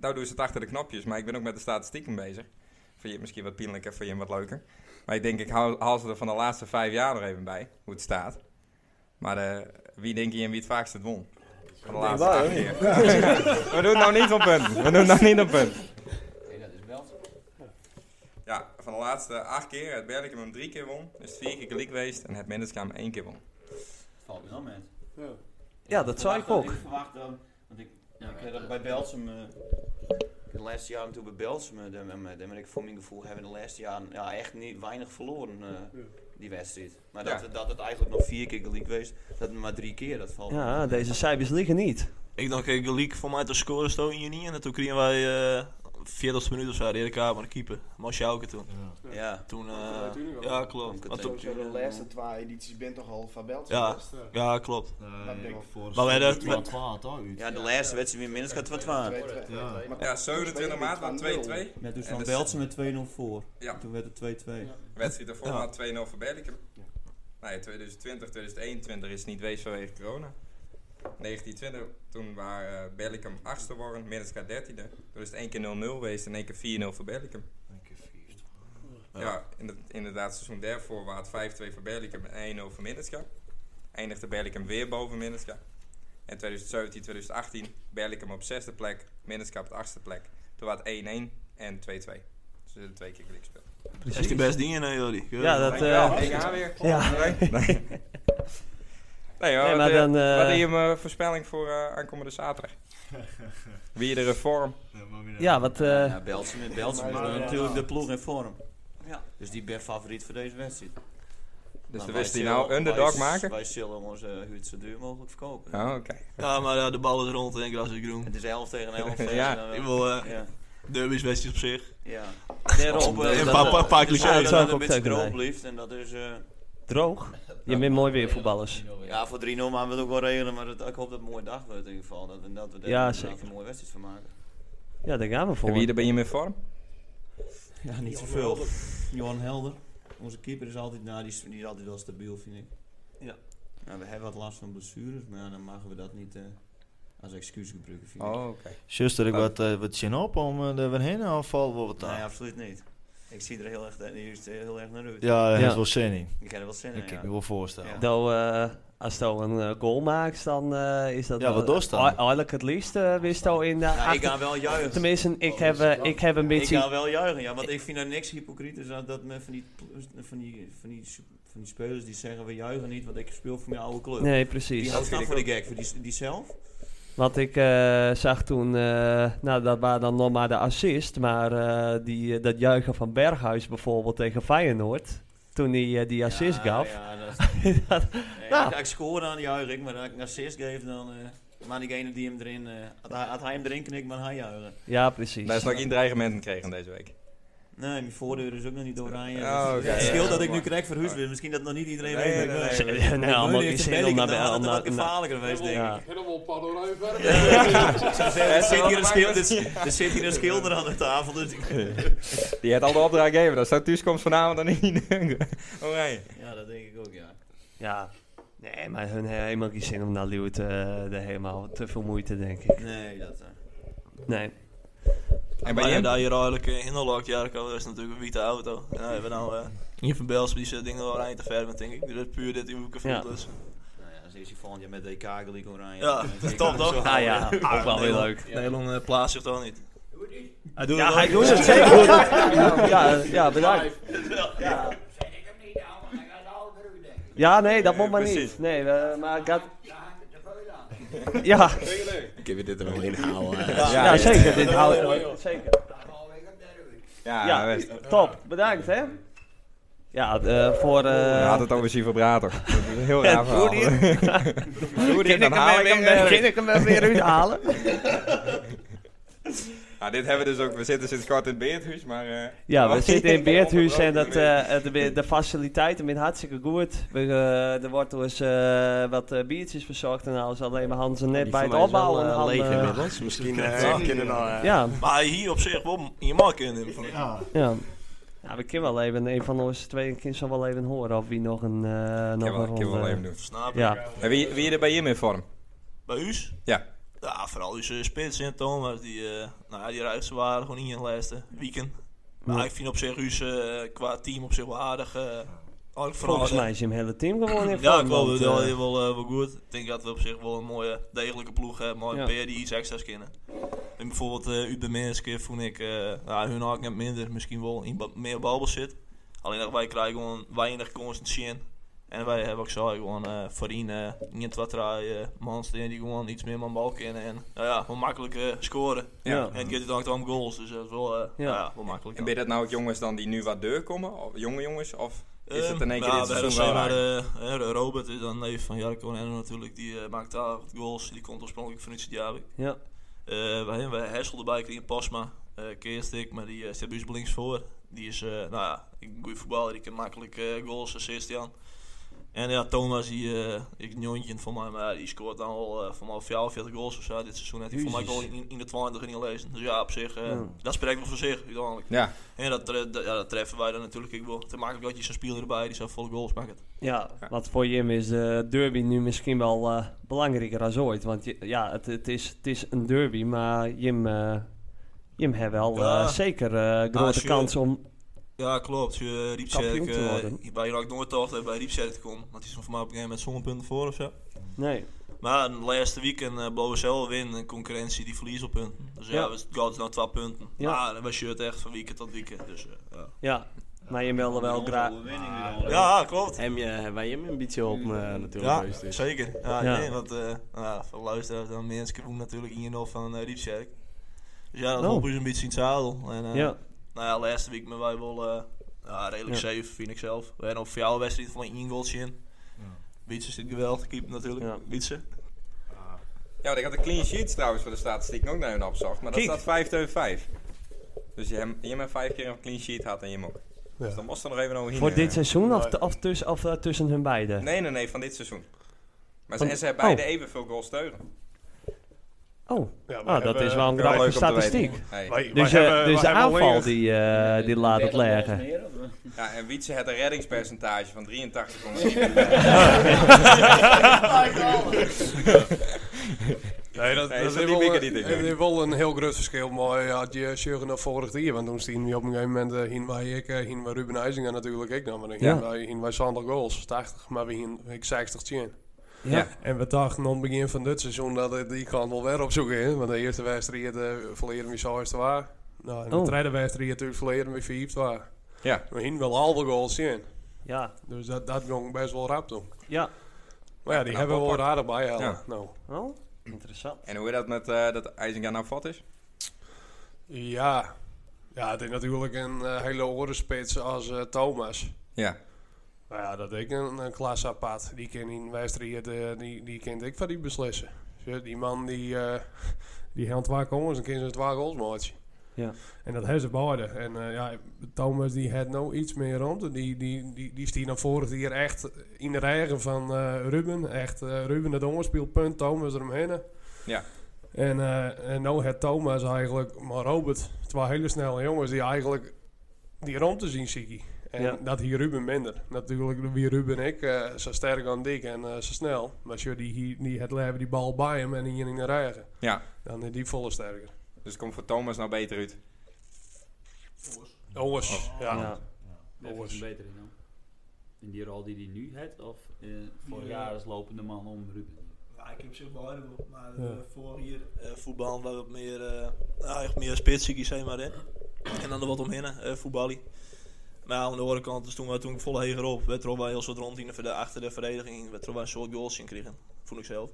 Speaker 1: nou doen ze het achter de knopjes, maar ik ben ook met de statistieken bezig. Vind je het misschien wat pijnlijker, vind je hem wat leuker. Maar ik denk, ik haal, haal ze er van de laatste vijf jaar nog even bij, hoe het staat. Maar eh, wie denk je en wie het vaakst het won? Van de laatste acht keer. We doen het nou niet op punten. We doen het nou niet op punten.
Speaker 6: Nee, dat is wel.
Speaker 1: Ja, van de laatste acht keer, het Berlikum hem drie keer won. Dus vier keer gelijk geweest en het Mendeska hem één keer won.
Speaker 6: Valt me dan met.
Speaker 2: Ja, dat zou ik ook.
Speaker 4: Ik verwacht dan, want ik, ja, ik heb dat bij Belsum. eh, ik heb de laatste jaren toen bij Belsum, eh, daar daar ben ik voor mijn gevoel, hebben de laatste jaren ja, echt niet weinig verloren, eh, die wedstrijd. Maar dat,
Speaker 1: Ja.
Speaker 4: dat het eigenlijk nog vier keer gelijk geweest, dat het maar drie keer, dat valt. me.
Speaker 2: Ja, deze cijfers liggen niet.
Speaker 8: Ik dacht, ik leak voor mij te scoren zo in juni. En toen kregen wij eh 40 minuut of zo, de kamer maar de keeper. Masjouke toen.
Speaker 4: Ja.
Speaker 8: toen eh,
Speaker 10: Ja, tuurlijk wel.
Speaker 8: ja, klopt. Maar toen-
Speaker 10: Sowieso de laatste twee edities bent toch al van Beltje?
Speaker 8: Ja. ja, klopt.
Speaker 10: Maar
Speaker 8: Maar we hadden... we-
Speaker 4: Ja, de laatste wedstrijd weer minstens gaat wat waren.
Speaker 1: Ja, 27 maart was 2-2.
Speaker 4: Met dus
Speaker 1: En van de- Beltsen
Speaker 4: met 2-0 voor.
Speaker 1: Ja.
Speaker 4: Toen werd het 2-2.
Speaker 1: Wedstrijd daarvoor
Speaker 8: Ja.
Speaker 1: had 2-0 voor Berlikum. Nou
Speaker 10: Ja.
Speaker 1: Nee, 2020, 2021 is het niet wees vanwege corona. 1920, toen waren eh, Berlikum 8e worden, Middenska 13e. Toen is het 1 keer 0-0 geweest en 1 keer 4-0 voor Berlikum. Ja, in- inderdaad, seizoen daarvoor was het 5-2 voor Berlikum en 1-0 voor Middenska. Eindigde Berlikum weer boven Middenska. En 2017, 2018, Berlikum op 6e plek, Middenska op de 8e plek. Toen was het 1-1 en 2-2. Dus we hebben twee keer gelijk gespeeld.
Speaker 8: Dat is die best dingen, hè, Jordi.
Speaker 2: Ja, dat... eh,
Speaker 1: Ik ga weer.
Speaker 2: ja.
Speaker 1: Nee. Nee, hoor,
Speaker 2: Nee, maar
Speaker 1: wat,
Speaker 2: dan,
Speaker 1: dan,
Speaker 2: eh,
Speaker 1: wat is je eh, voorspelling voor eh, aankomende zaterdag? Wie de reform?
Speaker 2: ja, wat... eh,
Speaker 4: ja, Belsum, met Belsum is
Speaker 1: eh,
Speaker 4: natuurlijk de ploeg in vorm. Dus die ben favoriet voor deze wedstrijd.
Speaker 1: Dus
Speaker 4: Maar
Speaker 1: de
Speaker 4: wij
Speaker 1: wist die
Speaker 4: zullen-
Speaker 1: nou underdog
Speaker 4: wij-
Speaker 1: maken?
Speaker 4: Wij zullen onze huid zo duur mogelijk verkopen.
Speaker 1: Oh, oké.
Speaker 2: Nou,
Speaker 8: Ja, maar ja, de bal is rond en gras is groen.
Speaker 4: Het is 11 tegen 11. dus
Speaker 1: Ja.
Speaker 4: dan-
Speaker 8: Ik wil eh
Speaker 4: ja.
Speaker 8: derby's wedstrijd op zich.
Speaker 4: ja.
Speaker 2: Daarop, eh,
Speaker 8: en een
Speaker 2: dat-
Speaker 8: paar, paar, paar
Speaker 4: Dus
Speaker 2: Ja,
Speaker 8: clichés.
Speaker 2: dat
Speaker 4: ja, dat
Speaker 2: zou ik
Speaker 4: het
Speaker 2: ook
Speaker 4: een beetje
Speaker 2: zeggen,
Speaker 4: droog
Speaker 2: nee.
Speaker 4: blijft en dat is... eh,
Speaker 2: Droog. Je bent mooi weer voetballers.
Speaker 4: ja, voor 3-0 maar we het ook wel regelen, maar dat, ik hoop dat het een mooie dag wordt in ieder geval. Dat, we- dat we daar
Speaker 2: Ja,
Speaker 4: een,
Speaker 2: zeker.
Speaker 4: een mooie wedstrijd van maken.
Speaker 2: Ja, daar gaan we voor.
Speaker 1: En wie er ben je mee vorm?
Speaker 9: nou?
Speaker 4: Ja, Ah, niet zoveel. Johan Helder. Onze keeper is altijd, nou, die, is, die is altijd wel stabiel, vind ik.
Speaker 2: Ja.
Speaker 4: Nou, we hebben wat last van blessures, maar ja, dan mogen we dat niet... eh,
Speaker 6: als excuus gebruiken. vind ik.
Speaker 1: Oh, oké.
Speaker 7: Zuster, ik wat, eh, wat zin op om eh, er weer heen of valt wel wat
Speaker 4: Nee,
Speaker 7: aan?
Speaker 4: absoluut niet. Ik zie er heel erg, eh, juist heel erg naar uit.
Speaker 7: Ja, daar heeft
Speaker 2: Ja.
Speaker 7: wel zin in.
Speaker 4: Ik heb er wel zin in,
Speaker 7: Ik kan
Speaker 4: ja.
Speaker 7: me wel voorstellen.
Speaker 4: Ja.
Speaker 2: Nou, eh, als je een eh, goal maakt, dan eh, is dat...
Speaker 7: Ja, wat
Speaker 2: wel-
Speaker 7: doorstaande.
Speaker 2: Eigenlijk eigenlijk het liefst eh, wist je in de...
Speaker 4: Ja, ik
Speaker 2: achter-
Speaker 4: ga wel juichen.
Speaker 2: Tenminste, ik heb, eh, ik heb een beetje...
Speaker 4: Ik ga wel juichen, ja, want ik vind dat niks hypocriet is dat, dat men van die, van, die, van, die, van die spelers die zeggen we juichen niet, want ik speel voor mijn oude club.
Speaker 2: Nee, precies.
Speaker 4: Die houdt nou voor de gek, voor die, die zelf.
Speaker 2: Want ik eh, zag toen, eh, nou dat waren dan nog maar de assist, maar eh, die, eh, dat juichen van Berghuis bijvoorbeeld tegen Feyenoord, toen hij eh, die assist
Speaker 4: Ja,
Speaker 2: gaf.
Speaker 4: ja, dat-
Speaker 2: Dat-
Speaker 4: Nee,
Speaker 2: nou.
Speaker 4: ik, ik scoor dan juich ik, maar als ik een assist geef dan... eh, maar diegene die hem erin... eh, had, hij- had hij hem erin knikt, maar hij juichen.
Speaker 2: Ja, precies.
Speaker 1: Daar is nog geen dreigementen gekregen deze week.
Speaker 4: Nee, mijn voordeur is ook nog niet oranje.
Speaker 1: Oh,
Speaker 4: dus
Speaker 1: oké.
Speaker 4: Het scheelt
Speaker 1: Ja,
Speaker 4: dat ik nu
Speaker 1: mooi.
Speaker 4: krijg verhuisd weer. Misschien dat nog niet iedereen
Speaker 1: Nee,
Speaker 4: weet.
Speaker 1: nee,
Speaker 4: dat
Speaker 1: nee,
Speaker 4: ik ben.
Speaker 1: nee.
Speaker 2: Nee,
Speaker 4: Maar
Speaker 2: nou,
Speaker 4: Meulen
Speaker 2: allemaal
Speaker 4: heeft
Speaker 2: geen
Speaker 4: een
Speaker 2: zin om
Speaker 4: belling,
Speaker 2: naar
Speaker 4: dan
Speaker 2: Bel-
Speaker 4: had
Speaker 2: naar-
Speaker 4: het wat gevaarlijker geweest, denk ik.
Speaker 2: Ja.
Speaker 11: Helemaal panoruim
Speaker 4: Ik zou zeggen, Er zit hier een schil- er- er zit hier een schilder aan de tafel. Dus ik-
Speaker 1: Die had al de opdracht gegeven. Dat staat thuiskomt vanavond dan in. Oranje.
Speaker 4: ja, dat denk ik ook, ja.
Speaker 2: Ja, nee, maar hun hebben helemaal geen zin om naar Leeuwarden eh, er helemaal te veel moeite, denk ik.
Speaker 4: Nee, dat... eh,
Speaker 2: Nee.
Speaker 1: En bij
Speaker 8: Maar ja,
Speaker 1: hem?
Speaker 8: daar hier eigenlijk eh, in de lok, Jarko, dat is natuurlijk een witte auto. En dan hebben we nou eh hier van Belsen, die zit dingen wel eind te ver met, denk ik. Dus dat is puur dit uw
Speaker 2: Ja.
Speaker 8: gevoel. Dus.
Speaker 4: Nou ja, ze is hij volgend jaar met DK gelijk oranje.
Speaker 8: Ja, top toch?
Speaker 2: Ah ja, ook wel weer leuk.
Speaker 8: Nederland eh, plaatst zich toch niet.
Speaker 5: Hij doet
Speaker 2: Ja,
Speaker 5: het
Speaker 2: hij
Speaker 5: ook.
Speaker 2: doet het zeker. Ja, ja, bedankt.
Speaker 11: Ik heb niet de oude, maar ik had de oude broer, denk ik.
Speaker 2: Ja, nee, dat moet maar
Speaker 1: precies.
Speaker 2: niet. Nee, we- maar ik had...
Speaker 11: Daar hangt de veul aan.
Speaker 2: Ja,
Speaker 6: Ik heb je dit er wel in
Speaker 1: eh.
Speaker 6: houden.
Speaker 2: ja,
Speaker 1: ja,
Speaker 2: zeker. Dit houdt zeker.
Speaker 11: Daar val ik op de rug.
Speaker 1: Ja,
Speaker 2: Ja,
Speaker 1: best.
Speaker 2: top. Bedankt, hè. Ja, eh, voor... eh
Speaker 1: Hij had het over Sivo Brater. Dat is een heel raar verhaal.
Speaker 2: Roerie.
Speaker 1: Roerie,
Speaker 2: Kan ik
Speaker 1: dan haal
Speaker 2: hem
Speaker 1: ik hem
Speaker 2: weer-
Speaker 1: er.
Speaker 2: kan ik hem er weer uithalen?
Speaker 1: Nou, dit hebben we dus ook. We zitten sinds kort in het Beerthuis, maar... eh,
Speaker 2: Ja, we
Speaker 1: oh,
Speaker 2: zitten in Beerthuis en dat,
Speaker 1: onderbroken
Speaker 2: eh, de, de faciliteiten zijn hartstikke goed. We, eh, er wordt dus eh, wat eh, biertjes verzorgd en alles. Alleen maar Hans en net bij het opbouwen. handen-
Speaker 3: eh, leeg inmiddels. Misschien eh,
Speaker 8: Ja.
Speaker 3: kunnen we nou... eh,
Speaker 2: ja,
Speaker 8: Maar hier op zich, wel, je mag kunnen.
Speaker 2: ja. Ja, we kunnen wel even, een van ons twee kind zal wel even horen of wie nog een, eh nog
Speaker 1: Ik heb
Speaker 2: een
Speaker 1: wel- ik heb wel
Speaker 2: ronde-
Speaker 1: even doen.
Speaker 8: Snap je?
Speaker 2: Ja,
Speaker 1: En wie, wie er bij je in vorm?
Speaker 8: Bij Huus?
Speaker 1: Ja.
Speaker 8: Ja, vooral uw eh, spits en Thomas, die, eh, nou ja, die ruisten waren gewoon in je laatste weekend. Maar
Speaker 2: Ja.
Speaker 8: ik vind op zich Huus eh, qua team op zich wel aardig. eh ook vooral
Speaker 2: volgens
Speaker 8: de-
Speaker 2: mij is hem hele team gewoon in
Speaker 8: Ja,
Speaker 2: vorm,
Speaker 8: ik wel,
Speaker 2: want,
Speaker 8: wel,
Speaker 2: eh,
Speaker 8: wel, eh, wel goed. Ik denk dat we op zich wel een mooie, degelijke ploeg hebben. Maar
Speaker 2: Ja.
Speaker 8: een paar die iets extra's kennen. En bijvoorbeeld eh Ube Minsk vond ik eh ja, hun ook net minder. Misschien wel in ba- meer balbezit. Alleen dat wij krijgen gewoon weinig constantie in. En wij hebben ook zo gewoon eh Farin, eh Nient Watra, eh, Manstein die gewoon iets meer man bal kennen. En nou ja, wel makkelijk eh, scoren.
Speaker 2: Ja.
Speaker 8: En het gaat het ook om goals. Dus dat is wel, eh,
Speaker 2: Ja.
Speaker 8: nou ja, wel makkelijk.
Speaker 1: En ben je dat nou ook jongens dan die nu wat deur komen? Of jonge jongens? Of is het in één
Speaker 8: Ehm,
Speaker 1: keer
Speaker 8: ja,
Speaker 1: dit
Speaker 8: bij
Speaker 1: seizoen wel
Speaker 8: ROC, maar,
Speaker 1: raak?
Speaker 8: eh, eh, Robert is dan neef van Jarko en Enno natuurlijk. Die eh, maakt daar wat goals. Die komt oorspronkelijk van Utsjadjavik.
Speaker 2: Ja.
Speaker 8: Eh wij hebben Hessel erbij, die in Pasma. eh Keerstik, maar die eh staat bij ons op links voor. Die is, eh, nou ja, een goede voetballer. Die kan makkelijk eh, goals, assist aan. En ja, Thomas, die eh ik een jongetje van mij, maar die scoort dan al eh, van al 44 goals of zo dit seizoen. Heeft hij voor mij
Speaker 2: Jezus.
Speaker 8: al in, in de 20 in gelezen. Dus ja, op zich, eh,
Speaker 2: Ja.
Speaker 8: dat spreekt wel voor zich uiteindelijk.
Speaker 1: Ja,
Speaker 8: Ja, dat, tre- dat- ja, dat treffen wij dan natuurlijk ook wel. Te maken dat je zo'n speler erbij die zo volle goals maakt.
Speaker 2: Ja, want voor Jim is de derby nu misschien wel eh, belangrijker dan ooit. Want je- ja, het, het, is, het is een derby, maar Jim, eh Jim heeft wel eh,
Speaker 8: Ja.
Speaker 2: zeker eh, grote
Speaker 8: als je-
Speaker 2: kans om...
Speaker 8: Ja, klopt. Je eh,
Speaker 2: Kampioen
Speaker 8: Riepzerk,
Speaker 2: te worden.
Speaker 8: uh, bij Raak nooit altijd bij Riepzerk te komen. Want die is nog voor mij op een gegeven moment zonder punten voor of zo.
Speaker 2: Nee,
Speaker 8: Maar de laatste weekend eh bleven ze wel winnen. En concurrentie die verliest op punten. Dus ja,
Speaker 2: Ja.
Speaker 8: we hadden nou twee punten.
Speaker 2: Ja.
Speaker 8: Maar dan was je het echt van weekend tot weekend. Dus, eh, ja.
Speaker 2: ja. Maar Jim wilde wel graag...
Speaker 8: ja, klopt.
Speaker 3: Hem je, wij hem een beetje op eh, natuurlijk.
Speaker 8: Ja,
Speaker 3: geweest is.
Speaker 8: zeker. Ja,
Speaker 2: Ja.
Speaker 8: Nee, want eh ja, voor luisteraars dan mensen boem natuurlijk in je nog van eh, Riepzerk. Dus ja, dat
Speaker 2: Oh.
Speaker 8: oh. is een beetje in het zadel. En, eh,
Speaker 2: Ja,
Speaker 8: Nou ja, laatste week met wij wel eh, ja, redelijk
Speaker 2: Ja.
Speaker 8: safe, vind ik zelf. We hebben op jouw wedstrijd van één goaltje in. Wietse zit geweldig, keeper natuurlijk.
Speaker 2: Ja.
Speaker 8: Wietse.
Speaker 1: ja want ik had een clean sheet trouwens voor de statistiek ook naar hun opzocht. Maar dat
Speaker 2: Kijk.
Speaker 1: staat 5 tegen 5. Dus je hem, je hem maar vijf keer een clean sheet had en je hem ook. Dus dan moest er nog even overheen.
Speaker 2: voor
Speaker 1: eh.
Speaker 2: dit seizoen of, t- of, tussen, of eh, tussen hun beiden?
Speaker 1: Nee, nee, nee, van dit seizoen. Maar ze,
Speaker 2: Van-
Speaker 1: en ze hebben beide
Speaker 2: oh.
Speaker 1: evenveel goals teugen.
Speaker 2: Oh,
Speaker 9: Ja, we
Speaker 2: ah, dat
Speaker 9: hebben-
Speaker 2: is wel een
Speaker 1: Ja,
Speaker 2: grappige
Speaker 1: leuk om te weten.
Speaker 2: statistiek.
Speaker 1: Hey.
Speaker 9: wij-
Speaker 2: Dus,
Speaker 9: wij
Speaker 2: eh,
Speaker 9: hebben-
Speaker 2: dus
Speaker 9: wij
Speaker 2: de
Speaker 9: hebben alleen
Speaker 2: aanval
Speaker 9: het-
Speaker 2: die, eh, die laat het leggen.
Speaker 1: Ja, en Wietse had een reddingspercentage van 83,7.
Speaker 9: Nee, dat,
Speaker 1: Nee,
Speaker 9: dat
Speaker 1: zo diep
Speaker 9: is wel,
Speaker 1: ik er niet in.
Speaker 9: eh, heeft wel een heel groot verschil. Maar ja, had je Sjurgen nog vorig jaar, want toen stien we op een gegeven moment eh, hingen wij ik, eh, hingen wij Ruben IJzinger natuurlijk ik dan, maar dan hingen
Speaker 12: Ja.
Speaker 9: wij, hingen wij Sander Goals 80, maar we hingen ik 60 tien.
Speaker 12: Ja.
Speaker 9: En we dachten aan het begin van dit seizoen dat het die kant wel weer opzoeken is. Want de eerste wedstrijd eh verleden we zo is te waar. Nou, en de
Speaker 2: Oh.
Speaker 9: tweede wedstrijd natuurlijk verleden we vier te waar.
Speaker 1: Ja.
Speaker 9: We hingen wel al de goals in.
Speaker 2: Ja.
Speaker 9: Dus dat, dat ging best wel rap toen.
Speaker 2: Ja.
Speaker 9: Maar ja, die
Speaker 1: Nou,
Speaker 9: hebben we wel
Speaker 1: apart.
Speaker 9: aardig bij.
Speaker 1: Ja.
Speaker 9: Nou.
Speaker 2: Oh, interessant.
Speaker 1: En hoe dat met eh dat IJzinga nou vat is?
Speaker 9: Ja. Ja, het is natuurlijk een eh, hele orenspits als eh, Thomas.
Speaker 1: Ja.
Speaker 9: Nou ja, dat ik een, een klas apart. Die kent in Wijstriët, eh, die, die kent ik van die beslissen. Dus die man die, eh, die helpt waar jongens, dan kan ze twee goals maken.
Speaker 2: Ja.
Speaker 9: En dat hebben ze beide. En eh, ja, Thomas die had nou iets meer rond. Die, die, die, die stier dan vorig jaar echt in de eigen van eh, Ruben. Echt eh, Ruben het ongespeelpunt, Thomas eromheen.
Speaker 1: Ja.
Speaker 9: En, eh en nou het Thomas eigenlijk, maar Robert, twee hele snelle jongens die eigenlijk die rondte zien ziek. En
Speaker 2: Ja.
Speaker 9: dat hier Ruben minder. Natuurlijk wie Ruben en ik, eh, zo sterk aan dik en eh, zo snel. Maar als die, hier- die het leven die bal bij hem en hier in de regen,
Speaker 1: Ja.
Speaker 9: dan is die volle sterker.
Speaker 1: Dus het komt voor Thomas nou beter uit.
Speaker 9: Owers,
Speaker 6: Oh,
Speaker 9: ja.
Speaker 2: Ja.
Speaker 11: Even iets beter in dan. In die rol die hij nu heeft, of eh vorig
Speaker 5: Ja.
Speaker 11: jaar als lopende man om Ruben?
Speaker 5: Ja, ik heb zich wel helemaal, maar
Speaker 9: Ja.
Speaker 5: eh, voor hier...
Speaker 8: eh voetbal waar wat meer, eh ja, echt meer spitsie, zeg maar in. En dan er wat omheen, eh voetballen. Maar aan de andere kant, is toen, we- toen ik vol heger op, werd er al wel heel soort rond in de verde- achter de verdediging, werd er al wel een soort goals in kregen, vond ik zelf.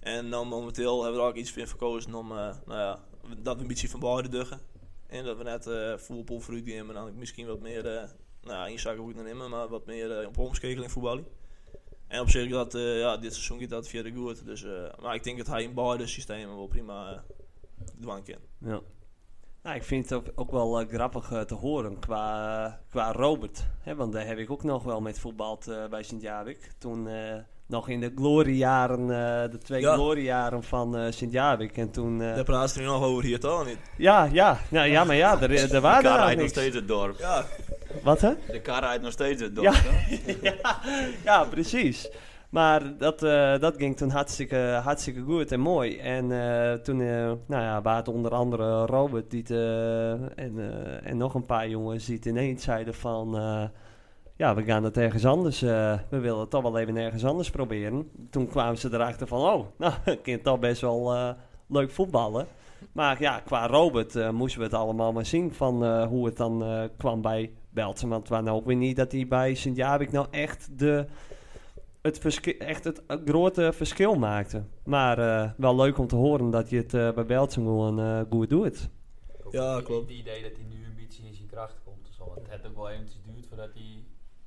Speaker 8: En dan momenteel hebben we er ook iets voor verkozen om, eh, nou ja, dat we een beetje van beide duggen. En dat we net eh voetbal fruit nemen en dan misschien wat meer, eh nou ja, inzakken goed naar nemen, maar wat meer eh, op omschakeling voetballen. En op zich dat, eh, ja, dit seizoen gaat dat verder goed. Dus, eh, maar ik denk dat hij in beide systemen wel prima eh dwang kan.
Speaker 2: Ja. Nou, ik vind het ook, ook wel eh, grappig eh, te horen qua, eh, qua Robert. Hè, want daar heb ik ook nog wel met voetbald eh, bij Sint-Jabik. Toen eh, nog in de gloriejaren, eh, de twee
Speaker 8: Ja.
Speaker 2: gloriejaren van eh Sint-Jabik. En toen... eh,
Speaker 8: Daar praat ze nu nog over hier toch niet?
Speaker 2: ja, ja. Nou, ja, maar ja, er, er
Speaker 8: De
Speaker 2: waren
Speaker 8: kar
Speaker 2: Ah, daar
Speaker 8: rijdt nog
Speaker 2: niks.
Speaker 4: steeds het dorp.
Speaker 8: Ja.
Speaker 2: Wat, hè?
Speaker 4: De kar rijdt nog steeds het dorp.
Speaker 2: Ja.
Speaker 4: hè?
Speaker 2: ja, ja, precies. Maar dat, eh, dat ging toen hartstikke, hartstikke goed en mooi. En eh, toen eh, nou ja, waren het onder andere Robert die het, eh, en, eh, en nog een paar jongens die het ineens zeiden van... eh, ja, we gaan het ergens anders... eh, we willen het toch wel even ergens anders proberen. Toen kwamen ze erachter van... Oh, nou, ik kan toch best wel eh, leuk voetballen. Maar ja, qua Robert eh, moesten we het allemaal maar zien van eh, hoe het dan eh, kwam bij Beltsen. Want waar nou ook weer niet dat hij bij Sint-Jabik nou echt, de, het, verski- echt het eh, grote verschil maakte. Maar eh, wel leuk om te horen dat je het eh, bij Beltsen gewoon eh, goed doet.
Speaker 8: Ja, klopt.
Speaker 11: Het idee dat hij nu een beetje in zijn kracht komt. Dus al. het heeft ook wel eventjes duurt voordat hij,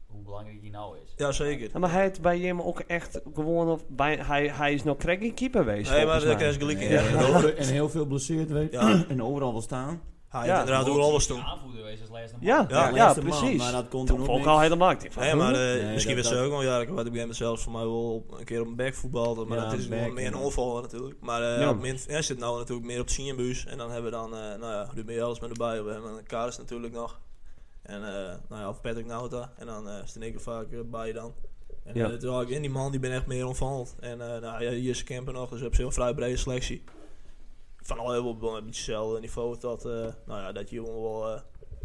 Speaker 11: hoe belangrijk hij nou is.
Speaker 8: Ja, zeker.
Speaker 2: Ja, maar hij heeft bij hem ook echt gewoon... Of bij, hij, hij is nog cracking keeper geweest.
Speaker 8: Nee, maar
Speaker 2: volgens
Speaker 8: dat
Speaker 2: mij.
Speaker 8: kan ze gelijk in.
Speaker 11: Ja.
Speaker 8: Ja. Robert.
Speaker 12: En heel veel blesseerd weet
Speaker 8: Ja.
Speaker 12: en overal wil staan.
Speaker 8: Hij
Speaker 2: Ja.
Speaker 8: heeft inderdaad ook alles toen.
Speaker 11: Aanvoerder wees als laatste man.
Speaker 2: Ja, ja,
Speaker 8: Ja,
Speaker 12: laatste man,
Speaker 2: precies.
Speaker 12: maar dat kon
Speaker 2: Toen
Speaker 12: toen ook
Speaker 2: vond ik
Speaker 12: niks.
Speaker 2: al helemaal... Ik dacht van,
Speaker 8: Ja, maar
Speaker 2: huh?
Speaker 8: eh,
Speaker 12: Nee,
Speaker 8: misschien
Speaker 12: dat-
Speaker 8: werd ze
Speaker 12: dat-
Speaker 8: ook wel jaren. Ik weet op een gegeven moment zelfs voor mij wel een keer op een back voetbalde. Maar
Speaker 12: Ja,
Speaker 8: dat is
Speaker 12: back,
Speaker 8: wel meer een
Speaker 12: ja.
Speaker 8: onval natuurlijk. Maar eh,
Speaker 2: Ja.
Speaker 8: op min, hij zit nou natuurlijk meer op Sienbuus. En dan hebben we dan, eh nou ja, Ruben Jels met erbij. We hebben Karis natuurlijk nog. En eh, nou ja, of Patrick Nauta. En dan eh is er vaak eh, bij dan. En
Speaker 2: Ja.
Speaker 8: ja. in die man die ben echt meer onvallend. En eh nou ja, hier is Kemper nog. Dus we hebben een vrij brede selectie. Van al heel veel op een beetje hetzelfde niveau. Dat, eh, nou ja, dat je jongen wel eh,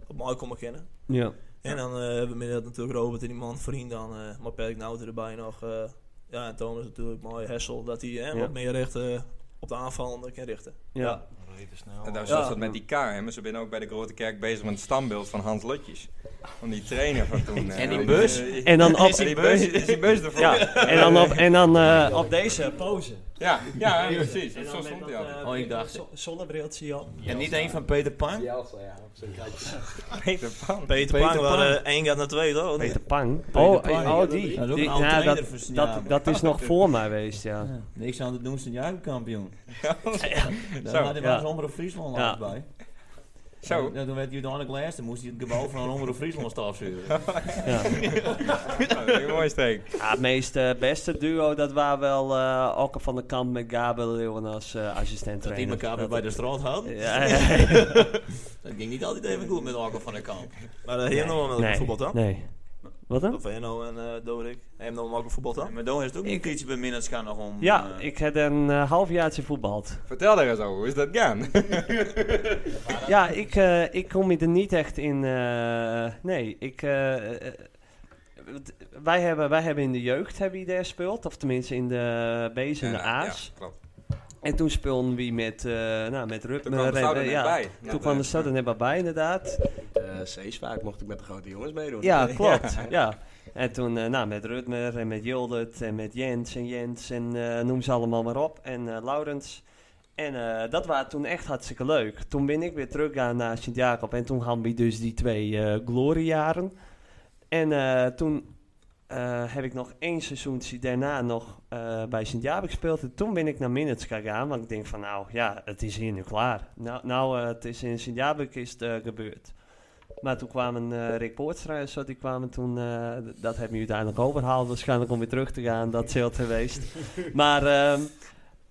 Speaker 8: op mij komen kennen.
Speaker 2: Ja.
Speaker 8: En dan eh, hebben we midden natuurlijk Robert en die man vriend dan. eh maar Patrick Nauter erbij nog. eh, ja, en Thomas natuurlijk mooi. Hessel, dat hij eh,
Speaker 2: Ja.
Speaker 8: wat meer richt eh, op de aanvallende kan richten.
Speaker 2: Ja.
Speaker 1: En daar
Speaker 8: Ja.
Speaker 1: was dat met die kar. hè. Maar ze zijn ook bij de Grote Kerk bezig met het standbeeld van Hans Lutjes. Van die trainer van toen. eh,
Speaker 6: En die
Speaker 1: eh,
Speaker 6: bus.
Speaker 1: eh,
Speaker 2: En dan op-
Speaker 1: Is die bus, is die bus ervoor?
Speaker 2: Ja, en dan op, en dan, eh, op deze pose.
Speaker 1: Ja, ja, precies. Zo
Speaker 2: eh,
Speaker 1: stond hij altijd.
Speaker 6: Oh, ik dacht-
Speaker 2: Zonnebriltje op.
Speaker 4: En niet één van Peter Pan.
Speaker 11: Jelsa, ja, op zijn kantje.
Speaker 1: Peter Pan.
Speaker 8: Peter,
Speaker 4: Peter
Speaker 8: Pang,
Speaker 4: Pan.
Speaker 8: waar eh, één gaat naar twee, toch?
Speaker 2: Peter Pang.
Speaker 12: Peter
Speaker 2: oh,
Speaker 12: Pan,
Speaker 2: eh,
Speaker 12: ja,
Speaker 2: oh,
Speaker 12: dat
Speaker 2: die.
Speaker 12: is- dat is ook
Speaker 2: die
Speaker 12: een oude
Speaker 2: nou, dat,
Speaker 12: trainer van
Speaker 2: dat,
Speaker 12: Sint-Jaap.
Speaker 2: dat is nog voor mij geweest, ja.
Speaker 12: Ja, Niks aan het doen, zijn jij kampioen.
Speaker 1: Zo,
Speaker 12: Daar hadden we
Speaker 2: ja.
Speaker 12: als Omroep Friesland
Speaker 2: Ja.
Speaker 12: laatst bij.
Speaker 1: Zo.
Speaker 12: En toen werd je dan laatst, dan moest hij het gebouw van Omroep Friesland stafzuren.
Speaker 2: Ja.
Speaker 1: Ja, dat is een mooi steek.
Speaker 2: Ja, het meest eh, beste duo, dat waren wel eh Alke van der Kamp met Gabriel Leeuwen als eh assistent
Speaker 12: Dat die
Speaker 2: trainer.
Speaker 12: elkaar weer bij de straat hadden.
Speaker 2: Ja, ja.
Speaker 12: Dat ging niet altijd even goed met Alko van der Kamp.
Speaker 8: Maar eh, hier nog wel met
Speaker 2: nee,
Speaker 8: voetbal, toch?
Speaker 2: Nee. Wat dan?
Speaker 8: Van Enno en eh Dorik. Hij heeft nog wel een voetbal dan?
Speaker 4: Maar Doe heeft ook een keertje bij Minnets gaan nog om.
Speaker 2: Ja, ik heb een eh, halfjaartje voetbald.
Speaker 1: Vertel daar eens over, hoe is dat gaan?
Speaker 2: ja, ik, eh, ik kom hier er niet echt in. eh, nee, ik. eh, eh, het- wij, hebben, wij hebben in de jeugd hebben we daar gespeeld, of tenminste in de B's en de
Speaker 1: Ja,
Speaker 2: A's.
Speaker 1: ja, klopt.
Speaker 2: En toen speelden we met, eh nou, met Rup.
Speaker 1: Toen kwam de
Speaker 2: eh,
Speaker 1: Stad er
Speaker 2: eh,
Speaker 1: net
Speaker 2: ja,
Speaker 1: bij. Ja,
Speaker 2: Toen kwam de
Speaker 1: dat-
Speaker 2: stad er net bij, inderdaad.
Speaker 3: Zeesvaak mocht ik met de grote jongens meedoen.
Speaker 2: Ja, klopt. Ja. En toen eh, nou, met Rutmer en met Jildert en met Jens en Jens en eh, noem ze allemaal maar op. En eh, Laurens. En eh, dat was toen echt hartstikke leuk. Toen ben ik weer teruggegaan naar Sint-Jacob. En toen hadden we dus die twee eh gloriejaren. En eh, toen eh, heb ik nog één seizoentje daarna nog eh, bij Sint-Jacob gespeeld. En toen ben ik naar Minutska gegaan. Want ik denk van nou ja, het is hier nu klaar. Nou, nou eh, het is in Sint-Jacob is het, eh, gebeurd. Maar toen kwamen eh, Rick Poortstra en zo, die kwamen toen, eh, d- dat hebben we uiteindelijk overhaald waarschijnlijk om weer terug te gaan, dat is heel geweest. maar, ehm,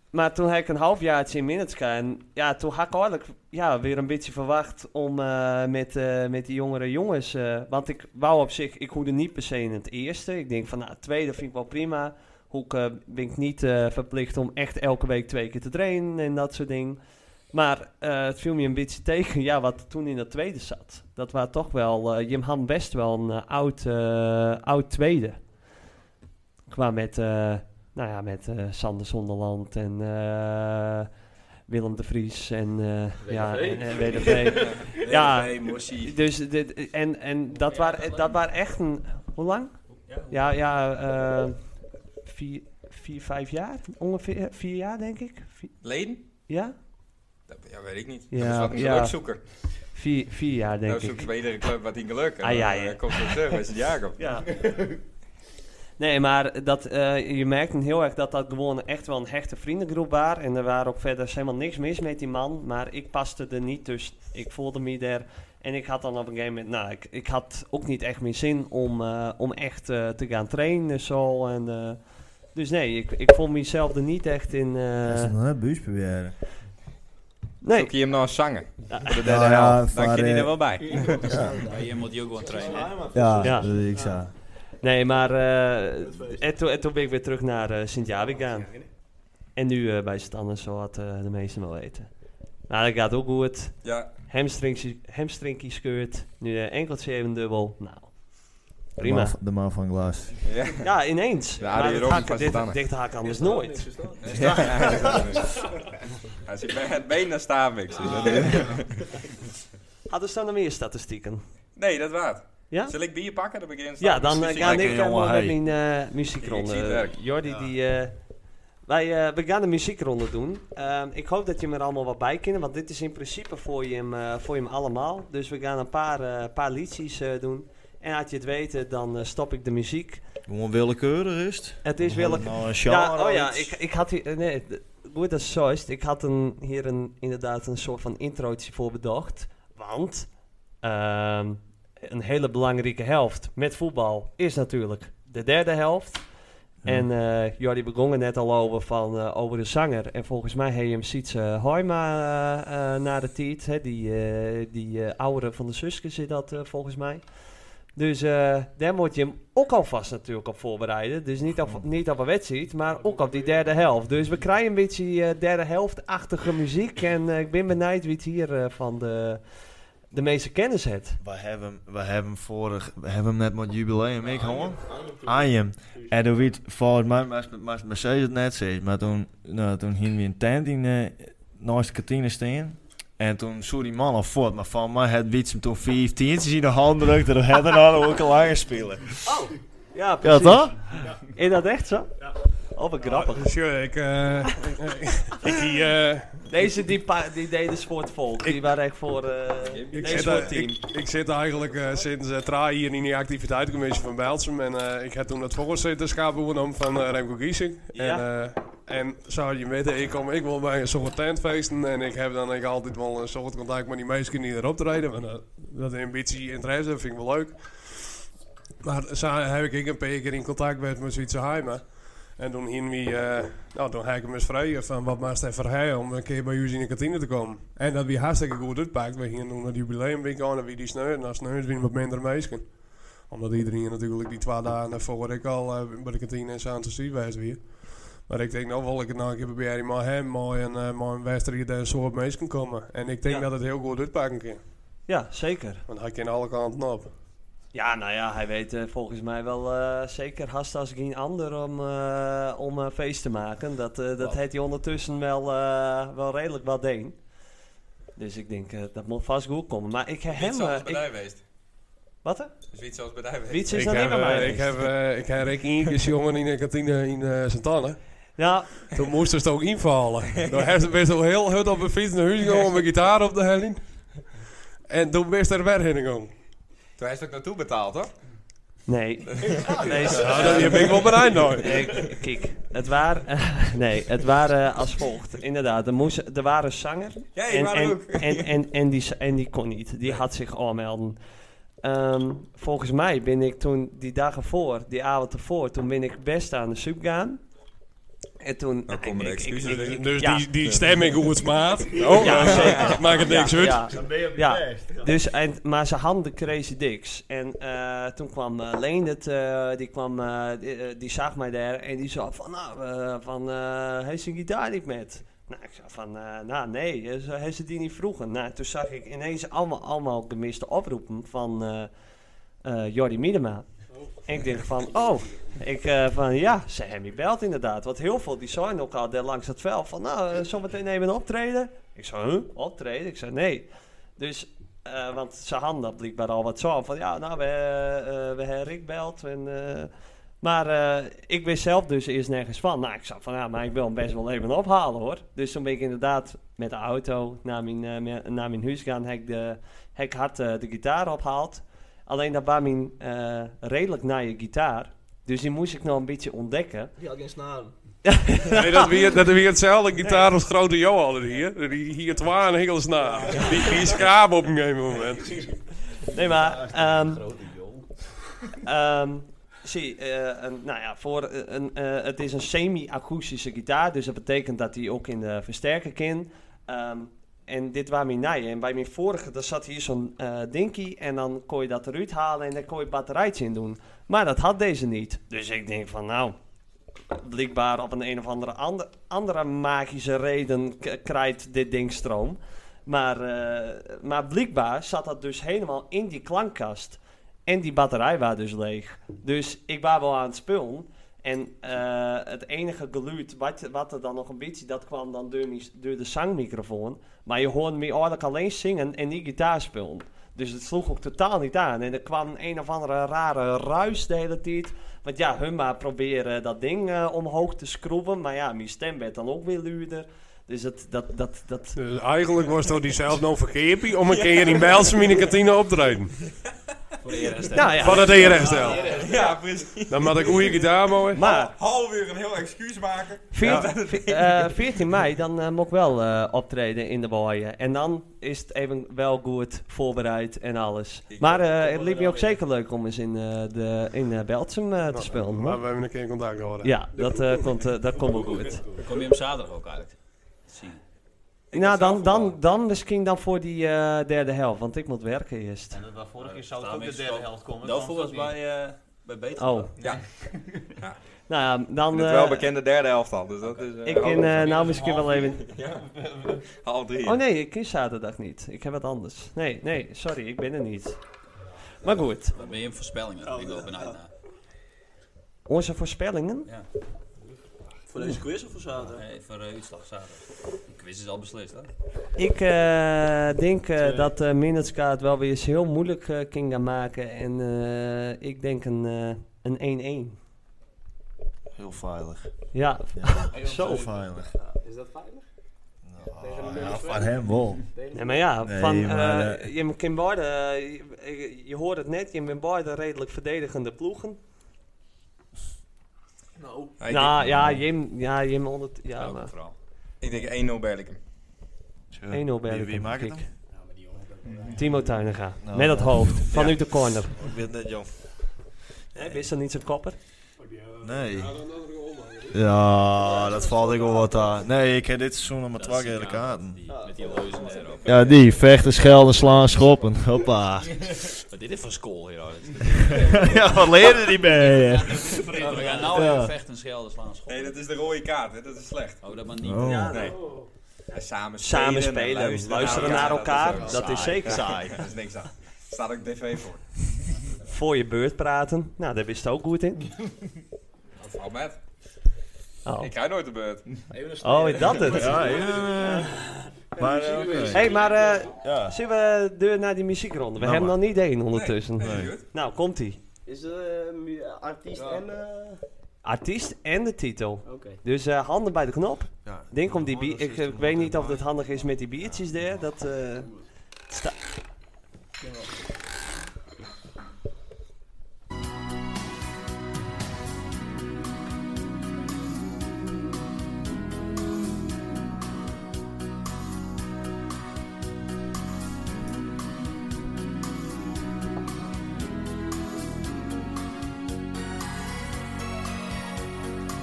Speaker 2: maar toen heb ik een halfjaartje in Minutska en ja, toen had ik eigenlijk ja, weer een beetje verwacht om eh, met, eh, met die jongere jongens, eh, want ik wou op zich, ik hoorde niet per se in het eerste. Ik denk van nou, het tweede vind ik wel prima. Hoek eh, ben ik niet eh, verplicht om echt elke week twee keer te trainen en dat soort dingen. Maar eh, het viel me een beetje tegen, ja, wat toen in dat tweede zat. Dat was toch wel, eh, Jim had best wel een eh, oud, eh, oud tweede. Qua met, eh, nou ja, met eh, Sander Zonderland en eh, Willem de Vries en, eh ja, en, en WDV. ja,
Speaker 4: WDV, Mossie.
Speaker 2: dus dit, en, en dat waren dat waren echt een, hoe lang? Ja, ja, eh, vier, vier, vijf jaar, ongeveer vier jaar denk ik. Vier-
Speaker 1: Leden?
Speaker 2: Ja?
Speaker 1: Dat, ja, weet ik niet. Ja, dat is
Speaker 2: Ja,
Speaker 1: wat ik
Speaker 2: ja.
Speaker 1: ja. zoeken.
Speaker 2: Vier, vier jaar denk
Speaker 1: nou,
Speaker 2: ik.
Speaker 1: zoek bij iedere club wat die geluk en
Speaker 2: Ah, ja,
Speaker 1: dan,
Speaker 2: ja.
Speaker 1: eh, komt het terug bij Sint-Jacob.
Speaker 2: Ja. Nee, maar dat, eh, je merkt heel erg dat dat gewoon echt wel een hechte vriendengroep was. En er waren ook verder helemaal niks mis met die man. Maar ik paste er niet, dus ik voelde me daar. En ik had dan op een gegeven moment, nou, ik, ik had ook niet echt meer zin om, eh, om echt eh, te gaan trainen zo. En, eh, dus nee, ik, ik vond mezelf er niet echt in. eh,
Speaker 7: Dat is nog een buis proberen.
Speaker 2: nee.
Speaker 1: Zoek je hem nou eens zangen?
Speaker 2: Ja.
Speaker 1: Voor de
Speaker 7: Ja,
Speaker 1: derde
Speaker 7: ja,
Speaker 1: helft. Dan
Speaker 7: maar,
Speaker 1: kan hij
Speaker 7: eh,
Speaker 1: er wel bij.
Speaker 7: Ja.
Speaker 6: Maar je moet je ook gewoon trainen.
Speaker 7: Ja, dat ik zo.
Speaker 2: Nee, maar eh, en, toen, en toen ben ik weer terug naar eh, Sint-Jabi gegaan. En nu eh, bij Stannen, zo had eh, de meesten wel weten. Maar dat gaat ook goed.
Speaker 1: Ja.
Speaker 2: Hamstringkie hamstringkie scheurt. Nu eh, enkeltje even dubbel. Nou, prima.
Speaker 7: De man, de man van glas.
Speaker 1: Ja,
Speaker 2: ineens.
Speaker 1: De
Speaker 2: maar
Speaker 1: Arie
Speaker 2: dit
Speaker 1: Robben
Speaker 2: haak,
Speaker 1: van
Speaker 2: dit,
Speaker 1: Stannen.
Speaker 2: dit haak anders nooit.
Speaker 1: Ja. Als ik bij het been naar Stavix.
Speaker 2: Ah. Hadden staan er meer statistieken?
Speaker 1: Nee, dat waard.
Speaker 2: Ja?
Speaker 1: Zal ik bier pakken? Dan begin ik
Speaker 2: Ja, dan eh,
Speaker 1: Precies.
Speaker 2: ga ik
Speaker 1: Lekker,
Speaker 2: helemaal
Speaker 1: jongen,
Speaker 2: met
Speaker 1: hey.
Speaker 2: mijn eh, muziekronde.
Speaker 1: Ik zie het werk.
Speaker 2: Jordi, die, eh, wij, eh, we gaan de muziekronde doen. Ehm, ik hoop dat je me er allemaal wat bij kent, want dit is in principe voor je hem, eh, voor je hem allemaal. Dus we gaan een paar, eh, paar liedjes eh, doen. En als je het weet, dan eh, stop ik de muziek.
Speaker 7: Gewoon willekeurig is het.
Speaker 2: Het is wel
Speaker 7: Nou, een genre
Speaker 2: ja, oh ja,
Speaker 7: iets.
Speaker 2: ik, ik had hier... eh, Nee, d- goed dat zo is. het. Ik had een, hier een, inderdaad een soort van introotje voor bedacht. Want ehm, een hele belangrijke helft met voetbal is natuurlijk de derde helft. En eh Jordi begon er net al over, van, eh, over de zanger. En volgens mij heeft hem Sietse Hoima eh, eh, naar de tiet. Hè, die eh, die eh, oudere van de Suske zit dat eh, volgens mij. Dus eh, daar moet je hem ook alvast natuurlijk op voorbereiden. Dus niet op, niet op een wedstrijd, maar ook op die derde helft. Dus we krijgen een beetje eh, derde helft-achtige muziek. En eh, ik ben benieuwd wie het hier eh, van de, de meeste kennis heeft.
Speaker 7: We hebben, hem- we hebben hem vorig, we hebben hem net met jubileum, ik hoor. Ajem. En toen werd volgens mij, maar- maar Mercedes het net zei, maar toen, nou, toen hingen we een tent in, eh, naast de kantine staan. En toen zoe die man al voort, maar van mij had Wiets hem toen 15 in de hand drukt en toen hadden we hadden we ook al langer spelen.
Speaker 2: Ja,
Speaker 7: precies. toch?
Speaker 2: Is dat echt zo? Ja. Oh, wat grappig.
Speaker 9: Ah, Sure, ik, eh, ik, die, eh,
Speaker 2: Deze die, pa- die deden sportvolk. Die waren echt voor eh
Speaker 9: Ik
Speaker 2: nee,
Speaker 9: zit, eh,
Speaker 2: sportteam.
Speaker 9: ik, ik zit eigenlijk eh, sinds eh traai hier in die activiteitencommissie van Belsum. En eh, ik heb toen het voorzitterschap overgenomen van eh, Remco Giesing. En, eh, en zou je weten, ik kom ik wil bij een soort tentfeesten. En ik heb dan ik altijd wel een soort contact met die mensen die erop treden. Want eh, dat ambitie interesse vind ik wel leuk. Maar zo heb ik een paar keer in contact met mijn Zwitserse heima. En toen hing we, eh, nou, toen heb ik hem eens vragen van wat maakt hij voor hij om een keer bij jullie in de kantine te komen. En dat wie hartstikke goed uitpakt. We gingen toen het jubileum aan en wie die sneur. Nou, sneur wie wat minder meisjes. Omdat iedereen natuurlijk die twee dagen daarvoor ik al eh, bij de kantine in Saanse Street was weer. Maar ik denk, nou wil ik het nou een keer proberen maar hem, maar een, eh, maar een wedstrijd daar zo op mee kan komen. En ik denk dat het heel goed uitpakken kan.
Speaker 2: Ja, zeker.
Speaker 9: Want hij kan alle kanten op.
Speaker 2: Ja, nou ja, hij weet eh, volgens mij wel eh, zeker haast als geen ander om, eh, om een feest te maken. Dat, eh, dat heeft hij ondertussen wel, eh, wel redelijk wat deen. Dus ik denk, eh, dat moet vast goed komen. Maar ik heb
Speaker 1: Niet
Speaker 2: hem... eh,
Speaker 1: zoals
Speaker 2: ik-
Speaker 1: bij geweest.
Speaker 2: Wat hè?
Speaker 1: Zoiets zoals bij geweest.
Speaker 2: Wiets is
Speaker 9: ik
Speaker 2: dan
Speaker 9: heb,
Speaker 2: niet aan
Speaker 9: eh,
Speaker 2: mij dus.
Speaker 9: Ik heb, eh, ik heb Rick Inkes jongen in de kantine in eh Santana.
Speaker 2: Ja.
Speaker 9: Toen moesten ze het ook invallen. Toen heeft ze best wel heel hard op een fiets naar huis gegaan met mijn gitaar op de helling. En toen ben je er weer heen gegaan.
Speaker 1: Toen heeft ook naartoe betaald, hoor.
Speaker 2: Nee.
Speaker 1: Ja.
Speaker 2: nee
Speaker 1: Ja,
Speaker 2: ze-
Speaker 1: dan heb ik wel bereid, hoor.
Speaker 2: Nee, k- Kijk, het waren, nee, het waren als volgt. Inderdaad, er, moest, er waren zanger.
Speaker 1: Ja, ik
Speaker 2: en,
Speaker 1: wou
Speaker 2: en,
Speaker 1: ook.
Speaker 2: En, en, en, die, s- en die kon niet. Die had zich aanmelden. Ehm, volgens mij ben ik toen die dagen voor, die avond ervoor, toen ben ik best aan de soep gaan. En toen... Nou,
Speaker 1: komen de excuses weer.
Speaker 9: Dus
Speaker 2: ja.
Speaker 9: die, die stemming hoe het smaakt.
Speaker 2: Ja,
Speaker 9: Oh, ja,
Speaker 2: zeker.
Speaker 9: maakt het niks
Speaker 2: Ja,
Speaker 9: uit.
Speaker 2: ja. Ja. Dus, en, maar ze hadden de Crazy Dicks. En eh, toen kwam eh, Leendert, eh, die, kwam, eh, die, eh, die zag mij daar en die zei van, nou, eh, van, eh heeft ze een gitaar niet met? Nou, ik zei van, eh, nou nee, eh, ze- heeft ze die niet vroegen? Nou, toen zag ik ineens allemaal, allemaal gemiste oproepen van eh eh Jordi Miedema. En ik denk van, oh, ik eh, van ja, ze hebben je belt inderdaad. Want heel veel die zijn ook al daar langs het veld van, nou, eh, zometeen nemen we een optreden. Ik zei, huh, optreden? Ik zei, nee. Dus, eh, want ze hadden dat blijkbaar al wat zo van, ja, nou, we, eh, eh, we hebben Rick belt en... eh, maar eh, ik wist zelf dus eerst nergens van. Nou, ik zag van, ja, maar ik wil hem best wel even ophalen, hoor. Dus toen ben ik inderdaad met de auto naar mijn, eh, me- naar mijn huis gaan. Heb ik, de, heb ik hard eh, de gitaar opgehaald. Alleen dat was mijn eh, redelijk naaie gitaar. Dus die moest ik nog een beetje ontdekken.
Speaker 5: Die had geen snaren.
Speaker 9: Nee, dat weer, dat weer hetzelfde gitaar als grote Johan hier. Die hier twaalf hengels na. Die, die skraap op een gegeven moment.
Speaker 2: Nee, maar... ehm, Ehm, zie, eh, een, nou ja, voor eh, een, eh, het is een semi-akoestische gitaar, dus dat betekent dat hij ook in de versterker kan. Ehm, en dit waren mijn nijen. En bij mijn vorige, daar zat hier zo'n eh dinky en dan kon je dat eruit halen en dan kon je batterijtje in doen. Maar dat had deze niet. Dus ik denk van, nou, blijkbaar op een, een of andere, ander- andere magische reden k- krijgt dit ding stroom. Maar, eh, maar blijkbaar zat dat dus helemaal in die klankkast. En die batterij was dus leeg. Dus ik was wel aan het spullen. En eh, het enige geluid wat, wat er dan nog een beetje, dat kwam dan door, mijn- door de zangmicrofoon. Maar je hoorde me eigenlijk alleen zingen en niet gitaar spelen. Dus het sloeg ook totaal niet aan. En er kwam een of andere rare ruis de hele tijd. Want ja, hun maar proberen dat ding eh, omhoog te schroeven. Maar ja, mijn stem werd dan ook weer luider. Dus dat... dat, dat, dat...
Speaker 9: Dus eigenlijk was het die zelf nog verkeerd om een keer in Bijlsem in de kantine op te rijden.
Speaker 2: Nou ja.
Speaker 9: Van het ERF-stel.
Speaker 1: Ja, precies.
Speaker 9: Dan had ik hoe gitaar mooi.
Speaker 2: Maar
Speaker 1: Hal weer een heel excuus maken.
Speaker 2: Veert- ve- eh, 14 mei, dan eh, moet ik wel eh, optreden in de waaien. En dan is het even wel goed voorbereid en alles. maar eh, het liep me ook zeker leuk om eens in, eh, de, in eh, Beltsum eh, te spelen. hoor.
Speaker 9: Nou, Maar we hebben een keer contact gehad.
Speaker 2: Ja, dat, eh, komt, eh, dat komt wel goed.
Speaker 6: Kom je hem zaterdag ook uit? Zie.
Speaker 2: Nou, dan, dan, dan misschien dan voor die eh, derde helft, want ik moet werken eerst.
Speaker 12: En dat was vorige keer zou het
Speaker 6: Staan
Speaker 12: ook de
Speaker 6: mensen
Speaker 12: derde
Speaker 6: zo-
Speaker 12: helft komen.
Speaker 6: Daarvoor was
Speaker 12: Daarvoor
Speaker 6: bij, eh bij Beter.
Speaker 2: Oh.
Speaker 1: Ja.
Speaker 2: Nou ja,
Speaker 1: En
Speaker 2: dan...
Speaker 1: het
Speaker 2: eh,
Speaker 1: wel bekende derde helft al. Dus dat is, eh,
Speaker 2: ik in, eh, nou misschien
Speaker 12: half
Speaker 2: wel even...
Speaker 1: ja. Half drie.
Speaker 2: Oh nee, ik is zaterdag niet. Ik heb wat anders. Nee, nee, sorry, ik ben er niet. Maar goed,
Speaker 6: Dan ben je een voorspelling. ik wil benieuwd naar.
Speaker 2: onze voorspellingen.
Speaker 6: Ja.
Speaker 12: Voor deze quiz of voor zaterdag?
Speaker 6: Nee, voor eh, uitslag zaterdag. De quiz is al beslist, hè?
Speaker 2: Ik eh, denk eh, dat eh Minutska het wel weer eens heel moeilijk eh kan gaan maken. En eh, ik denk een eh, een 1-1.
Speaker 7: Heel veilig.
Speaker 2: ja.
Speaker 7: Zo veilig.
Speaker 10: Is dat veilig?
Speaker 7: Ah, ja, van hem wel.
Speaker 2: Nee, maar ja,
Speaker 7: Nee,
Speaker 2: van,
Speaker 7: maar,
Speaker 2: eh, je kan beide, eh, je, je hoort het net, je bent beide redelijk verdedigende ploegen.
Speaker 12: Nou,
Speaker 1: Ja, ik
Speaker 2: nou
Speaker 1: denk-
Speaker 2: ja, Jim, ja, Jim onder, ja, maar
Speaker 6: vooral.
Speaker 1: Ik denk 1-0 Berlikum.
Speaker 2: 1-0 Berlikum,
Speaker 7: Wie maakt het
Speaker 2: kijk.
Speaker 7: dan?
Speaker 2: Timo Tuinega,
Speaker 7: Nou,
Speaker 2: met het
Speaker 7: ja.
Speaker 2: hoofd, vanuit
Speaker 7: Ja.
Speaker 2: de corner.
Speaker 7: Ik weet het net, Jan.
Speaker 2: Wist dat niet zijn kopper?
Speaker 7: Nee.
Speaker 9: dan
Speaker 7: Ja, dat valt ik wel wat aan. Nee, ik heb dit seizoen nog maar twee gele kaarten.
Speaker 12: Met die leuzen erop.
Speaker 7: Ja, die. Vechten, schelden, slaan, schoppen. Hoppa.
Speaker 12: Wat dit is voor school hier hoor.
Speaker 7: ja, wat leerde die bij je?
Speaker 6: Ja, we gaan nou
Speaker 7: Ja.
Speaker 6: even vechten, schelden, slaan, schoppen.
Speaker 1: Nee, dat is de rode kaart, hè? dat is slecht.
Speaker 6: Oh, dat mag niet.
Speaker 7: Oh. Ja,
Speaker 1: nee. Ja, samen spelen,
Speaker 2: Samen
Speaker 1: en
Speaker 2: spelen,
Speaker 1: luisteren,
Speaker 2: luisteren naar elkaar,
Speaker 1: ook
Speaker 2: dat is
Speaker 1: saai.
Speaker 2: zeker saai.
Speaker 1: Ja, dat is niks aan. Staat ook tv voor.
Speaker 2: Voor je beurt praten. Nou, daar wist je ook goed in.
Speaker 1: Dat valt met.
Speaker 2: Oh.
Speaker 1: Ik ga nooit de beurt.
Speaker 2: Oh, is dat het?
Speaker 7: Ja, ja, ja. Maar, eh, oké.
Speaker 2: hey, maar eh
Speaker 7: Ja.
Speaker 2: zullen we deur naar die muziekronde? We
Speaker 7: Nou
Speaker 2: hebben
Speaker 7: maar.
Speaker 2: nog niet één ondertussen.
Speaker 7: Nee, nee, goed.
Speaker 2: Nou, komt-ie.
Speaker 3: Is
Speaker 10: eh,
Speaker 3: de artiest en...
Speaker 2: Artiest en de titel.
Speaker 3: Oké.
Speaker 2: Dus eh, handen bij de knop.
Speaker 3: Ja.
Speaker 2: Denk om die bier. Ik, eh, ik weet niet of dat handig is met die biertjes daar. Dat, eh, sta-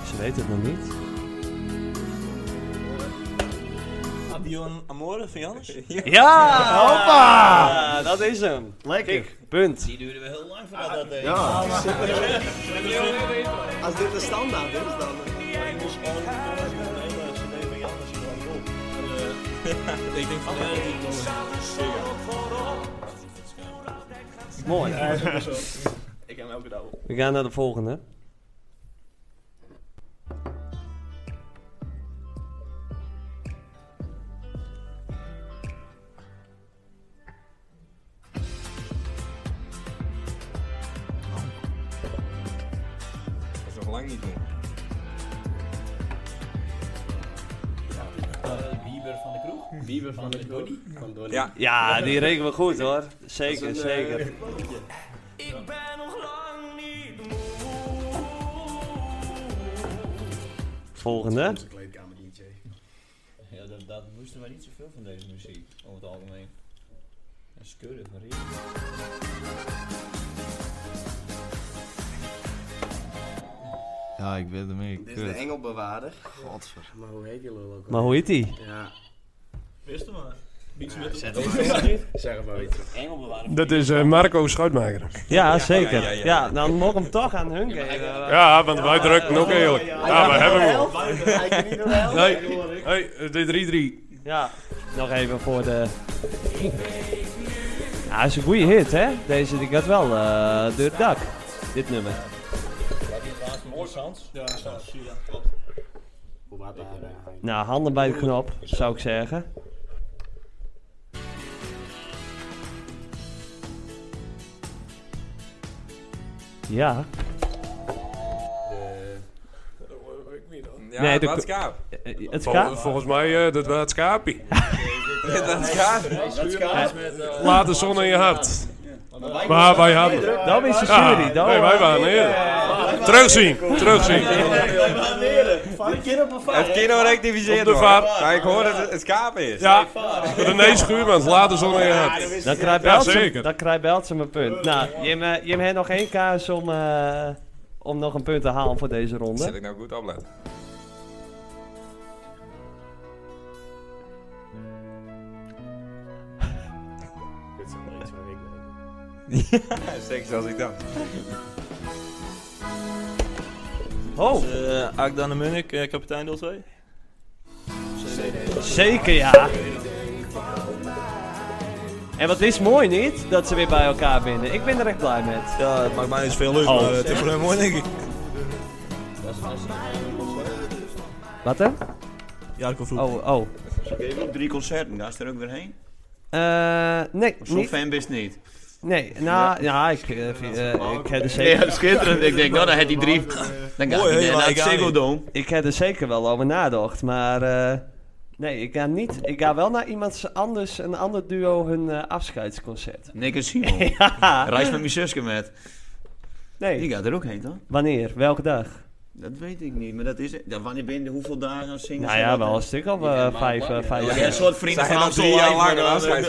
Speaker 2: Ze weet het nog niet.
Speaker 8: Adion Amore van Jannes?
Speaker 2: Ja!
Speaker 8: Hoppa!
Speaker 2: Ja, dat is hem.
Speaker 3: Lekker.
Speaker 2: Kijk, punt.
Speaker 12: Die duurde wel heel lang voordat dat eh, deed.
Speaker 3: Ja. Als dit de standaard is, dan...
Speaker 12: Ik denk van ja, dat die
Speaker 2: Mooi.
Speaker 12: Ik heb hem elke dag op.
Speaker 2: We gaan naar de volgende.
Speaker 1: Dat is nog lang niet meer.
Speaker 6: Eh, Bieber van de kroeg.
Speaker 12: Hm.
Speaker 6: Bieber van de Donnie.
Speaker 1: Ja.
Speaker 2: Ja, die rekenen we goed hoor. Zeker,
Speaker 6: Dat is een,
Speaker 2: zeker.
Speaker 12: eh,
Speaker 13: Ik ben nog lang niet moe.
Speaker 2: Volgende.
Speaker 10: kleedkamer DJ.
Speaker 12: Ja, dat, dat moesten we niet zoveel van deze muziek, over het algemeen. Een skudde van Riet.
Speaker 7: Ja, ik weet hem niet.
Speaker 3: Dit is de engelbewaarder. Godver. Maar hoe heet die lul ook?
Speaker 2: Maar hoe heet die?
Speaker 3: Ja.
Speaker 12: Wist hem maar. Beats met
Speaker 3: Zet
Speaker 12: hem.
Speaker 3: hem maar. Zeg hem maar iets.
Speaker 12: Engelbewaarder.
Speaker 9: Dat is eh, Marco Schuitmaker.
Speaker 2: Ja, zeker. Ja, dan mogen we hem toch aan hun geven.
Speaker 9: Ja, want wij drukken ook eerlijk. Ja, we hebben hem.
Speaker 3: Hij kan niet door de helft.
Speaker 9: Nee, nee, het is 3-3.
Speaker 2: Ja, nog even voor de... Ja, is een goede hit hè. Deze die gaat wel eh, door het dak. Dit nummer.
Speaker 12: Mooi Sans. Ja, Sans. Ja, klopt.
Speaker 3: Hoe was dat?
Speaker 2: Nou, handen bij de knop, zou ik zeggen. Ja.
Speaker 1: Ja,
Speaker 2: Nee,
Speaker 1: het
Speaker 2: de-
Speaker 1: was kaap.
Speaker 2: Eh, eh, Het
Speaker 9: Vol-
Speaker 2: kaap.
Speaker 9: Volgens mij, eh, dat was het schaapie.
Speaker 1: Dat is kaap.
Speaker 9: Laat de zon in je hart. Maar wij hadden...
Speaker 2: Dan is de
Speaker 9: Ja,
Speaker 2: jury. Dan,
Speaker 9: nee, wij waren eerder. Terugzien, terugzien.
Speaker 12: Van kind op een
Speaker 1: Het kino
Speaker 9: Op
Speaker 1: rectificeert
Speaker 9: de
Speaker 1: hoor.
Speaker 9: vaart.
Speaker 1: Maar ik hoor dat het, het kaap is.
Speaker 9: Ja, René Schuurman, laat de zon in je hart.
Speaker 2: dan krijgt
Speaker 9: Ja,
Speaker 2: Beltsum,
Speaker 9: zeker.
Speaker 2: dan krijgt Beltsum een punt. Nou, Jim, eh, Jim heeft nog één kaars om, eh, om nog een punt te halen voor deze
Speaker 1: Zit
Speaker 2: ronde.
Speaker 1: ik nou goed opletten?
Speaker 10: Dit is een iets waar ik mee.
Speaker 1: Ja, zeker zoals ik dacht.
Speaker 2: Oh,
Speaker 5: Eh Akdan de Munnik, eh, kapitein deel 2.
Speaker 2: zeker ja. En wat is mooi niet, dat ze weer bij elkaar winnen. Ik ben er echt blij mee.
Speaker 5: Ja, het maakt mij niet zoveel uit,
Speaker 2: Oh.
Speaker 5: maar eh, het is voor hem mooi denk ik.
Speaker 2: Wat hè?
Speaker 5: Jarko vroeg.
Speaker 2: Oh, oh.
Speaker 4: Ik heb ook drie concerten, daar is er ook weer heen.
Speaker 2: Eh, nee,
Speaker 4: Of zo'n
Speaker 2: niet.
Speaker 4: fan bent niet.
Speaker 2: Nee, nou, ja, ik, eh, vind- eh, ik heb er
Speaker 4: Ja,
Speaker 2: zeker,
Speaker 4: schitterend. Ik denk, nou, dan had hij drie. Dan gaat
Speaker 5: Mooi,
Speaker 4: hij
Speaker 5: hè,
Speaker 4: naar
Speaker 5: maar
Speaker 4: het
Speaker 5: ik ga niet.
Speaker 4: Ziggo Dome.
Speaker 2: ik heb er zeker wel over nagedacht, maar eh, nee, ik ga niet. Ik ga wel naar iemand anders, een ander duo, hun eh, afscheidsconcert.
Speaker 4: Nick en Simon.
Speaker 2: Ja.
Speaker 4: Reis met mijn zusje met. Die
Speaker 2: Nee,
Speaker 4: gaat er ook heen, toch?
Speaker 2: wanneer? Welke dag?
Speaker 4: Dat weet ik niet, maar dat is... Ja, wanneer ben je hoeveel dagen aan zingen?
Speaker 2: Nou
Speaker 4: ze
Speaker 2: ja,
Speaker 4: dat
Speaker 2: wel
Speaker 4: dan?
Speaker 2: een stuk of
Speaker 4: Ja,
Speaker 2: eh,
Speaker 4: maar
Speaker 2: vijf,
Speaker 4: lang,
Speaker 2: eh,
Speaker 4: ja.
Speaker 2: vijf.
Speaker 4: Ja,
Speaker 2: jaar.
Speaker 4: een soort vrienden
Speaker 8: Zij
Speaker 4: van
Speaker 8: hadden drie jaar lang een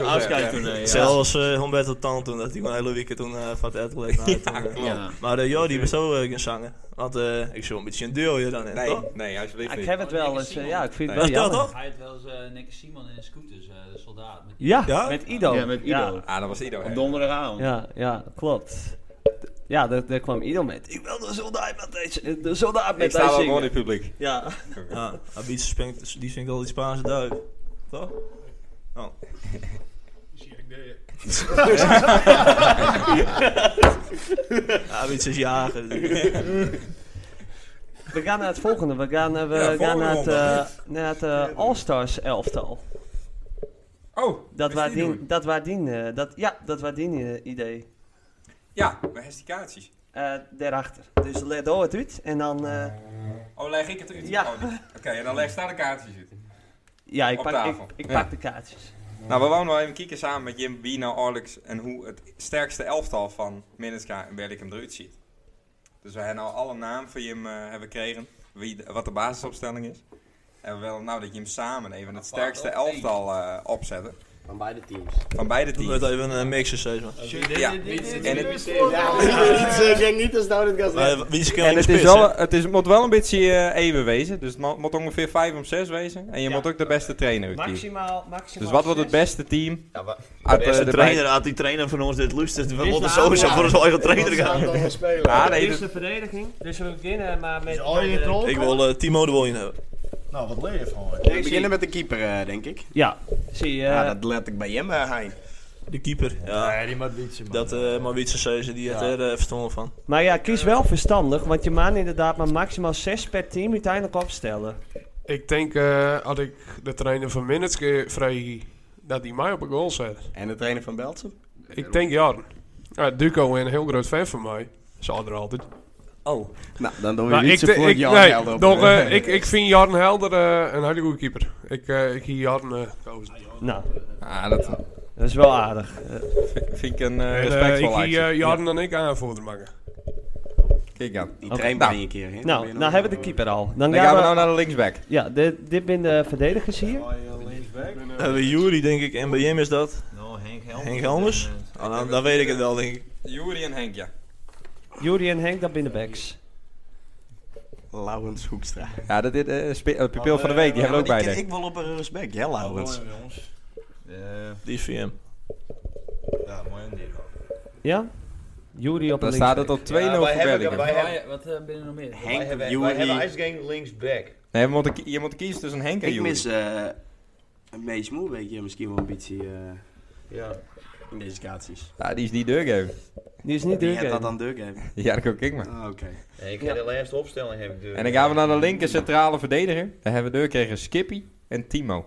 Speaker 8: afscheid toen,
Speaker 4: toen, ja.
Speaker 8: Zelfs eh Humberto Tan toen, dat hij een hele weekend toen eh, van het Ettelijk naar toen, eh.
Speaker 4: klopt. Ja.
Speaker 8: Maar eh, joh, die was zo eh gaan zangen. Want eh, ik zou een beetje een duo hier dan in,
Speaker 1: Nee,
Speaker 8: toch?
Speaker 1: nee, alsjeblieft
Speaker 2: Ah, Ik heb het wel eens, eh, ja, ik vind het
Speaker 8: Dat
Speaker 2: wel
Speaker 8: is dat
Speaker 2: jammer.
Speaker 8: toch?
Speaker 11: Hij had wel eens eh Nicky Simon in de scooters, eh, de soldaat. Met
Speaker 2: Ja, met Ido.
Speaker 4: Ja, met Ido.
Speaker 2: Ja.
Speaker 1: Ah, dat was Ido.
Speaker 4: Op donderdagavond.
Speaker 2: Ja, ja, klopt. Ja, daar, daar kwam Ido met. Ik wil de soldaat met deze, de soldaat met
Speaker 8: Ik sta wel
Speaker 2: deze
Speaker 8: gewoon
Speaker 2: zingen.
Speaker 8: in het publiek.
Speaker 2: Ja.
Speaker 1: Ah.
Speaker 8: Ja, Abitse Ah, springt, die zingt al die Spaanse duif. Toch? Oh. Abits is jager.
Speaker 2: We gaan naar het volgende. We gaan, eh, we
Speaker 8: Ja,
Speaker 2: gaan
Speaker 8: volgende
Speaker 2: naar het,
Speaker 8: ronde.
Speaker 2: eh, naar het eh, All-Stars elftal.
Speaker 1: Oh,
Speaker 2: dat waar
Speaker 1: die
Speaker 2: dien, dat waar dien, eh, dat, ja, dat waar dien eh, idee.
Speaker 1: Ja, maar heeft die kaartjes?
Speaker 2: Eh, daarachter. Dus let door het uit en dan... eh,
Speaker 1: Oh, leg ik het erin?
Speaker 2: Ja.
Speaker 1: Oh, niet. Oké, en dan leg staan de kaartjes zitten.
Speaker 2: ja, ik
Speaker 1: Op
Speaker 2: pak, ik,
Speaker 1: tafel.
Speaker 2: ik
Speaker 1: Ja.
Speaker 2: pak de kaartjes.
Speaker 1: Nou, we wonen wel even kieken samen met Jim, Bino, Alex en hoe het sterkste elftal van Minneska en Berlikum eruit ziet. Dus we hebben al alle namen van Jim eh, hebben gekregen, wie, de- wat de basisopstelling is. En we willen nou dat Jim samen even het sterkste elftal eh, opzetten.
Speaker 10: Van beide teams.
Speaker 1: Van beide
Speaker 8: Doe
Speaker 1: teams.
Speaker 8: het even een mixer, zeg maar.
Speaker 1: Ja. En het-
Speaker 10: eh,
Speaker 3: Ja, ik denk niet dat nou dit gaat zijn.
Speaker 8: Wie is
Speaker 1: En het, is wel, het is, moet wel een beetje eh, even wezen. Dus het mo- moet ongeveer 5 om 6 wezen. En je moet ook de beste trainer uitkiezen.
Speaker 2: Maximaal, maximaal
Speaker 1: Dus wat wordt het
Speaker 2: zes.
Speaker 1: beste team?
Speaker 4: De
Speaker 1: Uit, eh,
Speaker 4: beste
Speaker 1: de
Speaker 4: trainer,
Speaker 1: bij-
Speaker 4: had die trainer van ons dit lust, we
Speaker 2: Is
Speaker 4: moeten
Speaker 2: nou-
Speaker 4: sowieso
Speaker 2: ja.
Speaker 4: voor onze eigen trainer
Speaker 3: Wat zou het
Speaker 4: gaan.
Speaker 3: dan spelen?
Speaker 1: Ah, nee,
Speaker 2: Dit is
Speaker 1: dat-
Speaker 2: de verdediging. Dus we beginnen maar met...
Speaker 7: al je
Speaker 2: met, eh,
Speaker 7: troll?
Speaker 8: Ik wil eh, Timo de Woljen hebben.
Speaker 7: Nou, wat leer je van? hoor?
Speaker 10: We beginnen met de keeper, eh, denk ik.
Speaker 2: Ja, zie je.
Speaker 10: Ja, dat let ik bij hem, eh, Hein.
Speaker 8: De keeper. Ja,
Speaker 7: Nee, die Matwietse, man.
Speaker 8: dat eh Mawitse Seuze, die had er eh, verstonden van.
Speaker 2: Maar ja, kies wel verstandig, want je mag inderdaad maar maximaal 6 per team uiteindelijk opstellen.
Speaker 9: Ik denk, eh als ik de trainer van Minitske vrij dat hij mij op een goal zet.
Speaker 10: En de trainer van Beltsum.
Speaker 9: Ik denk, ja, ja, Duco is een heel groot fan van mij. Zal er altijd.
Speaker 8: Oh.
Speaker 10: Nou, dan doen we
Speaker 9: Maar
Speaker 10: niet
Speaker 9: ik,
Speaker 10: zo
Speaker 9: de-
Speaker 10: voor
Speaker 9: ik,
Speaker 10: Jan
Speaker 9: nee,
Speaker 10: Helder op.
Speaker 9: doch, eh, ik, ik vind Jarn Helder eh, een hele goede keeper. Ik, eh ik hier Jarn eh, kozen.
Speaker 2: Nou,
Speaker 1: Ah, dat
Speaker 2: dat is wel aardig. Eh,
Speaker 1: vind- vind ik een eh,
Speaker 9: En, eh,
Speaker 1: respectvol
Speaker 9: ik hier
Speaker 1: actie.
Speaker 9: eh, Jarn en ik aanvoerder maken.
Speaker 1: Kijk aan.
Speaker 10: Die
Speaker 2: Oké,
Speaker 10: traint
Speaker 1: nou.
Speaker 10: mij een keer. hè. Dan ben
Speaker 2: nou,
Speaker 10: je
Speaker 2: nou
Speaker 10: nog-
Speaker 2: hebben we de keeper al. Dan,
Speaker 1: Dan
Speaker 2: gaan we...
Speaker 1: nou naar de linksback.
Speaker 2: Ja, dit, dit zijn de verdedigers hier.
Speaker 8: Dan hebben we Eh, Jury, denk ik, en bij Jim is dat.
Speaker 12: Nou, Henk Helmers.
Speaker 8: Henk Helmers?
Speaker 10: Eh,
Speaker 8: Oh,
Speaker 2: nou,
Speaker 8: dan, dan weet ik het wel, denk ik.
Speaker 1: Juri en Henk, ja.
Speaker 2: Juri en Henk, dat binnen backs.
Speaker 10: Laurens Hoekstra.
Speaker 1: Ja, dat dit, eh, spe- eh, pupil van de week, die hebben we ook bij.
Speaker 10: Oh, Ik,
Speaker 1: denk ik.
Speaker 10: ik wil op een respect, ja, Laurens.
Speaker 12: Eh,
Speaker 8: Die VM.
Speaker 12: ja, mooi en dit
Speaker 2: Ja? Juri op
Speaker 1: Dan
Speaker 2: de
Speaker 1: staat het
Speaker 2: linksback.
Speaker 1: op 2-0 voor Berlikum.
Speaker 12: Wij hebben-
Speaker 11: Wat eh, binnen nog meer?
Speaker 10: Henk,
Speaker 12: Wij hebben, wij
Speaker 10: Jury.
Speaker 12: hebben ijsgang linksback.
Speaker 1: Nee, we moeten ki- je moet kiezen tussen Henk en
Speaker 10: Ik
Speaker 1: Juri.
Speaker 10: mis eh een beetje moe, weet je, misschien wel een beetje eh,
Speaker 12: Ja.
Speaker 10: in deze kaartjes.
Speaker 1: Ja, die is die deurgeven.
Speaker 2: Die is niet
Speaker 10: Wie had
Speaker 2: duur.
Speaker 10: dat dan doorgegeven?
Speaker 1: Ja, dat kan ik maar.
Speaker 10: Ah, Oké.
Speaker 12: Nee, ik heb de laatste opstelling heb ik dus.
Speaker 1: En dan gaan we naar de linker centrale verdediger. Daar hebben we doorgekregen Skippy en Timo.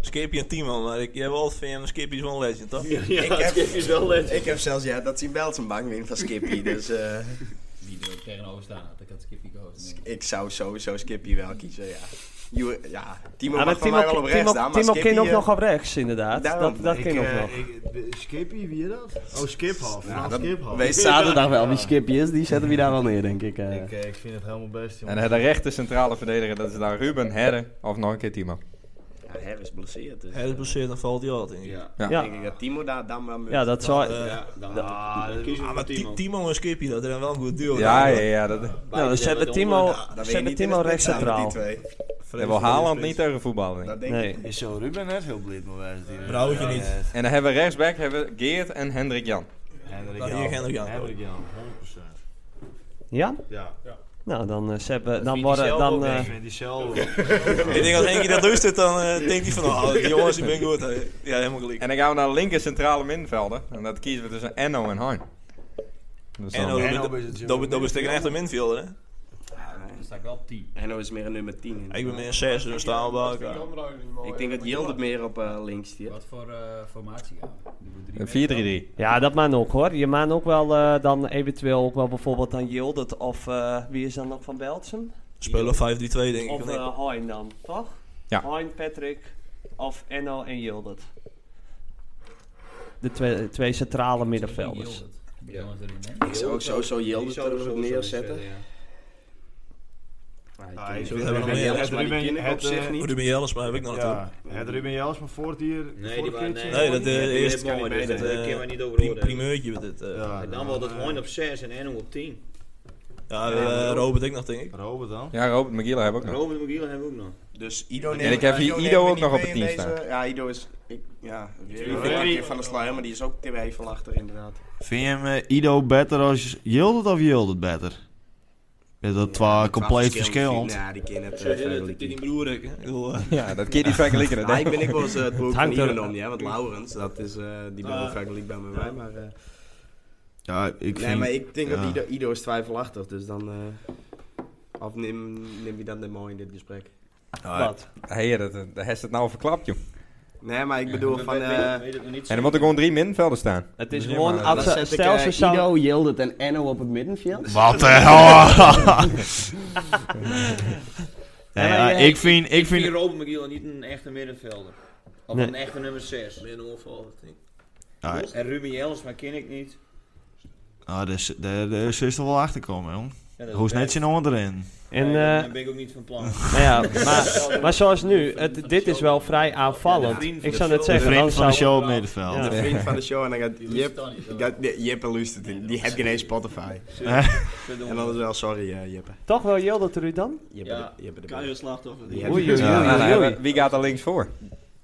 Speaker 8: Skippy en Timo, maar ik, jij wel VM, Skippy is wel een legend, toch?
Speaker 10: ik, heb, ik heb zelfs, ja, dat zien wel zijn bang win van Skippy, dus eh,
Speaker 11: Wie er ook tegenover staan had, ik had Skippy gehoord. denk ik.
Speaker 10: ik zou sowieso Skippy wel kiezen, ja. Jury- ja, Timo
Speaker 2: Ja,
Speaker 10: mag
Speaker 2: maar
Speaker 10: van
Speaker 2: Timo,
Speaker 10: mij wel op rechts
Speaker 2: Timo,
Speaker 10: staan, maar
Speaker 2: Timo
Speaker 10: Skippy...
Speaker 2: kan ook
Speaker 10: eh,
Speaker 2: nog op rechts, inderdaad.
Speaker 10: daarom.
Speaker 2: dat dat
Speaker 12: Ik,
Speaker 2: kan ook
Speaker 12: eh,
Speaker 2: nog.
Speaker 12: ik- b- Skippy, wie is dat? Oh, Skiphoff.
Speaker 10: Nou,
Speaker 12: Frans
Speaker 10: dat
Speaker 12: Skiphoff.
Speaker 10: Wees zaterdag wel wie Skippy is, die zetten we daar wel neer, denk ik. eh.
Speaker 12: Ik, eh, ik vind het helemaal best,
Speaker 1: En
Speaker 12: jongen.
Speaker 1: dan de rechter centrale verdediger, dat is dan Ruben, Herre of nog een keer Timo.
Speaker 10: Ja, Harris blesseert, dus.
Speaker 8: Hij is blesseerd, dan valt hij altijd in.
Speaker 10: Ja.
Speaker 1: Ja.
Speaker 10: ja. Denk ik dat Timo daar dan maar...
Speaker 2: Ja, dat zou...
Speaker 10: Ja, dan
Speaker 12: Ah, dat is
Speaker 8: Ah, maar Ti-
Speaker 12: Timo.
Speaker 8: Timo en Skippy, dat is wel een goed duo.
Speaker 1: Ja, ja, ja. Dat,
Speaker 2: nou, dan zetten we Timo, zetten we Timo rechts centraal.
Speaker 1: daar wil Haaland niet tegen voetballen. denk ik.
Speaker 2: Nee.
Speaker 12: Is zo Ruben net heel blid, maar wij
Speaker 7: Eh,
Speaker 12: zijn
Speaker 8: Brouwtje niet.
Speaker 1: En dan hebben we rechtsback hebben we Geert en Hendrik Jan.
Speaker 12: Hendrik
Speaker 8: Nou,
Speaker 12: Jan.
Speaker 8: hier Hendrik Jan.
Speaker 12: Hendrik Jan, 100%.
Speaker 2: Ja?
Speaker 12: Ja.
Speaker 2: Nou, dan eh, zetten we... Dan
Speaker 12: Vind
Speaker 2: worden...
Speaker 12: diezelfde
Speaker 2: Dan,
Speaker 12: ook, hè?
Speaker 2: eh,
Speaker 12: Ik vind diezelfde.
Speaker 8: Ik denk als Henkie dat luistert, dan eh, denkt hij van, oh, die jongens, ik ben goed. hè. Ja, helemaal gelijk.
Speaker 1: En dan gaan we naar de linker centrale middenvelder. En dat kiezen we tussen Enno en Hein. Dus dan-
Speaker 8: En dan-
Speaker 12: Enno
Speaker 8: dan-
Speaker 12: is het
Speaker 8: dan dan ben je een echte midfielder, hè?
Speaker 11: Dan sta ik wel op 10.
Speaker 10: Henno is meer een nummer 10. in.
Speaker 8: Ik ben meer een 6, dus staan we bij elkaar.
Speaker 10: Ik denk dat Jildert meer op eh, links stiert.
Speaker 11: Wat voor eh, formatie gaan we? Doen we drie
Speaker 1: een
Speaker 11: met-
Speaker 1: 4-3-3.
Speaker 2: Ja, dat maakt ook hoor. Je maakt ook wel eh, dan eventueel ook wel bijvoorbeeld dan Yildert of eh, wie is dan nog van Beltsum?
Speaker 8: Spelen
Speaker 12: Oh,
Speaker 8: 5-3-2, denk ik.
Speaker 2: Of
Speaker 8: of niet?
Speaker 2: eh Hein dan, toch?
Speaker 1: Ja.
Speaker 2: Hein, Patrick of Enno en Yildert. De twee, twee centrale middenvelders.
Speaker 11: Yieldert. Die jongens erin, hè?
Speaker 10: Zo, zo, zo
Speaker 12: Die
Speaker 10: Jildert
Speaker 12: zouden
Speaker 10: er
Speaker 12: we
Speaker 10: nog
Speaker 12: sowieso
Speaker 10: neerzetten.
Speaker 12: zetten, ja.
Speaker 7: Ah, ik
Speaker 5: Zo
Speaker 7: vind-
Speaker 5: hebben we nog meer.
Speaker 7: Het Ruben- het, eh,
Speaker 5: Ruben Jelles, maar heb ik nog
Speaker 7: Ja,
Speaker 5: naartoe.
Speaker 7: het Ruben Jels maar voor het hier.
Speaker 5: Nee,
Speaker 7: voor
Speaker 5: die
Speaker 7: het
Speaker 5: waren-
Speaker 7: keertje?
Speaker 5: nee, dat, eh, Die hebben eerst-
Speaker 12: kan niet meedoen.
Speaker 5: dat, eh,
Speaker 12: Daar kunnen we niet over
Speaker 5: prim-
Speaker 12: oordelen.
Speaker 5: primeurtje wordt dit, eh. Ja,
Speaker 12: en dan wordt het
Speaker 5: eh,
Speaker 12: Hoorn op 6 en Enno op 10.
Speaker 5: Ja,
Speaker 12: Ja,
Speaker 5: eh,
Speaker 12: Robert.
Speaker 5: Robert ik nog, denk ik.
Speaker 7: Robert dan?
Speaker 1: Ja, Robert McGill hebben we ook nog.
Speaker 12: Robert McGill hebben we ook nog.
Speaker 10: Dus Ido
Speaker 1: En
Speaker 10: neemt-
Speaker 1: ik heb hier Ido
Speaker 10: nemen we
Speaker 1: ook
Speaker 10: niet
Speaker 1: nog op
Speaker 10: mee
Speaker 1: het
Speaker 10: in
Speaker 1: team
Speaker 10: deze-
Speaker 1: staan.
Speaker 10: Ja, Ido is... Ik, ja, weer
Speaker 1: Ja.
Speaker 10: een keer van de sluier, maar die is ook te weivel achter inderdaad.
Speaker 7: Vind je hem eh, Ido beter als Jildert of Jildert beter? Is dat twee compleet verschillend?
Speaker 10: Ja, die kennen het
Speaker 5: Zo, dit- dit-
Speaker 10: vergelijken.
Speaker 5: dit die broer, ik, hè. Ik bedoel, eh.
Speaker 10: Nou, ik ben ik wel eens eh, het boek van
Speaker 5: hangt er-
Speaker 10: Ido om, ja, want Laurens, dat is, eh, die ben wel
Speaker 5: Ah.
Speaker 10: vergelijk bij mij, maar... eh,
Speaker 7: Ja, ik vind...
Speaker 10: nee, maar ik denk
Speaker 7: ja.
Speaker 10: dat Ido, Ido is twijfelachtig, dus dan... eh of neem, neem je dat niet mooi in dit gesprek?
Speaker 1: Wat? Hé, dat dat- hij is het nou verklapt, joh.
Speaker 10: Nee, maar ik bedoel van...
Speaker 1: Weet-
Speaker 10: eh,
Speaker 1: En dan moeten gewoon drie middenvelden staan.
Speaker 2: Het
Speaker 10: is
Speaker 2: gewoon
Speaker 1: maar-
Speaker 2: als-
Speaker 10: Dan zet ik,
Speaker 2: stel
Speaker 10: eh,
Speaker 2: ze zou-
Speaker 10: Ido, Jildert en Enno op het middenveld.
Speaker 7: Wat de hel?
Speaker 12: Ja,
Speaker 7: Nee,
Speaker 12: maar
Speaker 7: Oh. ja,
Speaker 12: jij-
Speaker 7: ik vind... Ik vind
Speaker 12: Robert McGill niet een echte middenvelder. Of
Speaker 7: Nee. Ah,
Speaker 12: een echte nummer 6. Meer een onval,
Speaker 7: Ja,
Speaker 12: En Ruben Jels, maar ken ik niet.
Speaker 7: Ah, daar is- daar daar is er wel achter komen, jong.
Speaker 12: Ja, dat is
Speaker 7: Hoe is net zijn onderin?
Speaker 2: En,
Speaker 12: Ja,
Speaker 2: eh,
Speaker 12: daar ben ik ook niet van plan.
Speaker 2: Nou ja, maar, maar zoals nu, het, dit is wel vrij aanvallend. Ik zou net zeggen, dan zou- Ja.
Speaker 10: De vriend van de show en dan gaat Jip,
Speaker 12: luistert dan
Speaker 10: gaat, nee, Jip en luistert in. Die heeft geen eens Spotify.
Speaker 12: Ja.
Speaker 10: en dan is wel sorry eh Jippe.
Speaker 2: Toch wel Jildert er u dan?
Speaker 10: Jippe
Speaker 12: Ja,
Speaker 10: de, Jippe de
Speaker 12: kan je slachtoffer.
Speaker 10: Die
Speaker 12: Ja.
Speaker 10: heb-
Speaker 2: Oei, oei, oei,
Speaker 1: Ja,
Speaker 2: oei,
Speaker 1: nou,
Speaker 2: oei.
Speaker 1: we- wie gaat er links voor?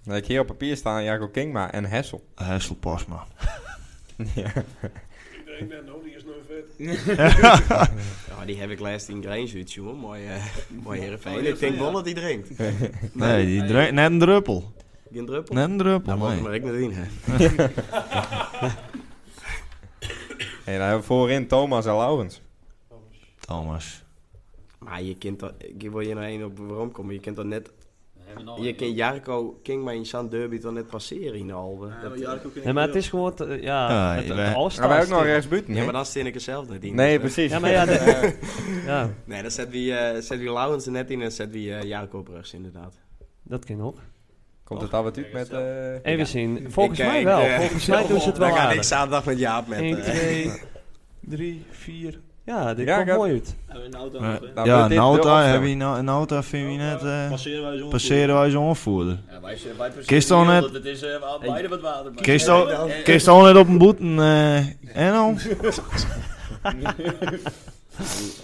Speaker 1: Dan heb ik hier op papier staan Jacob Kingma en Hessel.
Speaker 7: Eh, Hessel Pasma.
Speaker 1: ja.
Speaker 9: Ik denk dat nou, die is nooit vet.
Speaker 10: Ja, die heb ik laatst in Grange uit, jongen. Mooi, eh mooi Heerenveen.
Speaker 9: Oh,
Speaker 10: ik
Speaker 9: Heerenveen,
Speaker 10: denk wel
Speaker 9: ja.
Speaker 10: dat die drinkt.
Speaker 7: Nee, die dru- net een druppel.
Speaker 10: Geen druppel?
Speaker 7: Net een
Speaker 10: Daar
Speaker 7: druppel,
Speaker 10: mag
Speaker 7: nee.
Speaker 10: ik maar ik niet in, hè.
Speaker 1: En dan hebben we voorin Thomas en Laurens.
Speaker 7: Thomas.
Speaker 10: Maar je kunt toch... Ik wil je nou één op waarom komen. Je kunt toch net...
Speaker 12: hebben nog
Speaker 10: Je
Speaker 12: één,
Speaker 10: kunt Jarko King maar in San Derby toch net passeren in de Albe. Dat-
Speaker 2: Nee, maar het is gewoon, te- Eh, ja,
Speaker 7: Ja,
Speaker 2: het, het
Speaker 7: wij-
Speaker 2: alles
Speaker 1: Maar wij ook
Speaker 2: staat
Speaker 1: nog
Speaker 2: stil.
Speaker 1: rechtsbuiten.
Speaker 10: Ja,
Speaker 1: hè?
Speaker 10: maar dan steen ik er zelf net in.
Speaker 1: Nee, precies.
Speaker 2: Ja, maar ja, de- ja.
Speaker 10: Nee, dan zet wie, eh, zet wie Laurens er net in en zet wie eh, Jarko op rechts, inderdaad.
Speaker 2: Dat kan ook.
Speaker 1: Komt het al wat uit met... eh,
Speaker 2: Even
Speaker 1: ja.
Speaker 2: zien. Volgens
Speaker 10: Ik, eh,
Speaker 2: mij wel.
Speaker 10: ik, eh,
Speaker 2: Volgens mij doen ze het wel
Speaker 10: Dan ga ik
Speaker 2: aardig.
Speaker 10: zaterdag met Jaap met...
Speaker 2: 1,
Speaker 10: eh,
Speaker 2: 2, 3, 4. Ja, dit
Speaker 1: Ja,
Speaker 2: komt
Speaker 1: gaat-
Speaker 2: mooi uit.
Speaker 12: Hebben Nou, we een auto nog,
Speaker 7: Eh,
Speaker 12: hè?
Speaker 7: ja,
Speaker 1: wordt Nou, dit de
Speaker 7: Nauta,
Speaker 1: opstelling?
Speaker 7: heb je, nou- Nauta vind je net... eh,
Speaker 12: Passeren wij zo'n
Speaker 7: passeren wij zo'n onvoerder.
Speaker 12: Ja, wij, wij passeren
Speaker 7: Kist al
Speaker 12: heel
Speaker 7: net-
Speaker 12: dat Het is eh, beide wat water. maar-
Speaker 7: Kist
Speaker 12: Eh,
Speaker 7: al-
Speaker 12: eh,
Speaker 7: kist al net op een boete, eh Enno?
Speaker 10: Een-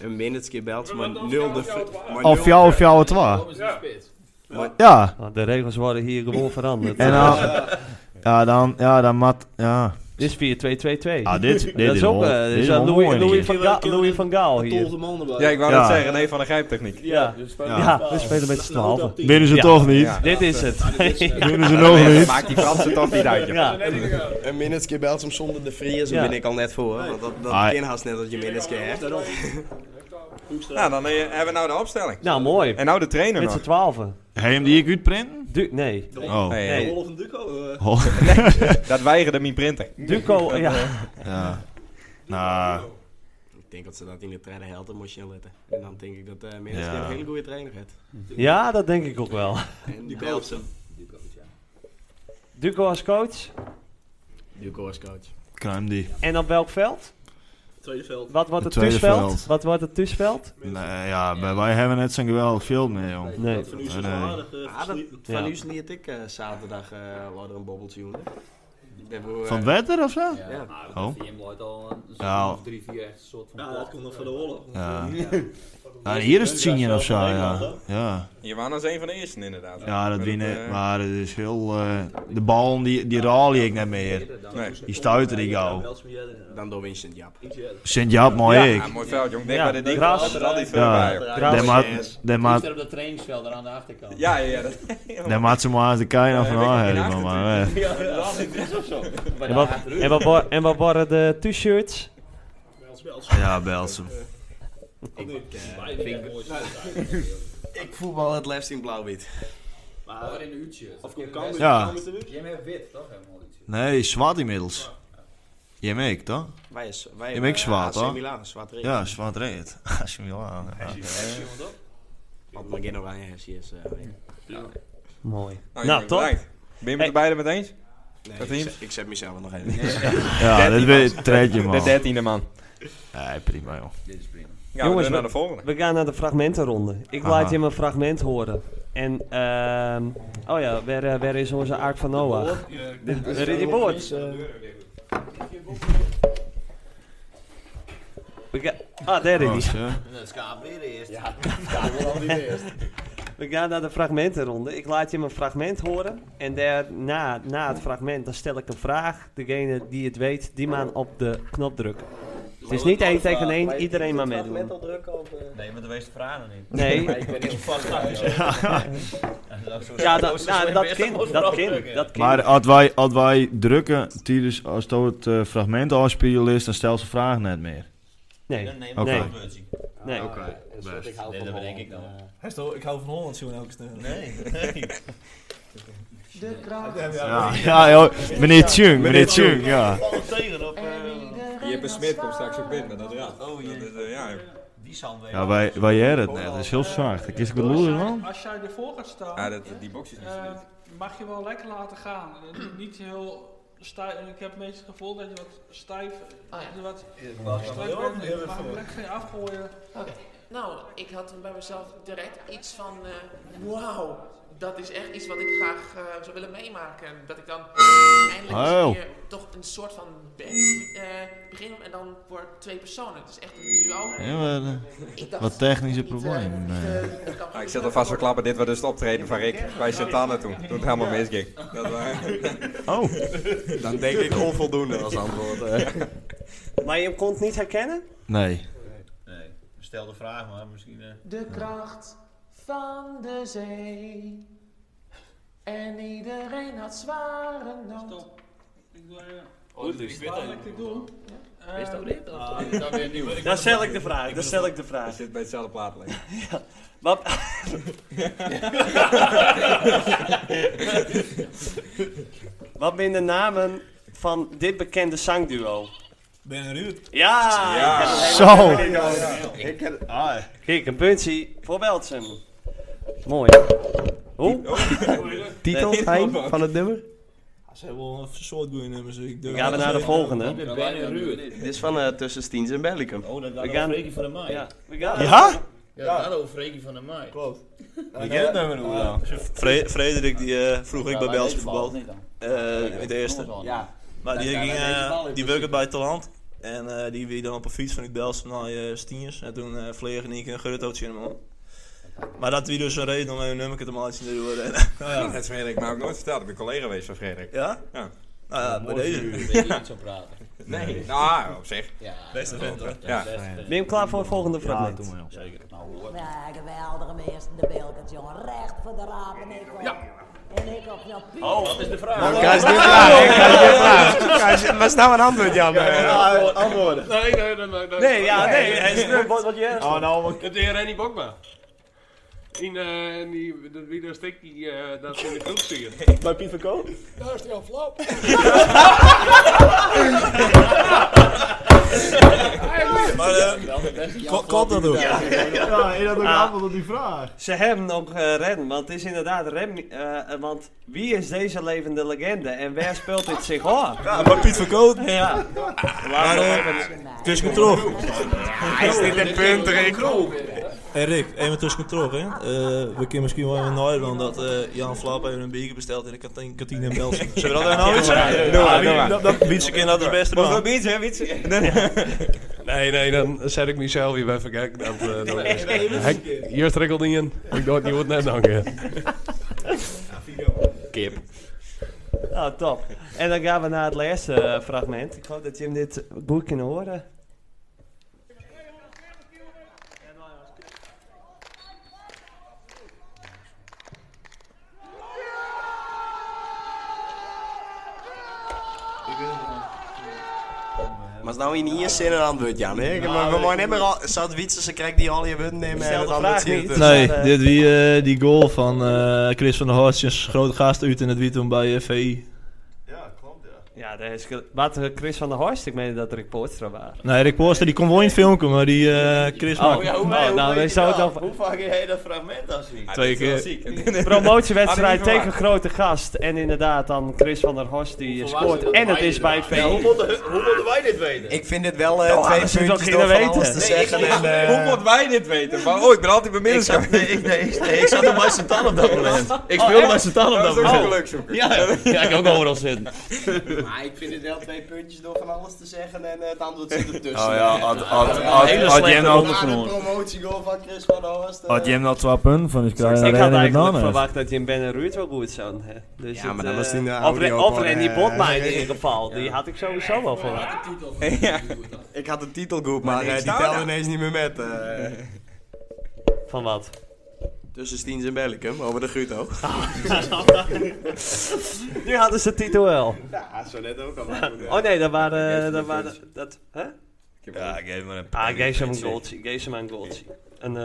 Speaker 10: Een minuutje belt, maar nul de... v- maar
Speaker 7: Of
Speaker 10: nul-
Speaker 7: jou of jou het waar. Ja.
Speaker 2: Want Ah, de regels worden hier gewoon veranderd.
Speaker 7: En dan... Ja, dan... Ja, dan mat... Ja.
Speaker 2: Dit is 4-2-2-2.
Speaker 7: Ah, dit- dit
Speaker 2: dat
Speaker 7: is
Speaker 2: is ook
Speaker 7: wel-
Speaker 2: eh, dat
Speaker 7: dit
Speaker 2: is
Speaker 7: is
Speaker 2: wel
Speaker 7: wel
Speaker 2: Louis,
Speaker 7: mooi,
Speaker 2: Louis,
Speaker 7: dit.
Speaker 2: van Ga- Louis van Gaal hier.
Speaker 12: Tolde man erbij.
Speaker 1: Ja, ik wou
Speaker 7: Ja.
Speaker 1: dat zeggen. Nee, van de grijptechniek.
Speaker 2: Ja, ja, we spelen met z'n twaalf.
Speaker 7: Winnen ze
Speaker 2: Ja.
Speaker 7: toch niet?
Speaker 1: Ja.
Speaker 2: Dit is het.
Speaker 7: Winnen ze nog niet?
Speaker 1: Maakt die Fransen toch niet uit, joh.
Speaker 2: Ja.
Speaker 10: Een minuutje belt hem zonder de vriers, dan
Speaker 2: Ja.
Speaker 10: ben ik al net voor. hoor, Want dat, dat
Speaker 7: Ah.
Speaker 10: kan haast net dat je minuutje hebt.
Speaker 1: Nou, dan eh, hebben we nou de opstelling.
Speaker 2: Nou, mooi.
Speaker 1: En nou de trainer
Speaker 2: Met z'n
Speaker 1: nog.
Speaker 2: twaalfen.
Speaker 7: Heb je hem die ik uitprinten?
Speaker 2: Du nee.
Speaker 7: Oh.
Speaker 1: Nee,
Speaker 2: Nee.
Speaker 12: Wolf en Duco. eh,
Speaker 7: Oh.
Speaker 1: dat weigerde mijn printer.
Speaker 2: Duco, ja.
Speaker 7: Ja. Nou...
Speaker 10: Ik denk dat ze dat in de trainer helden moest je letten. En dan denk ik dat eh Minneske
Speaker 7: Ja.
Speaker 10: een hele goede trainer heeft.
Speaker 2: ja, dat denk ik ook wel.
Speaker 10: En die belt hem.
Speaker 2: Duco als coach.
Speaker 10: Duco als coach.
Speaker 7: Kruim die.
Speaker 2: En op welk veld?
Speaker 12: Tweede veld.
Speaker 2: Wat wordt
Speaker 7: Het
Speaker 2: het
Speaker 7: tweede
Speaker 2: thuisveld?
Speaker 7: veld.
Speaker 2: Wat wordt het thuisveld?
Speaker 7: Nee, ja, maar wij hebben net zo'n geweldig film meer, jong.
Speaker 2: Nee.
Speaker 12: Van u is
Speaker 7: Nee,
Speaker 12: het
Speaker 7: nee.
Speaker 12: aardig. eh,
Speaker 10: Ah, dat,
Speaker 12: verslie-
Speaker 10: van
Speaker 2: Ja.
Speaker 10: u sliet ik eh, zaterdag eh louter een bobbeltje jongen. Ik ben voor, eh,
Speaker 7: Van Wetter of zo?
Speaker 11: Ja,
Speaker 10: Ja.
Speaker 11: maar
Speaker 7: Oh.
Speaker 11: oh. VM loopt al een
Speaker 7: Ja.
Speaker 11: ja. of drie, vier echt een soort van...
Speaker 12: Ja, dat komt nog van de oorlog.
Speaker 7: Ja. Ja, hier is het zien of zo, ja. ja.
Speaker 1: Je was als een van de eersten, inderdaad.
Speaker 7: Ja, dat
Speaker 1: Met het,
Speaker 7: winnen,
Speaker 1: eh,
Speaker 7: maar het is heel... eh, de bal, die, die ralie ik net meer.
Speaker 1: Nee.
Speaker 7: Die stuitte die gauw.
Speaker 12: Dan
Speaker 10: Dan door Vincent Jaap.
Speaker 7: Sint-Jaap, mooi ik.
Speaker 1: Ja, mooi veld, jong. Denk
Speaker 2: Ja,
Speaker 1: maar de ding
Speaker 2: gras.
Speaker 1: was er al die veel bij,
Speaker 7: Ja,
Speaker 1: joh.
Speaker 2: Gras.
Speaker 7: daar maat- daar
Speaker 11: Maar...
Speaker 7: maat-
Speaker 11: op dat trainingsveld er aan de achterkant.
Speaker 1: Ja, ja, ja. Dat,
Speaker 7: daar maat ze maar eens de kei naar van
Speaker 1: Ja,
Speaker 7: aan
Speaker 1: ik heb geen
Speaker 7: hebben, maar... eh.
Speaker 11: Ja, dat was in dress of zo. Maar daar
Speaker 2: En wat,
Speaker 11: achteruit.
Speaker 2: en wat, wor- en wat worden de t-shirts?
Speaker 7: Ja, Belsum.
Speaker 11: Beide hebben mooiste zaken.
Speaker 10: eh, Ik voetbal het liefst in blauw-wit.
Speaker 4: eh,
Speaker 11: Maar in een uurtje. Of
Speaker 12: komt Cambuur-
Speaker 7: Ja.
Speaker 11: Jij hebt wit, toch? Helemaal niet.
Speaker 7: Nee, zwart inmiddels. Jij meek, toch?
Speaker 10: Wij is wij
Speaker 7: Je bent
Speaker 10: eh,
Speaker 7: zwart,
Speaker 10: AC
Speaker 7: hoor.
Speaker 10: Milan, zwart reed.
Speaker 7: Ja, zwart reed. Als je hem wil aan. ja.
Speaker 10: Want maar geen oranje hersie is. eh, nee.
Speaker 2: Mooi.
Speaker 1: nou,
Speaker 2: Nou,
Speaker 1: toch?
Speaker 2: top.
Speaker 1: Ben je met
Speaker 2: Hey.
Speaker 1: de beiden met eens?
Speaker 10: Nee,
Speaker 1: Dat
Speaker 10: ik,
Speaker 1: team?
Speaker 10: zet, ik zet mezelf nog even.
Speaker 7: Ja, dat weet treed je
Speaker 1: De
Speaker 7: man.
Speaker 1: dertiende man.
Speaker 7: Nee, prima joh.
Speaker 14: Dit is prima.
Speaker 2: Jongens, we gaan naar de fragmentenronde. Ik
Speaker 7: Aha.
Speaker 2: laat je mijn fragment horen. En, ehm oh ja, waar, eh, waar is onze Ark van Noach? Dit- Waar is die
Speaker 11: Dus,
Speaker 2: boord?
Speaker 11: eh,
Speaker 2: We ga- Ah, daar is die.
Speaker 14: Dat is Gabriel eerst. Ja,
Speaker 2: We gaan naar de fragmentenronde. Ik laat je mijn fragment horen. En daarna, na het fragment, dan stel ik een vraag. Degene die het weet, die man op de knop drukken. Het is niet één tegen één, iedereen maar meedoen.
Speaker 4: Nee, maar de meeste vragen niet.
Speaker 2: Nee.
Speaker 4: Maar ik ben heel vast aan.
Speaker 2: Ja. Ja, dat- nou, dat kind, dat kind, dat kind.
Speaker 7: Maar als wij, als wij drukken, tijdens, als dat het eh, fragment afspelen is, dan stel ze vragen net meer.
Speaker 2: Nee.
Speaker 7: Oké.
Speaker 2: Nee.
Speaker 7: Oké, best.
Speaker 4: Nee, dat bedenk ik dan.
Speaker 8: Hij is toch- ik hou van Holland, zo'n elke sneeuw.
Speaker 4: Nee.
Speaker 13: De
Speaker 7: Ja, Ah, ja, joh. meneer Tjung, meneer Tjung, ja.
Speaker 1: Je besmet komt straks ook binnen, dat raad. Oh jee. Dat, eh, ja,
Speaker 4: Die zal
Speaker 7: Ja, wij, wij jaren het net, dat is heel zacht. Ik is het loeren man.
Speaker 3: Als jij ervoor gaat staan,
Speaker 1: Ja, dat, die box is niet
Speaker 3: eh, mag je wel lekker laten gaan. Eh, niet heel stijf. Ik heb meestal het gevoel dat je wat stijf,
Speaker 2: Ah,
Speaker 3: wat
Speaker 4: was wel
Speaker 3: stijf
Speaker 4: heel
Speaker 3: bent.
Speaker 4: erg
Speaker 3: Je mag hem
Speaker 4: voor.
Speaker 3: lekker van je afgooien.
Speaker 13: Oké. Nou, ik had bij mezelf direct iets van, eh, wauw, dat is echt iets wat ik graag eh, zou willen meemaken. Dat ik dan eindelijk eens een
Speaker 7: Oh.
Speaker 13: keer toch een soort van band eh, begin en dan voor twee personen. Het is echt een duo.
Speaker 7: Ja, maar, eh,
Speaker 13: Ik dacht,
Speaker 7: wat technische
Speaker 13: niet, eh,
Speaker 7: problemen.
Speaker 13: eh,
Speaker 7: nee.
Speaker 13: dat kan
Speaker 1: Ah, ik zet alvast wel klappen, dit was dus het optreden van Rick bij Santana toen. Toen het helemaal misging. Dat
Speaker 7: Oh.
Speaker 1: Dan denk ik onvoldoende als antwoord. eh.
Speaker 2: Maar je kon het niet herkennen?
Speaker 7: Nee.
Speaker 4: Nee, stel de vraag maar, misschien... eh.
Speaker 13: De kracht van de zee. En iedereen had zware nood.
Speaker 3: Ik doe
Speaker 4: eh,
Speaker 3: even-
Speaker 13: Oh, dat is
Speaker 3: Wat wil ik dit doen? Eh,
Speaker 13: Is dat dit? Of-
Speaker 3: ah,
Speaker 13: is dat weer nieuw?
Speaker 2: Dan stel ik de vraag, dan stel ik de vraag.
Speaker 1: zit bij hetzelfde plaatlijn.
Speaker 2: Ja. Wat? Wat zijn de namen van dit bekende zangduo?
Speaker 8: Ben en Ruud.
Speaker 2: Ja!
Speaker 8: Ja.
Speaker 2: ik
Speaker 8: Zo.
Speaker 2: heb het helemaal
Speaker 8: Ja.
Speaker 2: niet.
Speaker 8: Ik Ah. ken-
Speaker 2: Kijk, een puntje voor Beltsum. Mooi. Hoe?
Speaker 10: Titel,
Speaker 8: Nee.
Speaker 10: Hein, van het nummer?
Speaker 8: Ze hebben wel een soort goede nummers. dus Ik durf
Speaker 2: Gaan we
Speaker 8: niet
Speaker 2: naar de
Speaker 8: zeggen.
Speaker 2: volgende?
Speaker 10: Dit is van eh Tussen Stiens en Bellicum.
Speaker 4: Oh, dat
Speaker 2: We
Speaker 4: gaat
Speaker 2: gaan-
Speaker 4: over Reekie van der Maai.
Speaker 2: Ja, we gaan-
Speaker 8: Ja?
Speaker 4: Ja, dat gaat over Reekie van der Maai. Klopt.
Speaker 8: Ik ken het nummer nog
Speaker 2: Nou,
Speaker 8: wel. Fre- Frederik die eh, vroeg ik bij
Speaker 4: Ja, wij
Speaker 8: Belgische
Speaker 4: weten het
Speaker 8: voetbal.
Speaker 4: niet
Speaker 8: Eh, het eerste.
Speaker 4: Ons wel. Ja.
Speaker 8: Maar die
Speaker 4: Ja,
Speaker 8: ging,
Speaker 4: wij weten het
Speaker 8: eh,
Speaker 4: wel in
Speaker 8: die werkte bij Talant. En eh, die wie dan op een fiets van die Belgische naar eh Stiers. En toen eh vlegen die een gurtootje in hem om. Maar dat wie dus een reden om een nummer te maken te doen. En, nou ja.
Speaker 1: Dat is Frederik mij ook nooit verteld. Ik ben collega geweest van Frederik.
Speaker 8: Ja?
Speaker 1: Ja.
Speaker 8: Nou ja, bij deze.
Speaker 1: Nee, nou, op zich.
Speaker 8: Beste vent hoor.
Speaker 1: Ja.
Speaker 2: Ben je hem klaar voor het volgende fragment?
Speaker 8: Zeker.
Speaker 4: Nou,
Speaker 15: Ja, geweldige meester, de Bilkens, jongen. Recht voor de raap en ik op. En ik op jouw piek.
Speaker 4: Oh, wat is de vraag?
Speaker 10: Nou, Kijk, dit vraag. Kijk, dit vraag. Kijk, Wat is nou een antwoord, Jan?
Speaker 3: antwoorden. Nee, nee, nee, nee.
Speaker 10: Nee, ja, nee, hij is druk.
Speaker 3: Wat jij
Speaker 10: Oh, nou, wat-
Speaker 3: Het is Rennie Bokma. In, eh, in die, dat video stick die eh, dat ze in de groep zingen.
Speaker 8: Bij Piet van Kool?
Speaker 3: Daar is die al flap.
Speaker 8: Maar
Speaker 2: Komt dat doen?
Speaker 7: Ja, en dat ook
Speaker 2: Ah.
Speaker 7: antwoord op die vraag.
Speaker 2: Ze hebben nog eh redden, want het is inderdaad rem. eh, eh, want wie is deze levende legende en waar speelt dit zich af?
Speaker 8: Ja, maar Piet van Kool.
Speaker 2: Ja.
Speaker 8: Maar, tussen controle.
Speaker 10: Is dit een punt, Rick?
Speaker 8: Hey Rick, even tussen controle, hè? Eh, we kunnen misschien wel even naar dan dat eh, Jan Flap even een biertje besteld in de kantine, kantine in Belsen. Zullen we dat even nou iets zeggen?
Speaker 9: Doe maar, doe maar.
Speaker 8: Dat- dat- Wietse kind dat is beste man.
Speaker 9: Mag ik
Speaker 2: Wietse, hè, Wietse?
Speaker 9: Nee, nee, dan zet ik mezelf weer even kijken. Dat, eh, dat is- Hek, Eerst rikkelde niet in. Ik doe het niet wat net hangen.
Speaker 2: Kip. Oh, top. En dan gaan we naar het laatste eh, fragment. Ik hoop dat je hem dit goed kan horen.
Speaker 10: Maar is nou in hier zin een antwoord, Jan? Hè? maar we mogen niet meer al... Zou het wietsen, ze krijgt die al je wind nemen en
Speaker 2: Stel
Speaker 10: het
Speaker 2: de vraag
Speaker 10: antwoord zien
Speaker 2: niet.
Speaker 10: ertussen.
Speaker 8: Nee, dit wie, eh, die goal van eh, Chris van der Horstjes, grote gast uit in het wiet toen bij eh, VI.
Speaker 7: Ja, klopt ja.
Speaker 2: Ja, dat is ge- wat eh, Chris van der Horst, ik meen dat Rick Poortstra was.
Speaker 5: Nee, Rick Poorster, die kon wel in het film komen, maar die eh
Speaker 8: Oh,
Speaker 5: Chris maakt-
Speaker 2: nou, we zouden dan
Speaker 4: Hoe vaak heb je dat fragment dan zien?
Speaker 5: Twee keer.
Speaker 2: Promotiewedstrijd tegen grote gast. En inderdaad, dan Chris van der Horst die eh, scoort. En het is bij
Speaker 4: Hoe
Speaker 2: veel.
Speaker 4: moeten- hoe moeten wij dit weten?
Speaker 1: Ik vind dit wel eh,
Speaker 2: Nou,
Speaker 1: twee
Speaker 2: anders moet
Speaker 1: puntjes
Speaker 2: ook
Speaker 1: door
Speaker 2: iedereen
Speaker 1: van alles
Speaker 2: weten.
Speaker 1: te
Speaker 2: Nee,
Speaker 1: zeggen.
Speaker 2: ik-
Speaker 1: en, eh,
Speaker 2: Hoe
Speaker 1: Hoe moet wij dit weten? Maar, oh, ik ben altijd bij
Speaker 4: Ik zat, nee, ik, nee, ik, nee, ik zat op bij Santan op dat moment. Ik
Speaker 1: Oh,
Speaker 4: speelde
Speaker 1: echt?
Speaker 4: bij Santan op
Speaker 1: Dat
Speaker 4: dat
Speaker 1: is ook
Speaker 4: moment.
Speaker 1: gelukzoeker.
Speaker 4: Ja, ja, ik ook overal zitten.
Speaker 10: Maar ik vind het wel twee puntjes door van alles te zeggen en eh, het antwoord zit ertussen.
Speaker 7: Oh ja, had- had- had-
Speaker 10: Ja, een hele
Speaker 7: had jij
Speaker 10: slechte
Speaker 7: nou-
Speaker 10: ronde van ons. Na de promotiegoal van Chris van der Horst. eh,
Speaker 7: Had je hem nou twee punten van, dus krijg je
Speaker 2: Ik had
Speaker 7: er één in de
Speaker 2: eigenlijk
Speaker 7: andere.
Speaker 2: verwacht dat je in Ben Ruud wel goed zou. hè. Dus
Speaker 10: Ja,
Speaker 2: het,
Speaker 10: maar dan
Speaker 2: eh,
Speaker 10: was die in de
Speaker 2: Of, Re-
Speaker 10: audio
Speaker 2: of
Speaker 10: gewoon,
Speaker 2: Randy
Speaker 10: eh,
Speaker 2: Botma in
Speaker 10: Randy.
Speaker 2: ieder geval. Die had ik sowieso wel verwacht.
Speaker 1: Ja.
Speaker 10: Ik had een titelgroep,
Speaker 1: Maar
Speaker 10: maar
Speaker 1: niks
Speaker 10: eh, die
Speaker 1: nou
Speaker 10: telde
Speaker 1: dan.
Speaker 10: ineens niet meer met. eh.
Speaker 2: Van wat?
Speaker 10: Tussen Stiens en Bellicum, over de Guto.
Speaker 2: Nu hadden ze titel wel.
Speaker 10: ja, zo net ook al. maar goed, ja.
Speaker 2: Oh nee, dat
Speaker 10: Ik geef
Speaker 2: waren...
Speaker 10: hem
Speaker 2: Dat
Speaker 10: een
Speaker 2: waren
Speaker 10: puntje.
Speaker 2: dat, hè?
Speaker 4: Ja, ik geef maar een
Speaker 2: Ah, ik geef ze hem een
Speaker 10: puntje.
Speaker 2: goaltje. Ik geef ze maar een goaltje. Een, eh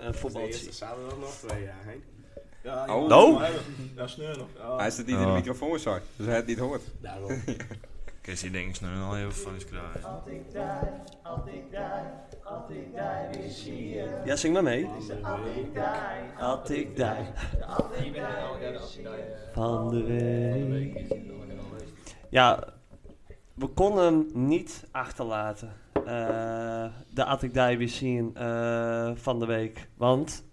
Speaker 2: een
Speaker 10: De
Speaker 2: voetbaltje.
Speaker 10: eerste zaterdag nog twee jaar heen. Ja,
Speaker 1: Oh.
Speaker 10: ja.
Speaker 1: No?
Speaker 12: Ja, sneur nog.
Speaker 1: Hij zit niet in de
Speaker 7: Oh.
Speaker 1: microfoon, sorry. Dus hij het niet hoort.
Speaker 12: Daarom.
Speaker 7: Chris, die denkt snel al heel van is krijgen.
Speaker 2: Ja, zing maar mee. Had ik daar van de week. Ja, we konden hem niet achterlaten. Eh, de had ik daar weer zien eh, van de week. Want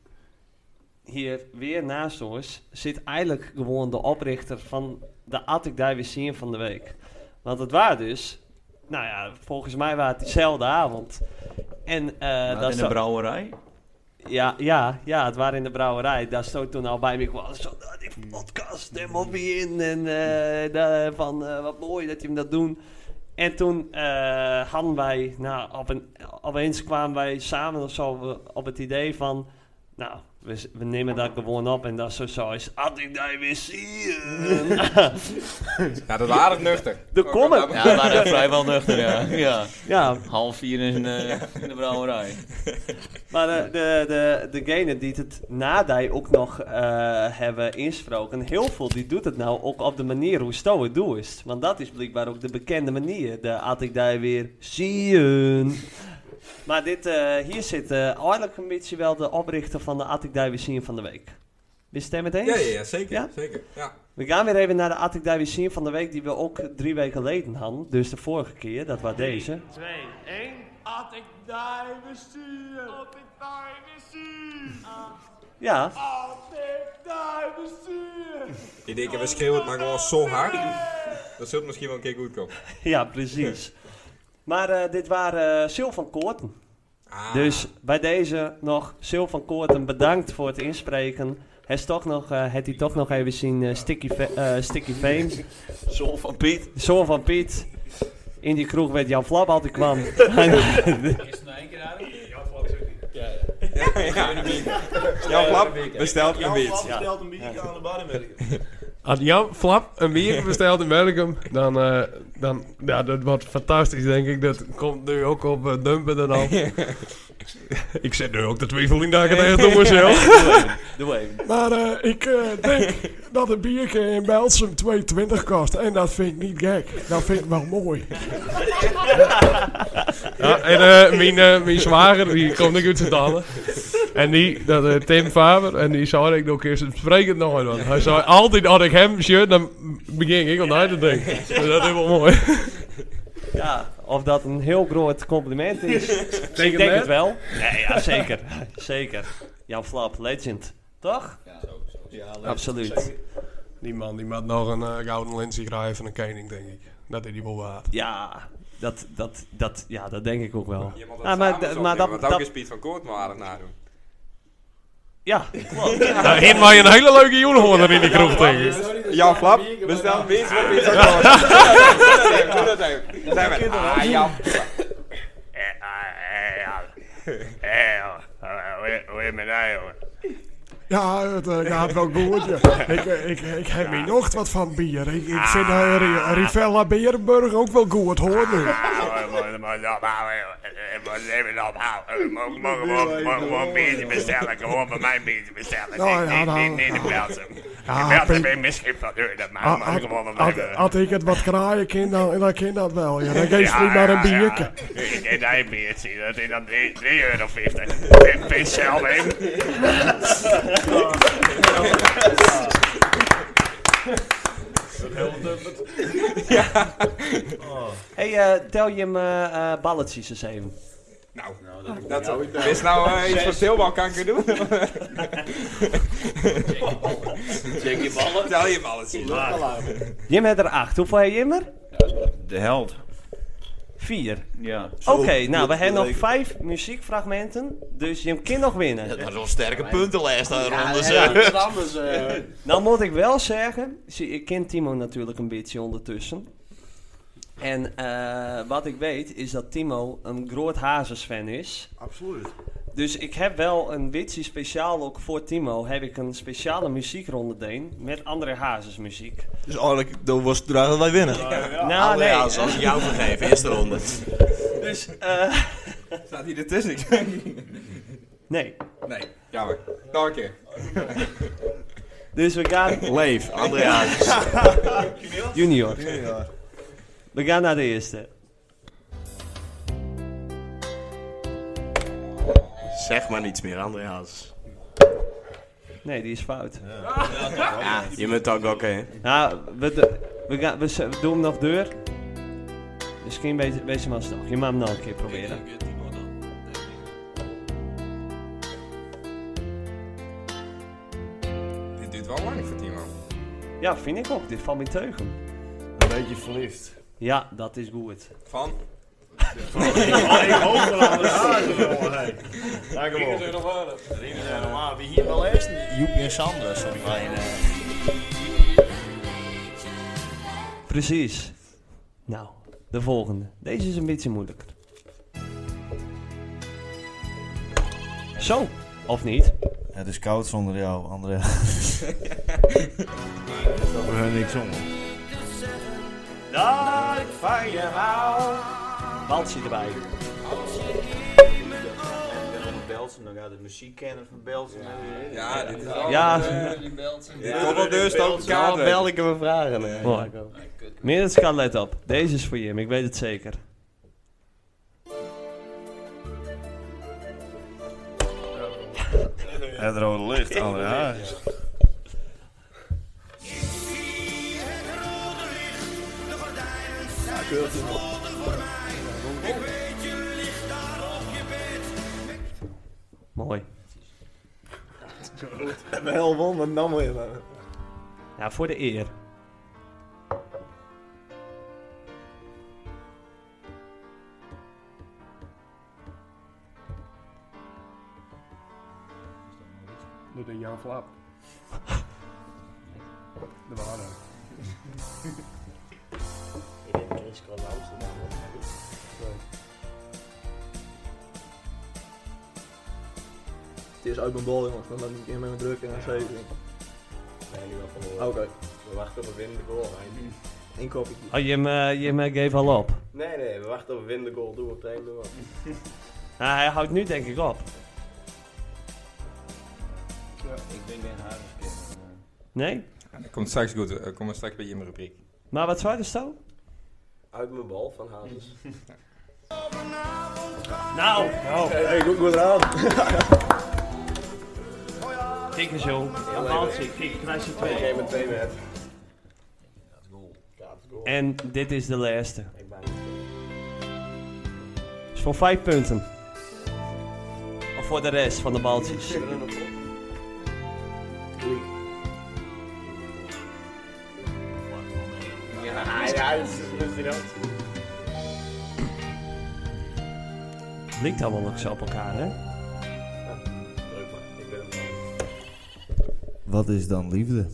Speaker 2: hier weer naast ons zit eigenlijk gewoon de oprichter van de had ik daar weer zien van de week. Want het waren dus, nou ja, volgens mij waren het diezelfde avond. En eh
Speaker 4: Wat,
Speaker 2: dat
Speaker 4: in
Speaker 2: zo-
Speaker 4: de brouwerij?
Speaker 2: ja, ja, ja, het waren in de brouwerij. Daar stond toen al bij me kwam. Zo, "Ah, die
Speaker 4: Hmm.
Speaker 2: podcast, daar moet je in. En eh, da- van, eh, wat mooi dat je hem dat doet. En toen eh, hadden wij, nou, op een, opeens kwamen wij samen of zo we- op het idee van... Nou, we, z- we nemen dat gewoon op en dat is zo zo is... Had ik daar weer zien?
Speaker 1: Ja, dat was aardig nuchter.
Speaker 2: De comment.
Speaker 4: Ja, we waren vrijwel nuchter, ja. ja.
Speaker 2: Ja.
Speaker 4: Half vier in, eh, in de brouwerij.
Speaker 2: Maar de, de, de, degene die het nadij ook nog eh, hebben insproken, heel veel, die doet het nou ook op de manier hoe Sto het doet. Want dat is blijkbaar ook de bekende manier. De had ik daar weer zien. Maar dit, eh, hier zit eh, eigenlijk een beetje wel de oprichter van de had ik daar weer zien van de week. Wist je het meteen?
Speaker 1: Ja, ja, ja, zeker. zeker. Ja.
Speaker 2: We gaan weer even naar de had ik daar weer zien van de week die we ook drie weken geleden hadden. Dus de vorige keer, dat was deze.
Speaker 16: 2, 1. Had ik daar bestuur. Had ik daar bestuur.
Speaker 2: Ja.
Speaker 16: Had ik daar bestuur.
Speaker 1: Die denken, we schreeuwen het maar gewoon zo hard. Dat zult misschien wel een keer goed komen.
Speaker 2: Ja, precies. Maar eh, dit waren eh, Sil van Koorten.
Speaker 1: Ah.
Speaker 2: Dus bij deze nog Sil van Koorten bedankt voor het inspreken. Hij is toch nog, eh het hij toch nog even zien eh, Sticky, Fa- eh, Sticky Fame.
Speaker 4: Zoon van Piet.
Speaker 2: Zoon van Piet. In die kroeg werd Jan Flap altijd kwam.
Speaker 11: Is het nou één keer aardig? Ja, vlak zo. Ja, ja.
Speaker 1: Jan Flap bestelt een
Speaker 11: beetje.
Speaker 1: biertje.
Speaker 11: bestelt een biertje aan de bar in Merken.
Speaker 9: Als Jan Flap een bier bestelt in Belgium, dan, eh, dan ja, dat wordt fantastisch, denk ik. Dat komt nu ook op eh, dumpen en al. ik zit nu ook de twijfeling daar tegen door mezelf.
Speaker 2: Doe even.
Speaker 9: Maar eh, ik eh, denk dat een biertje in Belsum 2,20 kost. En dat vind ik niet gek. Dat vind ik wel mooi. Ja, en eh, mijn, eh, mijn zwager, die komt ook uit z'n talen. En die, dat, eh, Tim Faber, en die zei ik nog eens, het spreekt nog nooit. Want hij zei altijd als ik hem shirt, dan begin ik om naar te denken. Dus dat is wel mooi.
Speaker 2: Ja, of dat een heel groot compliment is. ik denk
Speaker 9: het
Speaker 2: het wel.
Speaker 9: wel.
Speaker 2: Nee, ja, zeker. zeker. Jan Flap, legend. Toch?
Speaker 12: Ja, zo.
Speaker 2: Absoluut.
Speaker 9: Die man die moet nog een eh, gouden lensie krijgen van een koning, denk ik. Dat is die wel waard.
Speaker 2: Ja, dat, dat, dat, ja, dat denk ik ook wel.
Speaker 1: Je moet dat
Speaker 2: Ah,
Speaker 1: maar,
Speaker 2: d-
Speaker 1: maar dat, want ook is Piet van Koort maar aardig nadoen.
Speaker 2: Ja, klopt.
Speaker 9: Nou, hint mij een hele leuke jongen er in die kroeg tegen.
Speaker 1: Jan Flap, bestel een biertje van Piet van Koort. Doe dat even, doe dat even. Zijn we- Ah, Jan Flap.
Speaker 17: Hoe is mijn nou, jongen?
Speaker 9: Ja, het eh, gaat wel goed. ja. Ik, eh, ik, ik heb hier nog wat van bier. Ik, ik vind eh, Ri- Rivella Berenburg ook wel goed hoor nu.
Speaker 17: Ik moet ophouden, jongen. Ik moet even ophouden. Ik moet- moet gewoon- moet gewoon een biertje bestellen. Gewoon bij mijn biertje bestellen.
Speaker 9: Nou
Speaker 17: Niet-
Speaker 9: ja,
Speaker 17: niet-
Speaker 9: nou,
Speaker 17: Niet niet in
Speaker 9: nou.
Speaker 17: Belgium. Ja,
Speaker 18: Ja,
Speaker 17: ik ben
Speaker 18: Pink-
Speaker 17: er misschien van u, dat
Speaker 18: Ah,
Speaker 17: maakt me
Speaker 18: had-
Speaker 17: gewoon een
Speaker 18: had-
Speaker 17: lekker-
Speaker 18: Had ik het wat kraaien kind, dan, dan kind dat wel. Ja. Dan geef je
Speaker 17: Ja,
Speaker 18: niet maar
Speaker 17: ja,
Speaker 18: een biertje.
Speaker 17: ja. Ik eet daar een biertje, dat is dan 3,50 euro. Pis zelf in.
Speaker 11: Dat helpt
Speaker 2: Ja. Hey, eh, tel je hem eh eh, balletjes eens even.
Speaker 1: Nou,
Speaker 2: dat doe
Speaker 1: dat,
Speaker 2: ik nou.
Speaker 1: is nou eh, iets
Speaker 2: Zes.
Speaker 1: wat Tilbal kan ik doen.
Speaker 4: Check je ballen.
Speaker 1: Tel je ballen. zie je.
Speaker 2: Jim had er acht. Hoeveel heb Jim er?
Speaker 4: De held.
Speaker 2: Vier.
Speaker 4: Ja.
Speaker 2: Oké, nou, we hebben nog vijf muziekfragmenten, dus je kan nog winnen.
Speaker 6: Dat was een sterke puntenlijst daar dus,
Speaker 2: Ja, ja,
Speaker 6: rond.
Speaker 2: dat is anders, eh. Nou moet ik wel zeggen, zie, ik ken Timo natuurlijk een beetje ondertussen. En eh, wat ik weet is dat Timo een groot Hazes-fan is.
Speaker 10: Absoluut.
Speaker 2: Dus ik heb wel een beetje speciaal, ook voor Timo, heb ik een speciale muziekronde deen met andere Hazes muziek.
Speaker 5: Dus eigenlijk, dan was het draag dat wij winnen.
Speaker 2: Nou, nee.
Speaker 1: Dus,
Speaker 2: eh,
Speaker 1: Staat hier ertussen? Ik weet niet.
Speaker 2: Nee.
Speaker 1: Nee, jammer. Nog een keer.
Speaker 2: Dus we gaan...
Speaker 1: Leef, André Hazes.
Speaker 2: Junior.
Speaker 1: Junior.
Speaker 2: We gaan naar de eerste.
Speaker 10: Zeg maar niets meer, André Hazes.
Speaker 2: Nee, die is fout.
Speaker 10: Ja, je bent ook oké.
Speaker 2: Nou, we, d- we, gaan, we, z- we doen hem nog deur. Misschien weet, weet je hem alsnog. Je mag hem nog een keer proberen.
Speaker 1: Dit duurt wel lang voor Timo.
Speaker 2: Ja, vind ik ook. Dit valt mijn teugen.
Speaker 1: Een beetje verliefd.
Speaker 2: Ja, dat is goed.
Speaker 1: Van?
Speaker 7: ik hoop wel aan de Hazes, jongen, hey. Ja, kom op.
Speaker 11: Riemen zijn
Speaker 7: normaal. Wie hier wel eerst?
Speaker 6: Joepie en Sander, zo'n kleine.
Speaker 7: eh,
Speaker 2: Precies. Nou, de volgende. Deze is een beetje moeilijker. Zo, of niet?
Speaker 7: Het is koud zonder jou, André. We hebben niks om.
Speaker 2: Dat ik van je hou. Baltje erbij.
Speaker 4: Belsen, dan gaat de muziekkenner van Belsen.
Speaker 1: Ja, dit is al-
Speaker 2: Ja.
Speaker 1: Eh, die Belsen. Dit komt wel
Speaker 10: dus,
Speaker 1: deur, stoot de kaart weg.
Speaker 3: Welke we vragen. hè.
Speaker 2: Mooi. Merits kan let op. Deze is voor Jim, ik weet het zeker.
Speaker 7: Het rode licht, André Hazes.
Speaker 2: Mooi.
Speaker 18: Wel won, maar dan moet je maar.
Speaker 2: Ja, voor de eer.
Speaker 18: Doe de Jan Flap. De waarde.
Speaker 19: Ik denk Chris kan luisteren.
Speaker 8: Het is uit mijn bal, jongens, want dan moet ik in mijn druk en dan zeven.
Speaker 18: Oké.
Speaker 10: We wachten op een winnende goal. hè.
Speaker 18: Eén kopje.
Speaker 2: Oh, Jim, eh, Jim eh, geeft al op.
Speaker 10: Nee, nee, we wachten op een winnende goal. Doe op het einde wat.
Speaker 2: Nou, hij houdt nu denk ik op.
Speaker 4: Ik ben geen Hazes.
Speaker 2: Nee?
Speaker 1: Komt straks goed, eh, kom maar straks bij je rubriek.
Speaker 2: Maar wat zou je zo?
Speaker 10: Uit mijn bal van Hazes.
Speaker 2: Nou!
Speaker 18: Nou, hey, goed, goed eraan.
Speaker 2: Kijk eens jong. Een baltje. Kijk, knijs je twee.
Speaker 10: Ik met twee met.
Speaker 2: En dit is de laatste. Is voor vijf punten. Of voor de rest van de baltjes.
Speaker 10: Ja, ja, dat is dat.
Speaker 2: Lijkt allemaal nog zo op elkaar, hè?
Speaker 10: Leuk man, ik ben hem wel.
Speaker 7: Wat is dan liefde?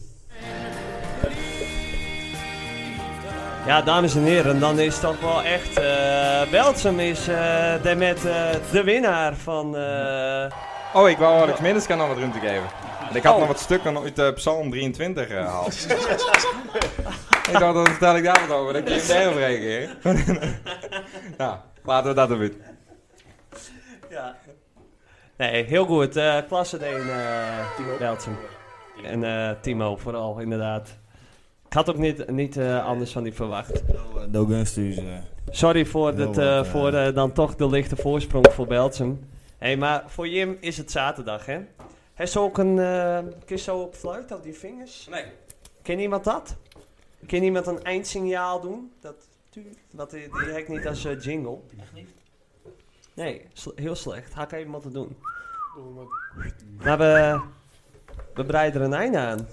Speaker 2: Ja, dames en heren, dan is dat wel echt. eh Beltsum is eh de, met eh, de winnaar van. eh,
Speaker 1: Oh, ik wou Alex Middelskan nog wat ruimte geven. Want Ik had
Speaker 2: Oh.
Speaker 1: nog wat stukken uit eh, Psalm 23 gehaald. ik dacht, dan vertel ik daar wat over. Dan kun je hem daarover reageren. nou, laten we dat doen.
Speaker 2: Nee, heel goed. Eh klasse 1 eh Beltsum. En eh, Timo vooral, inderdaad. Ik had ook niet, niet eh, anders van die verwacht.
Speaker 7: Doe gunst dus. eh.
Speaker 2: Sorry voor,
Speaker 7: Heel
Speaker 2: dat,
Speaker 7: wat,
Speaker 2: eh,
Speaker 7: eh,
Speaker 2: voor eh, dan toch de lichte voorsprong voor Beltsum. Hé, hey, maar voor Jim is het zaterdag, hè? Hij is ook een... eh kist zo op fluit, op die vingers?
Speaker 1: Nee.
Speaker 2: Ken iemand dat? Ken iemand een eindsignaal doen? Dat, tu- wat die, die hek niet als eh, jingle.
Speaker 11: Echt niet?
Speaker 2: Nee, sle- heel slecht. Had ik even moeten doen.
Speaker 9: Doe maar.
Speaker 2: Maar we, we breiden er een einde aan.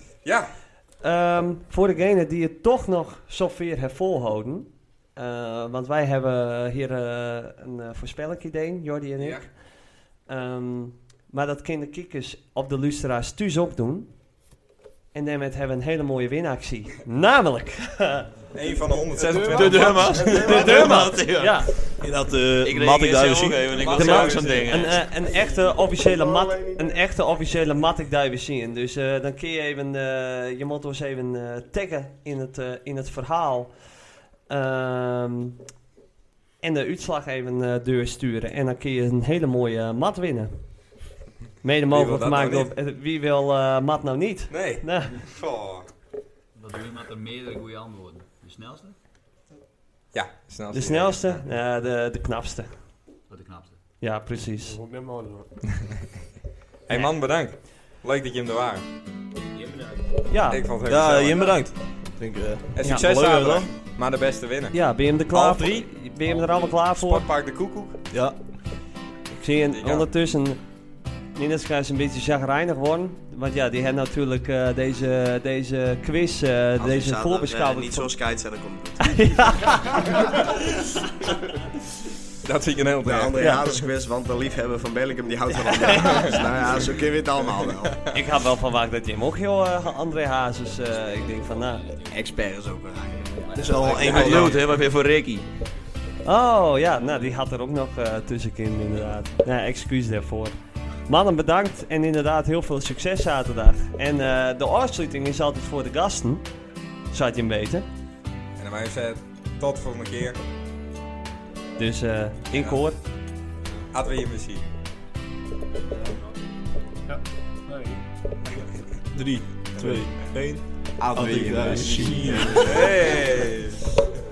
Speaker 2: Ehm,
Speaker 1: Ja.
Speaker 2: voor degenen die het toch nog zover hebben volhouden. eh, want wij hebben hier eh, een eh voorspelling idee, Jordi en ik. Ehm, maar dat kunnen kikkers op de luisteraars thuis ook doen. En daarmee hebben we een hele mooie winactie. Namelijk...
Speaker 1: Eén van de 126.
Speaker 2: De deurmat. De deurmat, ja.
Speaker 1: In
Speaker 5: dat
Speaker 1: Ik
Speaker 8: eh,
Speaker 5: uh, mat ik
Speaker 1: reageer
Speaker 5: daar
Speaker 1: zo
Speaker 5: zien.
Speaker 1: ook even, ik
Speaker 5: De
Speaker 1: was
Speaker 5: mat-
Speaker 1: ook zo'n ding, hè.
Speaker 2: Een, eh, een echte officiële mat, een echte officiële mat ik daar weer zien. Dus eh, dan kun je even, eh, je moet ons even eh, taggen in het, eh, in het verhaal. Ehm, en de uitslag even eh doorsturen. En dan kun je een hele mooie eh, mat winnen. Mede
Speaker 1: wil
Speaker 2: mogelijk
Speaker 1: dat
Speaker 2: gemaakt
Speaker 1: nou
Speaker 2: door... eh, Wie wil eh, mat nou niet?
Speaker 1: Nee.
Speaker 2: Nou.
Speaker 1: Goh.
Speaker 12: Wat doe je met er meerdere goede antwoorden? De snelste?
Speaker 1: Ja, snel.
Speaker 2: De snelste? Ja, de, de knapste.
Speaker 12: Wat Oh, de knapste.
Speaker 2: Ja, precies.
Speaker 9: Moet ik net maar doen.
Speaker 1: Hey man, bedankt. Leuk dat je hem er waren.
Speaker 2: Ja.
Speaker 1: Ik vond het heel
Speaker 5: Ja,
Speaker 1: gezellig.
Speaker 5: Jim bedankt. Denk, eh,
Speaker 1: En
Speaker 5: ja,
Speaker 1: succes
Speaker 5: leuk,
Speaker 1: zaterdag.
Speaker 5: hoor.
Speaker 1: Maar de beste winnen.
Speaker 2: Ja, ben je hem er klaar
Speaker 1: Half
Speaker 2: voor?
Speaker 1: drie.
Speaker 2: Ben je hem er allemaal klaar voor?
Speaker 1: Sportpark de Koekoek.
Speaker 5: Ja.
Speaker 2: Ik zie een, ondertussen Ninetska is een beetje chagrijnig worden. Want ja, die hebben natuurlijk eh, deze, deze quiz, eh,
Speaker 20: Als die
Speaker 2: deze
Speaker 20: zaterdag, eh,
Speaker 2: voorbeschouwing.
Speaker 20: niet zoals Kite zijn, dan komt het
Speaker 1: Dat zie ik een heel
Speaker 20: De
Speaker 1: tijd.
Speaker 20: André
Speaker 1: Ja.
Speaker 20: Hazes quiz, want de liefhebber van Bellingham die houdt van André Hazes.
Speaker 10: Dus
Speaker 20: Nou ja, zo kun je het allemaal wel.
Speaker 2: Ik had wel verwacht dat Jim ook heel eh, André Hazes. eh, ik denk van nou.
Speaker 20: Expert is ook een
Speaker 4: Dat is al een miljoen, hè? Wat weer voor Ricky.
Speaker 2: Oh ja, nou die had er ook nog eh tussenkin inderdaad. Nou, excuus daarvoor. Mannen, bedankt en inderdaad heel veel succes zaterdag. En eh, de afsluiting is altijd voor de gasten. Zou je hem weten?
Speaker 1: En dan wij zeggen tot volgende keer.
Speaker 2: Dus eh, in koor.
Speaker 1: Adwe je muziek.
Speaker 9: Ja, nee.
Speaker 5: 3, 2, 1.
Speaker 1: Adriaan
Speaker 5: Adriaan
Speaker 1: Machine.
Speaker 5: Machine.
Speaker 1: Hey.